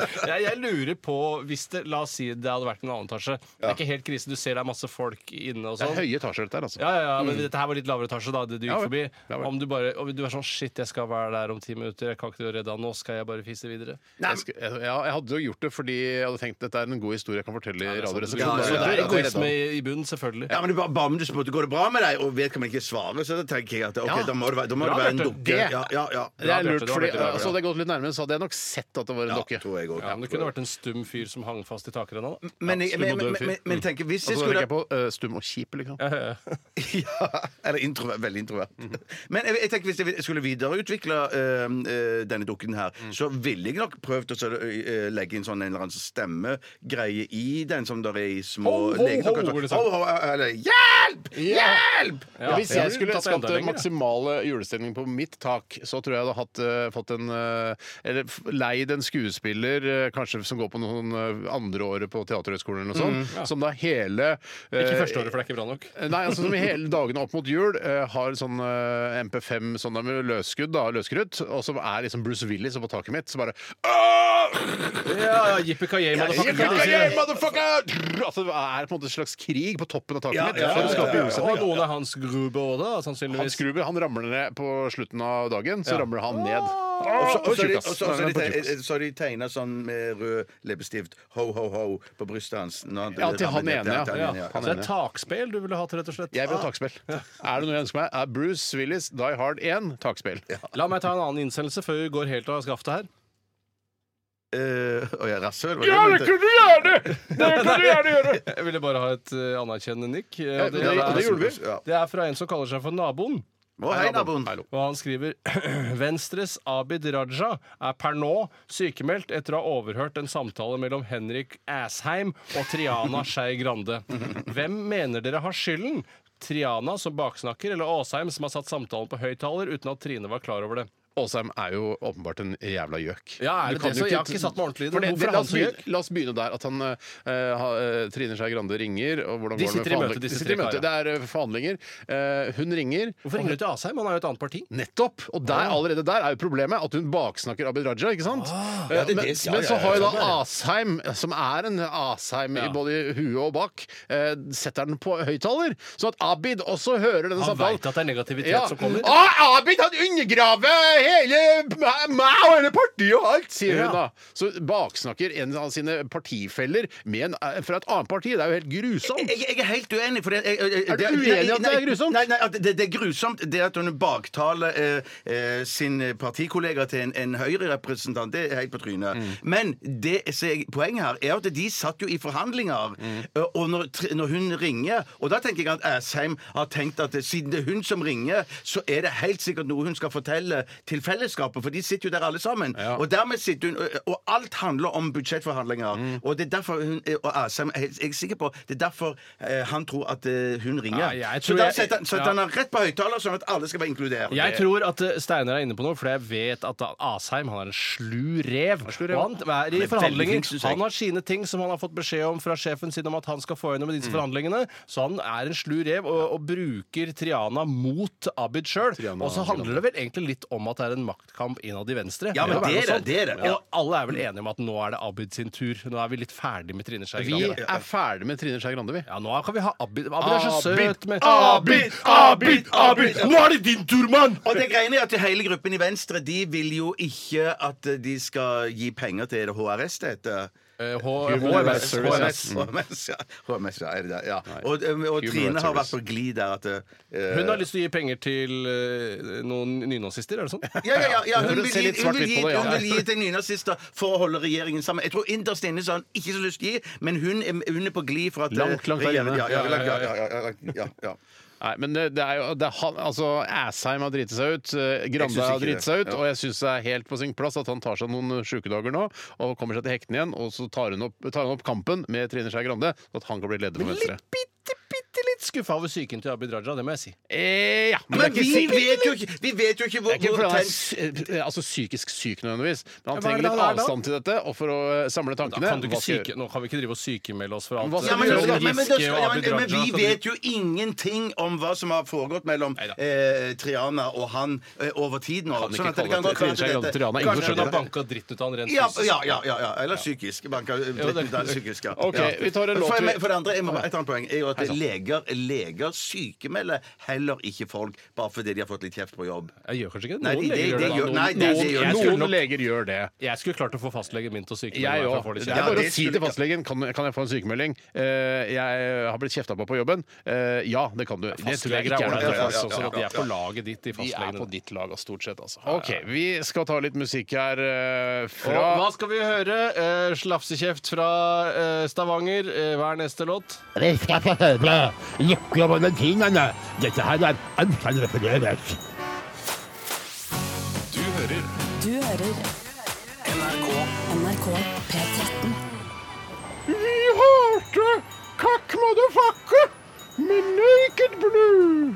Speaker 3: Jeg, jeg lurer på hvis det, La oss si det hadde vært en annen etasje. Det er ikke helt krise. Du ser det er masse folk inne og
Speaker 1: Det er
Speaker 3: sånn.
Speaker 1: høye etasjer, dette her, altså.
Speaker 3: Ja, ja, ja, men dette her var litt lavere etasje, da. Det du gikk
Speaker 1: Ja vel,
Speaker 3: forbi.
Speaker 1: ja vel.
Speaker 3: Om du bare om du er sånn Shit, jeg skal være der om ti minutter. Jeg kan ikke redde han nå. Skal jeg bare fise videre?
Speaker 1: Jeg, sk- jeg, ja, jeg hadde jo gjort det fordi jeg hadde tenkt dette er en god historie jeg kan fortelle i
Speaker 3: Så
Speaker 1: Radioresepsjonen.
Speaker 3: det
Speaker 1: Ja,
Speaker 3: er
Speaker 1: ja, ja.
Speaker 3: egoisme i, i bunnen, selvfølgelig.
Speaker 2: Ja, men det var bare om du spurte går det bra med deg, og vedkommende ikke svarer, så da tenker jeg at ok,
Speaker 1: Ja.
Speaker 2: da må det være, da må
Speaker 3: Bra,
Speaker 2: det være en
Speaker 3: Bjarte.
Speaker 2: dukke.
Speaker 1: Det-
Speaker 2: Ja, ja, ja.
Speaker 1: Det er lurt,
Speaker 3: Bjarte,
Speaker 1: fordi
Speaker 3: det var
Speaker 1: altså, hadde jeg gått litt nærmere, så hadde jeg nok sett at det var en dokke.
Speaker 2: Tror jeg også.
Speaker 3: Ja, men Det kunne vært en stum fyr som hang fast i takrenna. da.
Speaker 2: Men, jeg,
Speaker 3: Ja,
Speaker 2: men,
Speaker 3: stum og død
Speaker 2: men,
Speaker 3: fyr.
Speaker 2: men, men tenk, hvis jeg
Speaker 1: Altså, da
Speaker 2: skulle
Speaker 1: tenker jeg på eh, stum og kjip, liksom.
Speaker 2: ja, Eller introvert, veldig introvert.
Speaker 1: Mhm.
Speaker 2: Men jeg, jeg tenker hvis jeg skulle videreutvikle øhm, øh, denne dukken her,
Speaker 1: Mm.
Speaker 2: så ville jeg nok prøvd å så, øh, legge inn sånn en eller annen stemmegreie i den som der er i
Speaker 3: Ho,
Speaker 2: små
Speaker 3: ho,
Speaker 2: legedokker.
Speaker 3: ho,
Speaker 2: Så-
Speaker 3: liksom.
Speaker 2: Ho, ho, Eller hjelp! Hjelp!
Speaker 3: Ja,
Speaker 1: Hvis
Speaker 3: ja.
Speaker 1: jeg skulle
Speaker 3: Tatt det
Speaker 1: skapt
Speaker 3: enda lenger, ja.
Speaker 1: maksimale julestemning på mitt tak, så tror jeg jeg hadde hatt, eh, fått en eh, Eller f- leid en skuespiller, eh, kanskje som går på noen eh, andre året på Teaterhøgskolen eller noe sånt, som da hele eh,
Speaker 3: Mm, Ikke første året, for det er ikke bra nok.
Speaker 1: Nei, altså som i hele dagene opp mot jul eh, har sånn eh, MP5 sånn der med løsskudd, da, løskrutt, og som er liksom Bruce Willis oppå taket mitt, så bare
Speaker 3: Ja, Jippi Kayei,
Speaker 1: «Yippee,
Speaker 3: motherfucker.
Speaker 1: yippee, motherfucker!» Altså, det er på en måte en slags krig på toppen av taket mitt.
Speaker 2: ja,
Speaker 1: for å skape julestemning.
Speaker 3: Og noen er Hans Gruber òg, da,
Speaker 1: Hans
Speaker 3: sannsynligvis.
Speaker 1: Gruber han ramler ned på slutten av dagen. Så
Speaker 3: Ja.
Speaker 1: ramler han ned.
Speaker 2: Og så-
Speaker 1: På
Speaker 2: og så er de- og
Speaker 1: tjukkas.
Speaker 2: så- og så
Speaker 1: Nei,
Speaker 2: er de
Speaker 1: på tjukkas.
Speaker 2: teg- så har de tegna sånn med rød leppestift 'ho, ho, ho' på brystet hans. når han-
Speaker 1: Ja, til han
Speaker 2: Ja,
Speaker 1: ene, ja.
Speaker 2: til
Speaker 3: Ja.
Speaker 2: han ene,
Speaker 3: Så det er takspill du ville hatt, rett og slett.
Speaker 1: Jeg vil ha takspill. Er det noe jeg ønsker meg, er Bruce Willis Die Hard 1 takspill.
Speaker 3: Ah. La meg ta en annen innsendelse før vi går helt av skaftet her.
Speaker 2: Eh, Å ja, rasshøl?
Speaker 1: du gjerne! Det kunne du gjerne gjøre!
Speaker 3: Jeg ville bare ha et eh, anerkjennende nikk. Eh,
Speaker 1: Ja,
Speaker 3: Det,
Speaker 1: ja,
Speaker 3: er-
Speaker 1: det gjorde vi.
Speaker 2: Ja.
Speaker 3: det er fra en som kaller seg for naboen.
Speaker 2: Å, hei, naboen.
Speaker 3: Og han skriver Venstres Abid Raja er per nå sykemeldt etter å ha overhørt en samtale mellom Henrik Asheim og Triana Skei Grande. Hvem mener dere har skylden? Triana som baksnakker, eller Asheim som har satt samtalen på høyttaler uten at Trine var klar over det?
Speaker 1: Åsheim er jo åpenbart en jævla gjøk.
Speaker 3: Ja, er det
Speaker 1: Du kan
Speaker 3: det?
Speaker 1: jo
Speaker 3: Så jeg har ikke satt meg ordentlig i det.
Speaker 1: For
Speaker 3: Hvorfor er
Speaker 1: la,
Speaker 3: han
Speaker 1: oss
Speaker 3: så
Speaker 1: begynne,
Speaker 3: gjøk?
Speaker 1: la oss begynne der. At han, eh, ha, eh, Trine Skei Grande ringer og hvordan går det
Speaker 3: De
Speaker 1: med
Speaker 3: sitter i møte,
Speaker 1: forhandling-
Speaker 3: disse
Speaker 1: sitter i
Speaker 3: tre
Speaker 1: møte. Det er eh, forhandlinger. Eh, hun ringer.
Speaker 3: Hvorfor ringer du til Asheim? Han er jo et annet parti.
Speaker 1: Nettopp! Og der, allerede der er jo problemet at hun baksnakker Abid Raja, ikke sant? Eh,
Speaker 2: det er
Speaker 1: men,
Speaker 2: det- Ah, ja,
Speaker 1: men
Speaker 2: ja,
Speaker 1: så
Speaker 2: ja,
Speaker 1: har jo
Speaker 2: ja,
Speaker 1: da Asheim, som er en Asheim i
Speaker 3: Ja.
Speaker 1: både huet og bak, eh, setter den på høyttaler, sånn at Abid også hører denne
Speaker 3: Han
Speaker 1: samtalen.
Speaker 3: veit at det er negativitet
Speaker 1: Ja.
Speaker 3: som kommer.
Speaker 1: Å, Abid han undergraver hele meg og hele partiet og alt, sier hun da. Så baksnakker en av sine partifeller med en, eh, fra et annet parti. Det er jo helt grusomt.
Speaker 2: Jeg, jeg er helt uenig. For det, jeg, jeg,
Speaker 1: Er du
Speaker 2: det-
Speaker 1: uenig i at
Speaker 2: nei,
Speaker 1: det er grusomt?
Speaker 2: Nei, nei at det, det er grusomt det at hun baktaler eh, eh, sin partikollega til en, en Høyre-representant. Det er helt på trynet. Men det, så jeg, poenget her er at de satt jo i forhandlinger. eh, Og når, tr- når hun ringer Og da tenker jeg at Asheim har tenkt at eh, siden det er hun som ringer, så er det helt sikkert noe hun skal fortelle til fellesskapet. For de sitter jo der alle sammen. Og dermed sitter hun eh, Og og alt handler om budsjettforhandlinger. Og det er derfor hun eh, Og Asheim er helt- jeg er sikker på Det er derfor eh, han tror at eh, hun ringer.
Speaker 3: Ja, jeg
Speaker 2: så
Speaker 3: tror
Speaker 2: da
Speaker 3: jeg-
Speaker 2: setter han, setter
Speaker 3: ja.
Speaker 2: han han rett på høyttaler, sånn at alle skal være inkludert.
Speaker 3: Jeg tror at eh, Steinar er inne på noe, for jeg vet at Asheim han er en slu rev. Og han er i
Speaker 2: veldig flink,
Speaker 3: forhandlinger.
Speaker 2: synes jeg.
Speaker 3: Han har sine ting som han har fått beskjed om fra sjefen sin om at han skal få gjennom i disse forhandlingene. Så han er en slu rev og, og bruker Triana mot Abid sjøl. Og så handler det vel egentlig litt om at det er en maktkamp innad i Venstre.
Speaker 2: Ja, men
Speaker 3: må være
Speaker 2: det er
Speaker 3: noe
Speaker 2: det, det er det,
Speaker 3: sånt.
Speaker 2: ja.
Speaker 3: Og alle er vel enige om at nå er det Abid sin tur. Nå er vi litt ferdig med Trine Skei
Speaker 1: Vi
Speaker 3: Grande.
Speaker 1: er ferdig med Trine Skei Grande, vi.
Speaker 3: Ja, nå kan vi ha Abid. Abid er så
Speaker 1: Abid,
Speaker 3: søt. men-
Speaker 1: Abid, Abid, Abid!
Speaker 3: Nå er det din tur, mann!
Speaker 2: Og det greiene er at hele gruppen i Venstre De vil jo ikke at eh, de skal gi penger til det HRS det heter.
Speaker 3: Eh, H- HMS.
Speaker 2: HMS, HMS, ja. HMS, ja, er det det? ja. Og, eh, og Trine
Speaker 1: Rights
Speaker 2: har vært
Speaker 1: Service.
Speaker 2: på glid der at eh,
Speaker 3: Hun har lyst til å gi penger til eh, noen nynazister, er det sånn?
Speaker 2: Ja, ja, ja, ja.
Speaker 1: Ja,
Speaker 2: Hun,
Speaker 1: det
Speaker 2: vil
Speaker 1: ser
Speaker 2: gi,
Speaker 1: litt
Speaker 2: hun, vil
Speaker 1: svart-hvitt
Speaker 2: gi,
Speaker 1: på det, ja.
Speaker 2: hun vil gi til nynazister for å holde regjeringen sammen. Jeg tror innerst inne så har hun ikke så lyst til å gi, men hun er, hun er på glid for at eh,
Speaker 1: Langt, langt der
Speaker 2: regjeringen-
Speaker 1: inne.
Speaker 2: Ja, ja, ja, ja, ja, ja, ja, ja, ja.
Speaker 1: Nei, men det, det er jo det er han, altså, Asheim har driti seg ut, eh,
Speaker 2: Jeg
Speaker 1: Grande
Speaker 2: synes
Speaker 1: har
Speaker 2: ikke
Speaker 1: driti
Speaker 2: det.
Speaker 1: seg ut,
Speaker 2: Ja.
Speaker 1: og jeg syns det er helt på sin plass at han tar seg noen sjukedager nå og kommer seg til hektene igjen, og så tar hun opp, tar hun opp kampen med Trine Skei Grande, så at han kan bli leder for Venstre.
Speaker 3: bitte, bitte litt skuffa over psyken til Abid Raja, det må jeg si.
Speaker 1: Eh, ja, men,
Speaker 2: Men
Speaker 1: det er
Speaker 2: vi
Speaker 1: ikke sikkert-
Speaker 2: vet jo ikke, vi vet jo ikke hvor,
Speaker 1: Det er ikke
Speaker 2: hvor
Speaker 1: fordi han er
Speaker 2: tenkt-
Speaker 1: sy- eh, altså psykisk syk nødvendigvis, men han
Speaker 3: Hva er
Speaker 1: trenger litt
Speaker 3: det han er da?
Speaker 1: avstand til dette, og for å eh, samle
Speaker 3: Da
Speaker 1: tankene
Speaker 3: kan du
Speaker 1: hva
Speaker 3: ikke
Speaker 1: skal jeg gjøre?
Speaker 3: syke, nå kan vi ikke drive og sykemelde oss for alt.
Speaker 1: Men hva
Speaker 2: Ja,
Speaker 1: skal
Speaker 2: men,
Speaker 1: vi
Speaker 2: da
Speaker 1: gjøre det?
Speaker 2: skal- men, men, da
Speaker 3: Giske og
Speaker 2: skal- ja, men,
Speaker 3: Abid
Speaker 2: men
Speaker 3: Raja
Speaker 2: vi
Speaker 3: skal
Speaker 2: vet jo ingenting om hva som har foregått mellom eh, Triana og han eh, over tid nå.
Speaker 1: Kan ikke
Speaker 2: sånn at det
Speaker 1: kalle
Speaker 2: kan
Speaker 1: det
Speaker 2: godt være at
Speaker 1: Trine Skei Grande
Speaker 2: dette-
Speaker 1: Triana,
Speaker 2: kanskje-
Speaker 1: ingen
Speaker 3: Hun har banka dritt ut av han rent
Speaker 2: ja,
Speaker 3: fysisk.
Speaker 2: ja, ja, ja, ja. Eller psykisk. Banka,
Speaker 3: det-
Speaker 2: ja, psykisk ja.
Speaker 1: Ok,
Speaker 2: Ja.
Speaker 1: vi tar en låt,
Speaker 2: for,
Speaker 1: vi.
Speaker 2: men- for det andre, jeg må, et annet poeng er jo at leger, leger sykemelder heller ikke folk bare fordi de har fått litt kjeft på jobb.
Speaker 3: Jeg gjør kanskje ikke det.
Speaker 2: Nei,
Speaker 3: Noen
Speaker 2: de-
Speaker 3: leger
Speaker 2: de- de
Speaker 3: gjør
Speaker 2: gjør-
Speaker 3: det. da.
Speaker 2: nei, de- de
Speaker 3: Noen-
Speaker 2: gjør-
Speaker 3: jeg skulle
Speaker 1: Noen
Speaker 3: nok-
Speaker 1: leger gjør det.
Speaker 3: Jeg skulle klart å få fastlegen min til å
Speaker 1: Jeg
Speaker 3: sykemelde meg. for å
Speaker 1: òg.
Speaker 3: få litt
Speaker 1: Det er
Speaker 3: kjeft.
Speaker 1: bare
Speaker 2: det
Speaker 1: å si
Speaker 2: skulle
Speaker 1: til
Speaker 2: ikke-
Speaker 1: fastlegen kan, kan jeg få en sykemelding. Eh, jeg har blitt kjefta på på jobben. Eh, ja, det kan du. Det tror jeg
Speaker 3: Fastleger
Speaker 1: ikke
Speaker 3: er
Speaker 1: er altså.
Speaker 3: ålreite
Speaker 1: noe
Speaker 3: folk,
Speaker 1: for
Speaker 3: sånn at de er på laget ditt i
Speaker 1: De er på
Speaker 3: fastlegene.
Speaker 1: ditt lag stort sett, altså. OK, vi skal ta litt musikk her eh, fra
Speaker 3: Og hva skal vi høre? Eh, slafsekjeft fra eh, Stavanger. Eh, hva er neste låt?
Speaker 9: Rett fra Høyre, jukler valentinene. Dette her er anfallrefereres.
Speaker 4: Du hører
Speaker 5: Du hører NRK P13.
Speaker 1: Vi hørte Kakk Motherfucker med Naked Blue.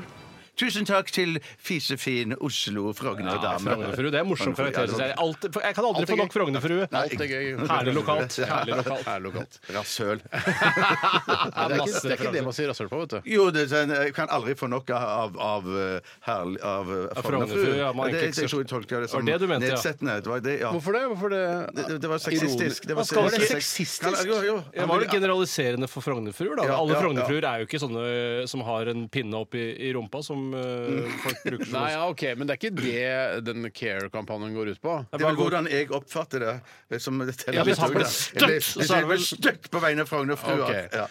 Speaker 2: Tusen takk til fisefin Oslo Frogner-dame.
Speaker 3: Frognerfrue. Det er en morsom
Speaker 2: Frognerfrue,
Speaker 3: karakter.
Speaker 2: ja, sånn.
Speaker 3: synes Jeg, Alt- jeg kan
Speaker 1: sånn.
Speaker 3: aldri
Speaker 1: Alt er
Speaker 3: få nok
Speaker 1: gøy.
Speaker 3: Frognerfrue.
Speaker 1: Alt er gøy.
Speaker 3: Herlig lokalt. Herlig lokalt.
Speaker 1: Herlig lokalt.
Speaker 2: Rasshøl.
Speaker 1: Nei, det, er ikke,
Speaker 3: masse
Speaker 1: det er ikke
Speaker 3: referanser.
Speaker 1: det man sier rasshøl på, vet du.
Speaker 2: Jo, det, er sånn, jeg kan aldri få nok av, av, eh, herl- av,
Speaker 3: Frognerfru,
Speaker 2: eh, Frognerfru.
Speaker 3: ja, man
Speaker 2: Det-
Speaker 3: egentlig ikke
Speaker 2: jeg
Speaker 3: så-
Speaker 2: tror jeg tolker det som
Speaker 3: det du mente, ja.
Speaker 2: nedsettende. Det var det, ja.
Speaker 1: Hvorfor det? Hvorfor det?
Speaker 2: Det, det var sexistisk. Det var
Speaker 3: Hva skal det
Speaker 2: sex-
Speaker 1: sexistisk?
Speaker 2: Kan- Jo, jo.
Speaker 3: Det var jo generaliserende for Frognerfruer. da.
Speaker 2: Ja,
Speaker 3: Alle
Speaker 2: ja,
Speaker 3: Frognerfruer er jo ikke sånne eh, som har en pinne opp i, i rumpa, som eh, folk bruker
Speaker 1: Mm.
Speaker 3: som
Speaker 1: Nei, ja, ok, men det er ikke det den Care-kampanjen går ut på.
Speaker 2: Det var hvordan jeg oppfatter det. det som det teller
Speaker 3: Ja, hvis han
Speaker 2: litt,
Speaker 3: ble
Speaker 2: da.
Speaker 3: støtt,
Speaker 2: Hvis- Hvis
Speaker 3: så er det
Speaker 2: jeg ble
Speaker 3: vel-
Speaker 2: støtt på vegne av Frognerfrua.
Speaker 1: Ok.
Speaker 2: Ja.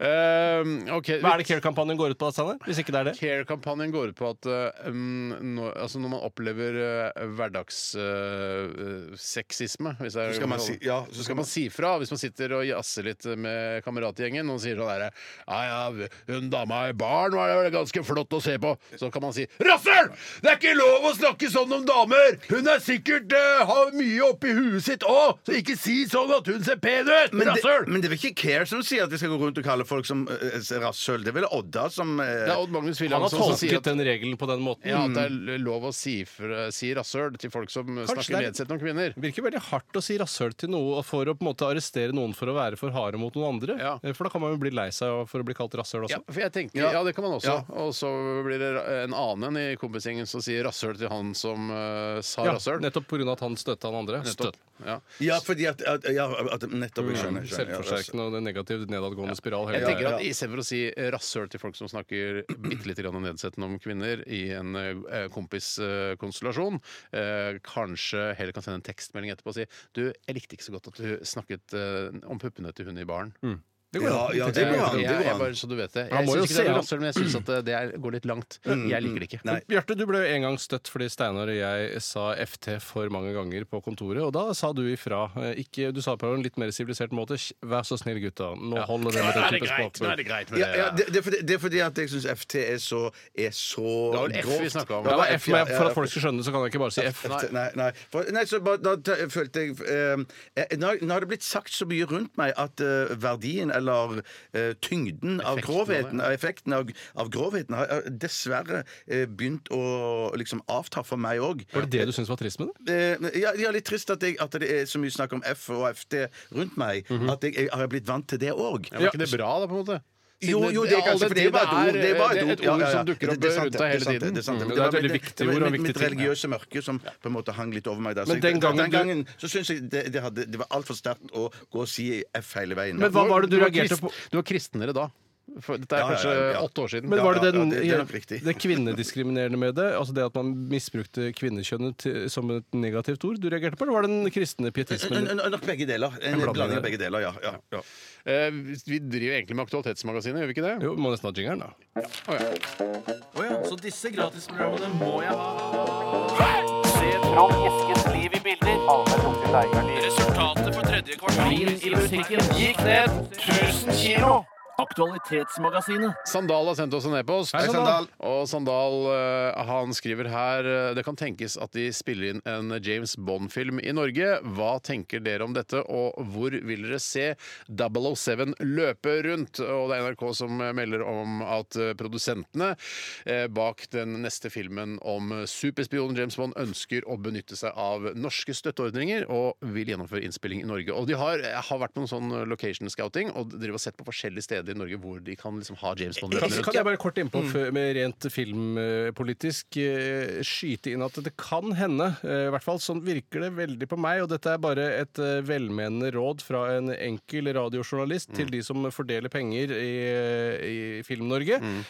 Speaker 1: Ehm, ok,
Speaker 3: Hva er det Care-kampanjen går ut på, da, Steinar? Hvis ikke det er det?
Speaker 1: Care-kampanjen går ut på at eh, mm, når, altså når man opplever eh, hverdagssexisme Hvis det er
Speaker 2: Så skal man si- ja, så
Speaker 1: så
Speaker 2: skal
Speaker 1: skal man si fra hvis man sitter og jazzer litt med kameratgjengen og sier sånn herre Ja, ja, hun dama i baren var det vel ganske flott å se på. Så kan man si Rasshøl! Det er ikke lov å snakke sånn om damer! Hun er sikkert eh, har mye oppi huet sitt òg, så ikke si sånn at hun ser pen ut!
Speaker 2: Men, det,
Speaker 1: Rasshøl!
Speaker 2: men det er vel ikke Care som sier at vi skal gå rundt og kalle folk som eh, rasshøl. Det er vel Odda som eh,
Speaker 1: Det er Odd Magnus
Speaker 3: Han har
Speaker 1: Wilhelmsen som sier
Speaker 3: tolket
Speaker 1: at
Speaker 3: den regelen på den måten.
Speaker 1: Ja, at det er lov å si, fra- si rasshøl til folk som
Speaker 3: Mm. det
Speaker 1: snakker
Speaker 3: er-
Speaker 1: nedsettende om kvinner.
Speaker 3: Det virker veldig hardt å si rasshøl til noe og for å på en måte arrestere noen for å være for harde mot noen andre.
Speaker 1: Ja.
Speaker 3: Eh, For da kan man jo bli lei seg for å bli kalt rasshøl også.
Speaker 1: Ja, Altså, for jeg tenker, ja.
Speaker 2: Ja.
Speaker 1: det kan man også.
Speaker 2: Ja.
Speaker 1: Og så blir det ra- en annen i kompisgjengen som sier rasshøl til han som eh, sa
Speaker 3: Ja,
Speaker 1: rasshøl.
Speaker 3: nettopp pga. at han støtta han andre.
Speaker 1: Nettopp. Ja.
Speaker 2: Ja, fordi at, at, ja, at Nettopp. Jeg skjønner. jeg skjønner, ja,
Speaker 3: Selvforsterkende og det er negativ nedadgående spiral hele
Speaker 1: Jeg
Speaker 3: greia.
Speaker 1: tenker at Istedenfor å si rasshøl til folk som snakker bitte litt grann nedsettende om kvinner i en eh, kompiskonstellasjon, eh, kanskje heller kan sende en tekstmelding etterpå og si Du, jeg likte ikke så godt at du snakket eh, om puppene til hun i baren.
Speaker 3: Det går
Speaker 2: Ja,
Speaker 3: an.
Speaker 2: ja, det går an.
Speaker 1: Jeg,
Speaker 2: Det
Speaker 1: jeg,
Speaker 2: går an.
Speaker 1: bare, så du vet det.
Speaker 3: Han
Speaker 1: Jeg
Speaker 3: må jo
Speaker 1: syns ikke det
Speaker 3: se,
Speaker 1: er
Speaker 3: da.
Speaker 1: rasshøl, men jeg syns at eh, det er, går litt langt. Jeg liker det ikke.
Speaker 2: Mm. Nei.
Speaker 3: Bjarte, du ble jo en gang støtt fordi Steinar og jeg sa FT for mange ganger på kontoret, og da sa du ifra. Eh, Ikke, du sa det på en litt mer sivilisert måte. «Sj, Vær så snill, gutta. Nå holder det med den type språkbruk.
Speaker 1: greit
Speaker 2: Ja, ja, det, det, er fordi, det er fordi at jeg syns FT er så er så
Speaker 1: Det var vel F vi
Speaker 2: grovt.
Speaker 1: snakket om.
Speaker 3: Ja,
Speaker 2: Det var
Speaker 3: F, men
Speaker 2: ja,
Speaker 3: for
Speaker 2: ja.
Speaker 3: at folk skal skjønne det, så kan jeg ikke bare si F.
Speaker 2: Nei, nei. nei. For, nei så bare, da t- følte jeg eh, eh, Nå nå har det blitt sagt så mye rundt meg at eh, verdien, eller eh, tyngden av
Speaker 1: Effekten av det.
Speaker 2: grovheten, av effekten av, av grovheten, har eh, dessverre eh, begynt å liksom avta for meg òg.
Speaker 3: Var det det du syntes var trist med det?
Speaker 2: Eh, ja, ja, litt trist at, jeg, at det er så mye snakk om F og FT rundt meg. At jeg, jeg har blitt vant til det òg.
Speaker 1: Mhm. Ja, var ikke det bra, da, på en måte?
Speaker 2: Jo,
Speaker 1: Siden
Speaker 2: jo, det er
Speaker 1: alle
Speaker 2: kanskje, for det er
Speaker 1: de
Speaker 2: bare et ord. Det er bare et
Speaker 1: det er
Speaker 2: ord,
Speaker 1: et
Speaker 2: ja,
Speaker 1: ord
Speaker 2: ja, ja.
Speaker 1: som dukker
Speaker 2: Det-
Speaker 1: opp
Speaker 2: det er sant,
Speaker 1: rundt deg
Speaker 2: det er
Speaker 1: hele
Speaker 2: sant, det
Speaker 1: tiden.
Speaker 2: er sant,
Speaker 1: Mm.
Speaker 2: det
Speaker 3: Det er et
Speaker 2: var
Speaker 3: veldig
Speaker 2: mitt-
Speaker 3: viktig
Speaker 2: det var
Speaker 3: ord og en
Speaker 2: mitt-
Speaker 3: viktig
Speaker 2: Mitt
Speaker 3: ting, ja.
Speaker 2: religiøse mørke som på en måte hang litt over meg der. Så
Speaker 3: Men
Speaker 2: jeg-
Speaker 3: den gangen du-
Speaker 2: gangen så syns jeg det, det, hadde, det var altfor sterkt å gå og si F hele veien.
Speaker 3: Men hva var det du
Speaker 1: var
Speaker 3: reagerte
Speaker 1: krist-
Speaker 3: på?
Speaker 1: Du var kristnere da. For dette er
Speaker 2: Ja, ja,
Speaker 1: kanskje
Speaker 2: ja, ja.
Speaker 1: åtte år siden.
Speaker 3: Men
Speaker 2: Ja,
Speaker 3: var det
Speaker 2: ja,
Speaker 3: den,
Speaker 2: ja, det- det er nok riktig.
Speaker 3: det kvinnediskriminerende med det? Altså det at man misbrukte kvinnekjønnet til, som et negativt ord du reagerte på, eller var det den kristne pietismen?
Speaker 2: N- n- Nok begge deler. En
Speaker 3: blanding
Speaker 2: blanding av
Speaker 3: der.
Speaker 2: begge deler, ja. ja, ja.
Speaker 1: Eh, vi driver egentlig med Aktualitetsmagasinet, gjør vi ikke det?
Speaker 3: Jo, vi må nesten ha jingeren, da.
Speaker 4: Å ja, så disse gratisprogrammene må jeg ha. Se Trond Eskens liv i bilder. Resultatet for tredje kvartal i musikken gikk ned 1000 kilo. Aktualitetsmagasinet.
Speaker 1: Sandal har sendt oss en e-post.
Speaker 3: Hei, Sandal.
Speaker 1: Og Sandal eh, han skriver her eh, Det kan tenkes at de spiller inn en James Bond-film i Norge. Hva tenker dere om dette, og hvor vil dere se 007 løpe rundt? Og det er NRK som eh, melder om at eh, produsentene eh, bak den neste filmen om eh, superspionen James Bond ønsker å benytte seg av norske støtteordninger og vil gjennomføre innspilling i Norge. Og de har, jeg har vært på noen sånn location scouting og driver og sett på forskjellige steder i Norge hvor de kan liksom ha James Bond
Speaker 3: Kan,
Speaker 1: løpende rundt.
Speaker 3: kan jeg bare kort innpå
Speaker 2: Mm.
Speaker 3: før- med rent filmpolitisk eh, skyte inn at det kan hende, eh, i hvert fall sånn virker det veldig på meg, og dette er bare et eh, velmenende råd fra en enkel radiojournalist
Speaker 2: Mm.
Speaker 3: til de som fordeler penger i, eh, i Film-Norge.
Speaker 2: Mm.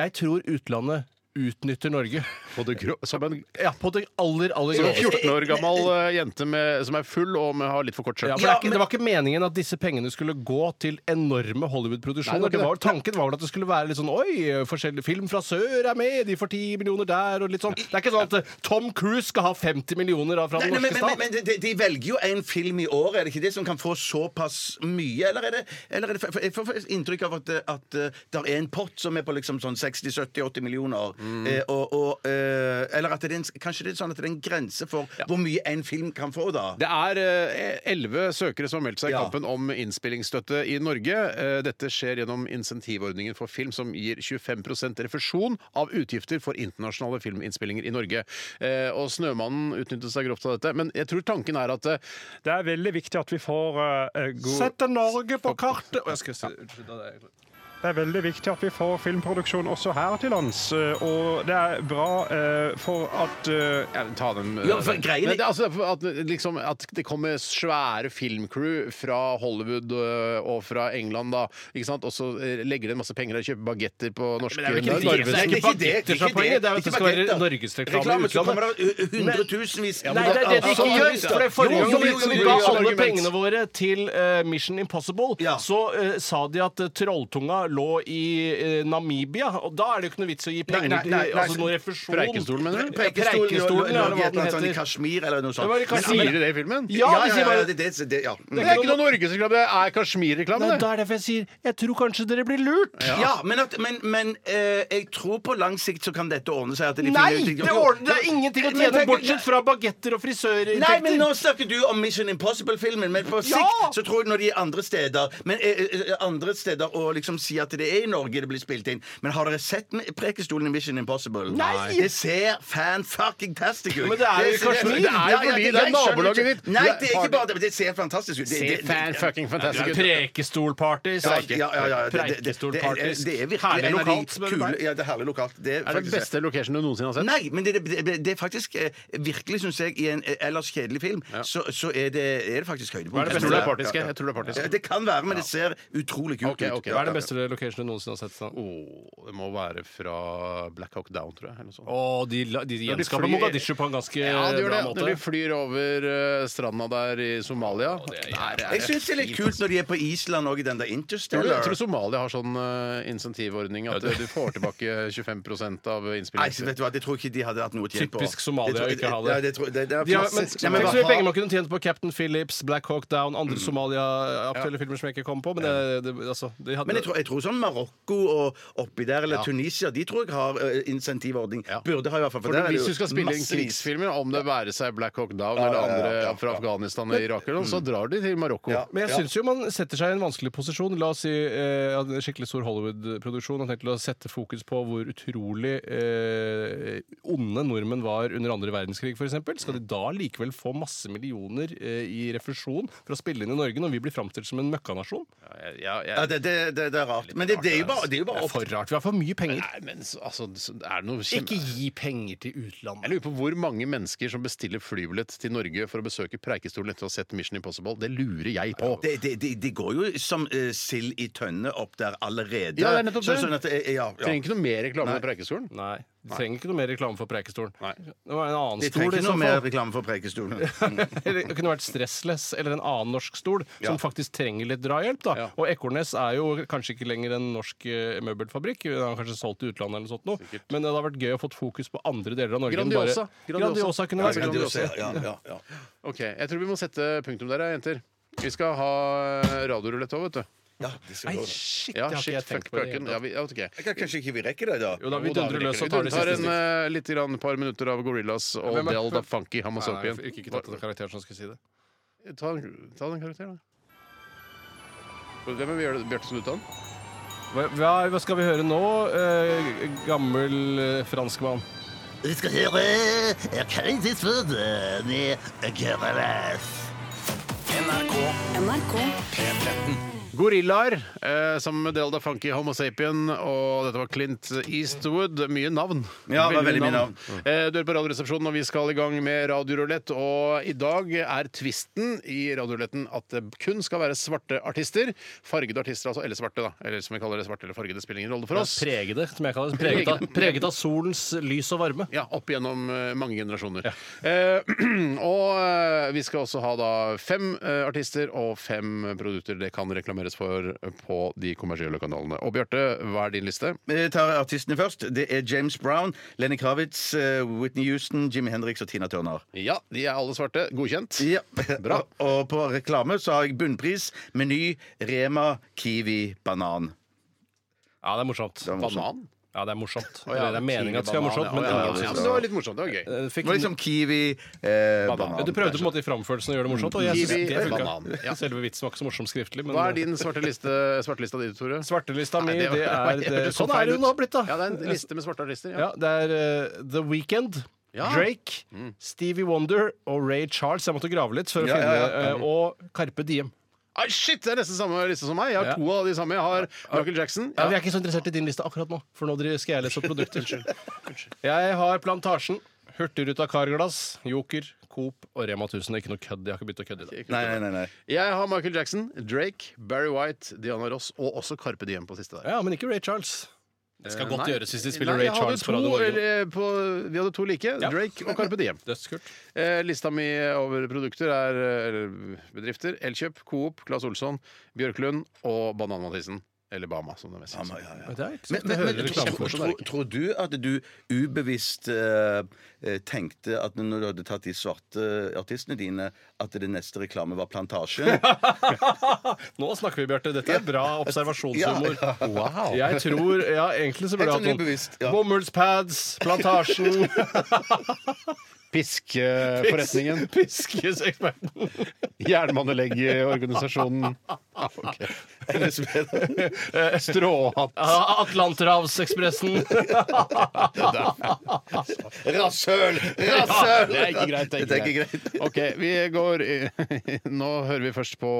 Speaker 3: Jeg tror utlandet utnytter Norge.
Speaker 1: På det grå, som en
Speaker 3: Ja, på det aller, aller
Speaker 1: som en
Speaker 3: groveste.
Speaker 1: 14 år gammel eh, jente med, som er full og med, har litt for kort skjørt.
Speaker 3: Ja, for det, er ikke, det var ikke meningen at disse pengene skulle gå til enorme
Speaker 1: Nei,
Speaker 3: Hollywood-produksjoner.
Speaker 1: det
Speaker 3: Det
Speaker 1: var
Speaker 3: var- Tanken var vel at det skulle være litt sånn Oi, forskjellig film fra sør er med, de får 10 millioner der, og litt sånn. Det er ikke sånn at eh, Tom Cruise skal ha 50 millioner av fra
Speaker 2: Nei,
Speaker 3: den
Speaker 2: nei, men
Speaker 3: norske
Speaker 2: men, men
Speaker 3: stat.
Speaker 2: de, de velger jo en film i året, er det ikke det som kan få såpass mye? Eller er det, eller er det for Jeg får faktisk inntrykk av at, det- at det er en pott som er på liksom sånn 60-70-80 millioner.
Speaker 3: Mm.
Speaker 2: Eh, og, og, eh, eller at det er en, kanskje det er sånn at det er en grense for hvor mye en film kan få, da.
Speaker 1: Det er eh, elleve søkere som har meldt seg i
Speaker 2: Ja.
Speaker 1: kampen om innspillingsstøtte i Norge. Eh, Dette skjer gjennom insentivordningen for film som gir 25 refusjon av utgifter for internasjonale filminnspillinger i Norge. Eh, Og 'Snømannen' utnyttet seg grovt av dette. Men jeg tror tanken er at eh,
Speaker 13: Det er veldig viktig at vi får eh, god
Speaker 3: Sette Norge på kartet! Å, jeg skal si, unnskyld, da er jeg-
Speaker 13: Det er veldig viktig at vi får filmproduksjon også her til lands. eh, Og det er bra eh, for at eh,
Speaker 1: ja, Ta den eh,
Speaker 2: Ja, for greien er-
Speaker 1: men det, er altså, at, liksom, at det kommer svære filmcrew fra Hollywood eh, og fra England, da. Ikke sant? Og så eh, legger de en masse penger og kjøper bagetter på norske
Speaker 3: det er vel ikke
Speaker 1: Norges-
Speaker 3: det-
Speaker 2: Nei,
Speaker 3: ikke bagetter som er poenget, det er at det skal være
Speaker 2: bagetter.
Speaker 3: norgesreklame i
Speaker 2: Reklame, så
Speaker 3: utlandet.
Speaker 2: kommer det uh, hundretusenvis
Speaker 3: Nei, det er det de ikke
Speaker 2: altså,
Speaker 3: gjør! For det er forrige gang vi- vi ga alle pengene våre til eh, Mission Impossible,
Speaker 2: Ja.
Speaker 3: så eh, sa de at eh, trolltunga lå i eh, Namibia. Og da er det jo ikke noe vits å gi penger
Speaker 2: nei, nei,
Speaker 3: til
Speaker 2: nei.
Speaker 3: altså noe refusjon. Eh,
Speaker 1: Preikestolen, mener du?
Speaker 3: Preikestolen, ja,
Speaker 2: Preikestolen
Speaker 3: eller hva den
Speaker 2: lå i et eller annet sånn i
Speaker 3: heter.
Speaker 2: Kashmir eller noe sånt.
Speaker 3: var i
Speaker 2: Men-
Speaker 3: Kashmir.
Speaker 1: Sier de det i filmen?
Speaker 3: Ja,
Speaker 2: Ja,
Speaker 3: de
Speaker 2: ja,
Speaker 3: sier
Speaker 2: ja,
Speaker 3: bare
Speaker 2: det, det, det, ja. Mm.
Speaker 1: Det er ikke noe norgesreklame, det er Kashmir-reklame.
Speaker 3: Nei,
Speaker 1: det.
Speaker 3: Da er det derfor jeg sier jeg tror kanskje dere blir lurt.
Speaker 2: Ja, men, at, men, men eh, jeg tror på lang sikt så kan dette ordne seg. At de
Speaker 3: Nei!
Speaker 2: finner ut-
Speaker 3: Det, ordner, det er ingenting å
Speaker 2: Men
Speaker 3: tjene
Speaker 2: tenk-
Speaker 3: bortsett fra bagetter og
Speaker 2: Nei, men nå
Speaker 3: frisørinntekter.
Speaker 2: snakker du om Mission Impossible-filmen, men på sikt så tror jeg når de er andre eh, steder Men eh, eh, andre steder å liksom si at det er i Norge det blir spilt inn, men har dere sett med- Prekestolen i Mission Impossible?
Speaker 3: Nei!
Speaker 2: Det ser fan-fucking-tastic ut!
Speaker 3: Men det er jo i Kashmir. Det er jo
Speaker 2: Ja, ja,
Speaker 3: fordi det
Speaker 2: jeg
Speaker 3: er
Speaker 2: skjønner
Speaker 3: nabolaget
Speaker 2: ikke-
Speaker 3: ditt.
Speaker 2: Nei,
Speaker 3: Det er-
Speaker 2: det er ikke bare det, men det ser fantastisk ut. Det-
Speaker 3: Ser
Speaker 2: det- det-
Speaker 3: fantastisk ut. Prekestolparty.
Speaker 2: Ja, ja, ja, ja. Det- det- det- det er- det er virkelig
Speaker 3: Herlig
Speaker 2: en av de
Speaker 3: lokalt. spør du
Speaker 2: kule-
Speaker 3: meg.
Speaker 2: Ja, det er herlig lokalt. Det
Speaker 1: Er det
Speaker 2: faktisk-
Speaker 1: beste location du noensinne har sett?
Speaker 2: Nei, men det, det, det, det er faktisk eh, virkelig, syns jeg, i en eh, ellers kjedelig film, så, så er, det, er det faktisk høydepunkt.
Speaker 1: Hva er det beste? Jeg tror det er partisk, jeg. Jeg tror det er partisk.
Speaker 2: Ja, Det kan være, men det ser utrolig kult
Speaker 1: Ok, ok.
Speaker 2: ut.
Speaker 3: Hva er det beste locationen du noensinne har sett? da?
Speaker 1: Åh, sånn, oh, det må være fra Black Hawk Down, tror jeg. Eller noe sånt.
Speaker 3: Å, de, la- de, de
Speaker 1: Når de
Speaker 3: gjenskaper
Speaker 1: flyr-
Speaker 3: Mogadishu på en ganske
Speaker 1: Ja, det gjør
Speaker 3: bra
Speaker 1: det.
Speaker 3: måte.
Speaker 1: Når de flyr over eh, stranda der i Somalia. Der er
Speaker 2: Jeg syns det er litt kult når de er på Island og i den der
Speaker 1: Tror du,
Speaker 2: Interstellar.
Speaker 1: jeg tror Somalia har sånn eh, insentivordning at eh, du får tilbake 25 av
Speaker 2: Nei, så
Speaker 1: innspillingen.
Speaker 2: vet du hva, det tror jeg ikke de hadde hatt noe tjent på.
Speaker 3: Typisk Somalia
Speaker 2: Det tror
Speaker 3: å
Speaker 2: jeg-
Speaker 3: ikke ha det.
Speaker 2: Ja, det tror, det, det er
Speaker 3: De har, men,
Speaker 2: klassisk.
Speaker 3: ja,
Speaker 2: Nei, men
Speaker 3: tenk så
Speaker 2: hva Mm.
Speaker 3: mye
Speaker 2: har-
Speaker 3: penger man kunne tjent på Captain Phillips, Black Hawk Down, andre Somalia-aktuelle filmer som jeg ikke kom på. Men det, det, altså, de hadde,
Speaker 2: Men jeg tror, jeg tror sånn Marokko og oppi der, eller Tunisia, de tror jeg har eh, insentivordning. Burde ha i hvert fall.
Speaker 1: For
Speaker 2: der er det
Speaker 1: Hvis
Speaker 2: jo
Speaker 1: du skal spille inn
Speaker 2: massevis.
Speaker 1: krigsfilmer, om det være seg Black Hawk Down
Speaker 2: Ja,
Speaker 1: eller
Speaker 2: ja, ja,
Speaker 1: andre
Speaker 2: ja, Mm.
Speaker 1: fra Afghanistan og Irak, eller noe, så drar de til Marokko.
Speaker 2: Ja.
Speaker 3: men jeg syns jo man setter seg i en vanskelig posisjon. La oss si eh, at en skikkelig stor Hollywood-produksjon har tenkt å sette fokus på hvor utrolig eh, onde nordmenn var under andre verdenskrig, f.eks. Skal de da likevel få masse millioner eh, i refusjon for å spille inn i Norge når vi blir framstilt som en møkkanasjon?
Speaker 2: Ja, det, det, det, det er rart. Men det, det er jo bare, det er jo bare
Speaker 3: Det er for rart. Vi har for mye penger.
Speaker 1: Nei, men så- altså, så er det noe kjem-
Speaker 3: Ikke gi penger til utlandet.
Speaker 1: Jeg lurer på hvor mange mennesker som bestiller flybillett til Norge for å besøke Preikestolen etter å ha sett Mission Impossible. Det lurer jeg på.
Speaker 2: Det, det, det, det går jo som eh, sild i tønne opp der allerede.
Speaker 1: Ja, det er nettopp
Speaker 2: Så-
Speaker 1: det.
Speaker 2: Sånn at, eh, ja, ja.
Speaker 1: Trenger ikke noe mer reklame for Preikestolen.
Speaker 3: Nei. De trenger ikke noe mer reklame for Preikestolen. Det var en annen
Speaker 2: De
Speaker 3: stol.
Speaker 2: trenger
Speaker 3: i
Speaker 2: ikke
Speaker 3: så
Speaker 2: noe mer
Speaker 3: fall.
Speaker 2: reklame for Preikestolen.
Speaker 3: Eller det kunne vært Stressless eller en annen norsk stol som faktisk trenger litt drahjelp. da
Speaker 1: Ja.
Speaker 3: Og Ekornes er jo kanskje ikke lenger en norsk eh, møbelfabrikk. Den har kanskje solgt til utlandet eller noe sånt. nå. Men det hadde vært gøy å få fokus på andre deler av Norge. enn bare-
Speaker 1: Grandiosa. Grandiosa.
Speaker 3: Grandiosa kunne vært
Speaker 2: Ja, ja, ja, ja.
Speaker 1: Ok, Jeg tror vi må sette punktum der, ja, jenter. Vi skal ha eh, radiorulett òg, vet du.
Speaker 2: Ja, det skal
Speaker 3: Nei,
Speaker 2: gå.
Speaker 3: shit,
Speaker 1: Ja,
Speaker 3: det har ikke
Speaker 1: shit,
Speaker 3: jeg
Speaker 1: fuck
Speaker 3: tenkt på. i det
Speaker 1: pøken.
Speaker 3: hele
Speaker 1: Ja,
Speaker 3: tatt.
Speaker 1: vi, ja, ok.
Speaker 2: Jeg kan kanskje ikke vi rekker det, da.
Speaker 3: Jo da, vi
Speaker 1: Jo da,
Speaker 3: dundrer
Speaker 1: vi
Speaker 3: løs
Speaker 1: rekker
Speaker 3: og
Speaker 1: det.
Speaker 3: tar det
Speaker 1: Vi tar
Speaker 3: siste.
Speaker 1: en eh, litt grann, par minutter av Gorillas og
Speaker 3: Hvem er-
Speaker 1: Del Daft Funky. Han må se opp
Speaker 3: Nei,
Speaker 1: igjen.
Speaker 3: nei, Ikke tatt den karakteren som skulle si det.
Speaker 1: Ta, en- ta den karakteren, da. Hvem er Bjør- Bjarte som du tar den?
Speaker 3: Hva, hva- hva skal vi høre nå, eh, gammel eh, franskmann?
Speaker 9: Vi skal høre eh, Crazy Food eh, med Gorillaz.
Speaker 5: NRK
Speaker 1: Gorillaer, eh, sammen med Delda Funky Homo Sapien, og dette var Clint Eastwood. Mye navn.
Speaker 2: Ja, det var veldig mye navn.
Speaker 1: Eh, du hører på Radioresepsjonen, og vi skal i gang med radiorulett. Og i dag er tvisten i radioruletten at det kun skal være svarte artister. Fargede artister, altså. Eller svarte, da. Eller som vi kaller det, svarte eller fargede, spiller ingen rolle for oss.
Speaker 3: Pregede, som jeg kaller det. Preget av, preget av solens lys og varme.
Speaker 1: Ja, opp gjennom eh, mange generasjoner. Eh, og eh, vi skal også ha da fem eh, artister og fem produkter det kan reklameres for eh, på de kommersielle kanalene. Og Bjarte, hva er din liste?
Speaker 2: Vi tar artistene først. Det er James Brown, Lenny Kravitz, eh, Whitney Houston, Jimmy Hendrix og Tina Turner.
Speaker 1: Ja, de er alle svarte. Godkjent.
Speaker 2: Ja,
Speaker 1: Bra.
Speaker 2: Og på reklame så har jeg Bunnpris, Meny, Rema, Kiwi, Banan.
Speaker 3: Ja, det er morsomt.
Speaker 2: Det er morsomt.
Speaker 1: Banan?
Speaker 3: Ja, det er morsomt.
Speaker 1: Å, ja,
Speaker 3: Eller det er meningen at det skal være morsomt, men
Speaker 1: ja, ja, ja,
Speaker 3: ingen
Speaker 1: ja, men det var litt morsomt. Det var gøy.
Speaker 3: Eh,
Speaker 2: Det
Speaker 3: fikk
Speaker 2: var liksom Kiwi, eh, Banan.
Speaker 3: Ja, Du prøvde på en måte i framførelsen å gjøre det morsomt, og jeg
Speaker 1: Kiwi,
Speaker 3: synes det
Speaker 1: banan.
Speaker 3: funka. Selve vitsen var ikke så morsom skriftlig, men
Speaker 1: Hva er din svarte liste, svartelista di, Tore?
Speaker 3: Svartelista mi,
Speaker 1: Nei,
Speaker 3: det
Speaker 1: det var-
Speaker 3: er
Speaker 1: det
Speaker 3: det,
Speaker 1: hørtes
Speaker 3: Sånn
Speaker 1: så feil
Speaker 3: er
Speaker 1: ut.
Speaker 3: det hun har blitt, da.
Speaker 1: Ja, det er en liste med svarte artister. Ja.
Speaker 3: Ja, det er eh, The Weekend.
Speaker 1: Ja. Mm.
Speaker 3: Drake, Stevie Wonder og Ray Charles. Jeg måtte grave litt for å
Speaker 2: Ja,
Speaker 3: finne
Speaker 2: ja, ja.
Speaker 3: eh, Og Carpe Diem.
Speaker 1: Ah, shit, det er nesten samme liste som meg! Jeg har
Speaker 3: Ja.
Speaker 1: to av de samme. Jeg har Michael Jackson.
Speaker 3: Ja. vi er ikke så interessert i din liste akkurat nå, for nå driver- skal jeg lese opp produkter. jeg har Plantasjen, Hurtigruta Carglass, Joker, Coop og Rema 1000. Ikke noe kødd. Jeg har ikke begynt å kødde i dag.
Speaker 2: Nei, nei, nei, nei.
Speaker 1: Jeg har Michael Jackson, Drake, Barry White, Diana Ross og også Carpe Diem på siste der.
Speaker 3: Ja, men ikke Ray Charles. Det skal godt
Speaker 1: Nei.
Speaker 3: gjøres hvis de spiller
Speaker 1: Nei,
Speaker 3: Ray
Speaker 1: jeg hadde
Speaker 3: Charles
Speaker 1: to,
Speaker 3: på Radio Norge.
Speaker 1: eller, på, vi hadde to like,
Speaker 3: Ja.
Speaker 1: Drake og Carpe Diem.
Speaker 3: Dødskult.
Speaker 1: Eh, lista mi over produkter er eh, eller bedrifter Elkjøp, Coop, Claes Olsson, Bjørklund og Banan-Mathisen. Eller Bama, som det mest
Speaker 2: Ja,
Speaker 1: heter.
Speaker 2: ja, ja.
Speaker 3: Men det er ikke så
Speaker 2: Men,
Speaker 3: ofte
Speaker 2: men,
Speaker 3: jeg
Speaker 2: men
Speaker 3: hører
Speaker 2: tror,
Speaker 3: reklame for
Speaker 2: tror, tror du at du ubevisst eh, eh, tenkte at når du hadde tatt de svarte artistene dine, at det neste reklame var Plantasjen?
Speaker 3: Nå snakker vi, Bjarte. Dette er bra observasjonshumor.
Speaker 2: Ja,
Speaker 1: Wow.
Speaker 3: Jeg tror Ja, egentlig så burde jeg hatt
Speaker 2: Helt sånn
Speaker 3: noen.
Speaker 2: ubevisst, ja.
Speaker 3: Bomullspads, Plantasjen eh,
Speaker 1: Piskeforretningen.
Speaker 3: Piskeseksperten.
Speaker 1: Jernbaneleggeorganisasjonen. Ah, ok.
Speaker 2: NSB.
Speaker 1: Stråhatt.
Speaker 3: Atlanterhavsekspressen.
Speaker 2: Rasshøl!
Speaker 1: Ja,
Speaker 2: Rasshøl!
Speaker 1: det er ikke greit. Det er ikke greit. OK, vi går i, Nå hører vi først på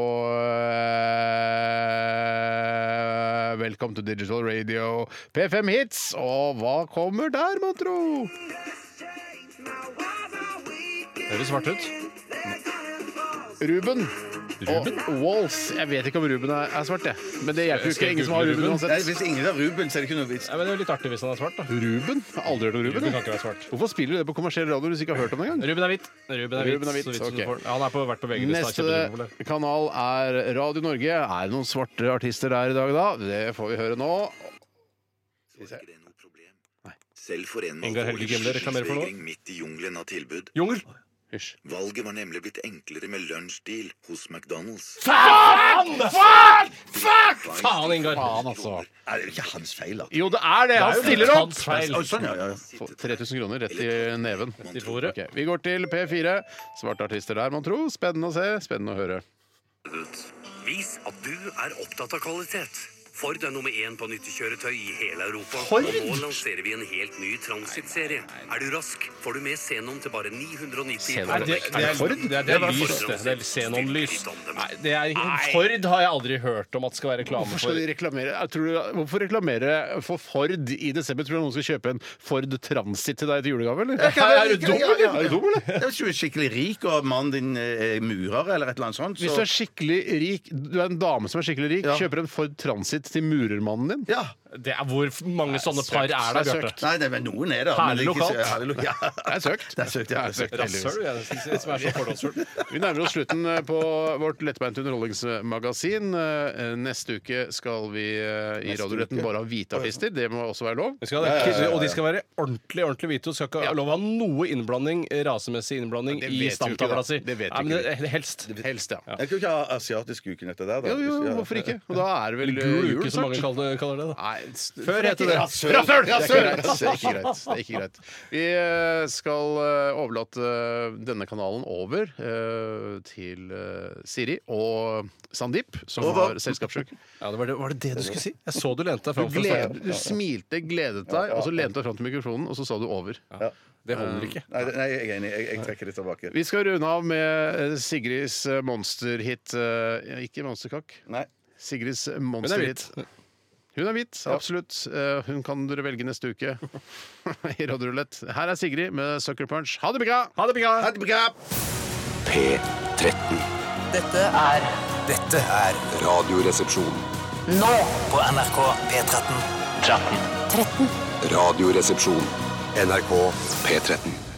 Speaker 1: eh, Welcome to Digital Radio P5 Hits. Og hva kommer der, mon tro?
Speaker 3: Høres svart ut.
Speaker 1: Ruben. Og Walls. Jeg vet ikke om Ruben er, er svart, jeg. Men det hjelper jo
Speaker 3: Skal
Speaker 1: ikke.
Speaker 3: jeg
Speaker 1: Ingen som har
Speaker 3: google
Speaker 1: Ruben
Speaker 3: Ruben?
Speaker 1: uansett.
Speaker 2: Nei, hvis ingen har Ruben, så er det ikke noe vits.
Speaker 3: Nei, men det er jo litt artig hvis han er svart, da.
Speaker 1: Ruben? Jeg har aldri hørt om Ruben.
Speaker 3: Ruben
Speaker 1: jeg.
Speaker 3: kan ikke være svart.
Speaker 1: Hvorfor spiller du det på kommersiell radio hvis du ikke har hørt om det engang?
Speaker 3: Ruben er hvit. Ruben er hvit.
Speaker 1: Ruben er hvit,
Speaker 3: så vidt som
Speaker 1: ok.
Speaker 3: du får den. Han er på, vært på VG.
Speaker 1: Neste kanal er Radio Norge. Er det noen svarte artister der i dag, da? Det får vi høre nå.
Speaker 14: Selv for en med
Speaker 3: Ingar Helge
Speaker 14: alvorlig
Speaker 3: Gimle reklamerer for noe.
Speaker 14: skyldvegring midt i jungelen av tilbud.
Speaker 3: Jungel!
Speaker 14: Valget var nemlig blitt enklere med lunsjdeal hos McDonald's.
Speaker 3: Faen! Faen!
Speaker 14: Fuck!
Speaker 3: Faen, Ingar.
Speaker 1: altså.
Speaker 2: Nei, det er jo ikke hans feil, da.
Speaker 1: Jo, det er det! Han
Speaker 2: jo
Speaker 1: stiller opp!
Speaker 2: hans feil. Å, sånn, ja, ja, ja.
Speaker 1: Få 3000 kroner rett i neven. Ok, Vi går til P4. Svarte artister der, mon tro. Spennende å se, spennende å høre.
Speaker 15: Vis at du er opptatt av kvalitet. Ford er nummer én på nyttekjøretøy i hele Europa.
Speaker 16: Ford?
Speaker 15: Og nå lanserer vi en helt ny Transit-serie. Er du rask, får du med Xenon til bare 990
Speaker 3: Nei, det, det, er, det, er, det er lys, det. Det er Xenon-lys. Nei, det er, Ford har jeg aldri hørt om at skal være reklame
Speaker 1: Hvorfor skal de
Speaker 3: for.
Speaker 1: reklamere jeg tror, Hvorfor reklamere for Ford i desember? Tror du noen skal kjøpe en Ford Transit til deg til julegave, eller?
Speaker 2: Jeg kan-
Speaker 1: Nei, Er du dum, eller?
Speaker 2: Ja, ja, ja.
Speaker 1: Er du dum, eller?
Speaker 2: Det er Hvis du er skikkelig rik og mannen din er murer eller et eller annet sånt,
Speaker 1: Hvis du er skikkelig rik, du er en dame som er skikkelig rik, kjøper en Ford Transit til murermannen din?
Speaker 3: Det er hvor mange sånne par er det, Bjarte?
Speaker 2: Nei, det er vel noen er det. men
Speaker 3: Herlig
Speaker 2: det er ikke så-
Speaker 3: lokalt.
Speaker 2: herlig lo- ja.
Speaker 1: Det er søkt.
Speaker 2: Det er søkt, ja. Det er søkt, heldigvis.
Speaker 3: Rasshøl, vil jeg nesten si, som er så fordomsfull.
Speaker 1: Vi nærmer oss slutten eh, på vårt lettbeinte underholdningsmagasin. Eh, Neste uke skal vi eh, i
Speaker 3: Neste
Speaker 1: Radioretten
Speaker 3: uke?
Speaker 1: bare ha hvite artister. Det må også være lov.
Speaker 3: Vi skal ha det. Og de skal være ordentlig ordentlig hvite. Og skal ikke ha lov å ha noe innblanding, rasemessig innblandning
Speaker 1: Ja, det
Speaker 3: i
Speaker 1: vet vi jo ikke, da.
Speaker 3: stamtavla si.
Speaker 1: Det vet vi
Speaker 3: Nei, men
Speaker 1: ikke.
Speaker 3: det- Helst.
Speaker 1: Helst, ja.
Speaker 2: Jeg kan jo ikke ha asiatisk uken etter der, da.
Speaker 1: Jo, jo,
Speaker 2: Hvis- ja.
Speaker 1: hvorfor ikke? Og da er det vel
Speaker 3: Eller gul
Speaker 1: eh,
Speaker 3: uke,
Speaker 1: jul
Speaker 3: som mange
Speaker 1: snart.
Speaker 3: kaller kaller det. da. Før
Speaker 1: det er
Speaker 3: het
Speaker 1: ikke
Speaker 3: det
Speaker 1: rasshøl.
Speaker 3: Rasshøl!
Speaker 1: Det er ikke greit. Det er ikke greit. Det er ikke greit. Vi eh, skal eh, overlate eh, denne kanalen over eh, til eh, Siri og Sandeep, som har
Speaker 3: Over.
Speaker 1: selskapssjuk.
Speaker 3: Ja, det var, det, var det det du skulle si? Jeg så du lente
Speaker 1: Du,
Speaker 3: deg fram. for å
Speaker 1: gled,
Speaker 3: snakke.
Speaker 1: du smilte, gledet deg, og så lente du deg fram til mikrofonen, og så sa du over.
Speaker 3: Det holder ikke.
Speaker 2: Nei, det- nei, jeg er enig. Jeg, jeg trekker det tilbake.
Speaker 1: Vi skal runde av med eh, Sigrids eh, monsterhit eh, Ikke monsterkakk. Sigrids monsterhit. Hun er hvit, absolutt. Eh, Hun kan dere velge neste uke i Rådderulett. Her er Sigrid med Sucker Punch. Ha det bra!
Speaker 3: Ha det bra!
Speaker 6: P13.
Speaker 5: Dette er
Speaker 6: Dette er Radioresepsjon.
Speaker 5: nå på NRK P13.
Speaker 6: 13. Radioresepsjon. NRK P13.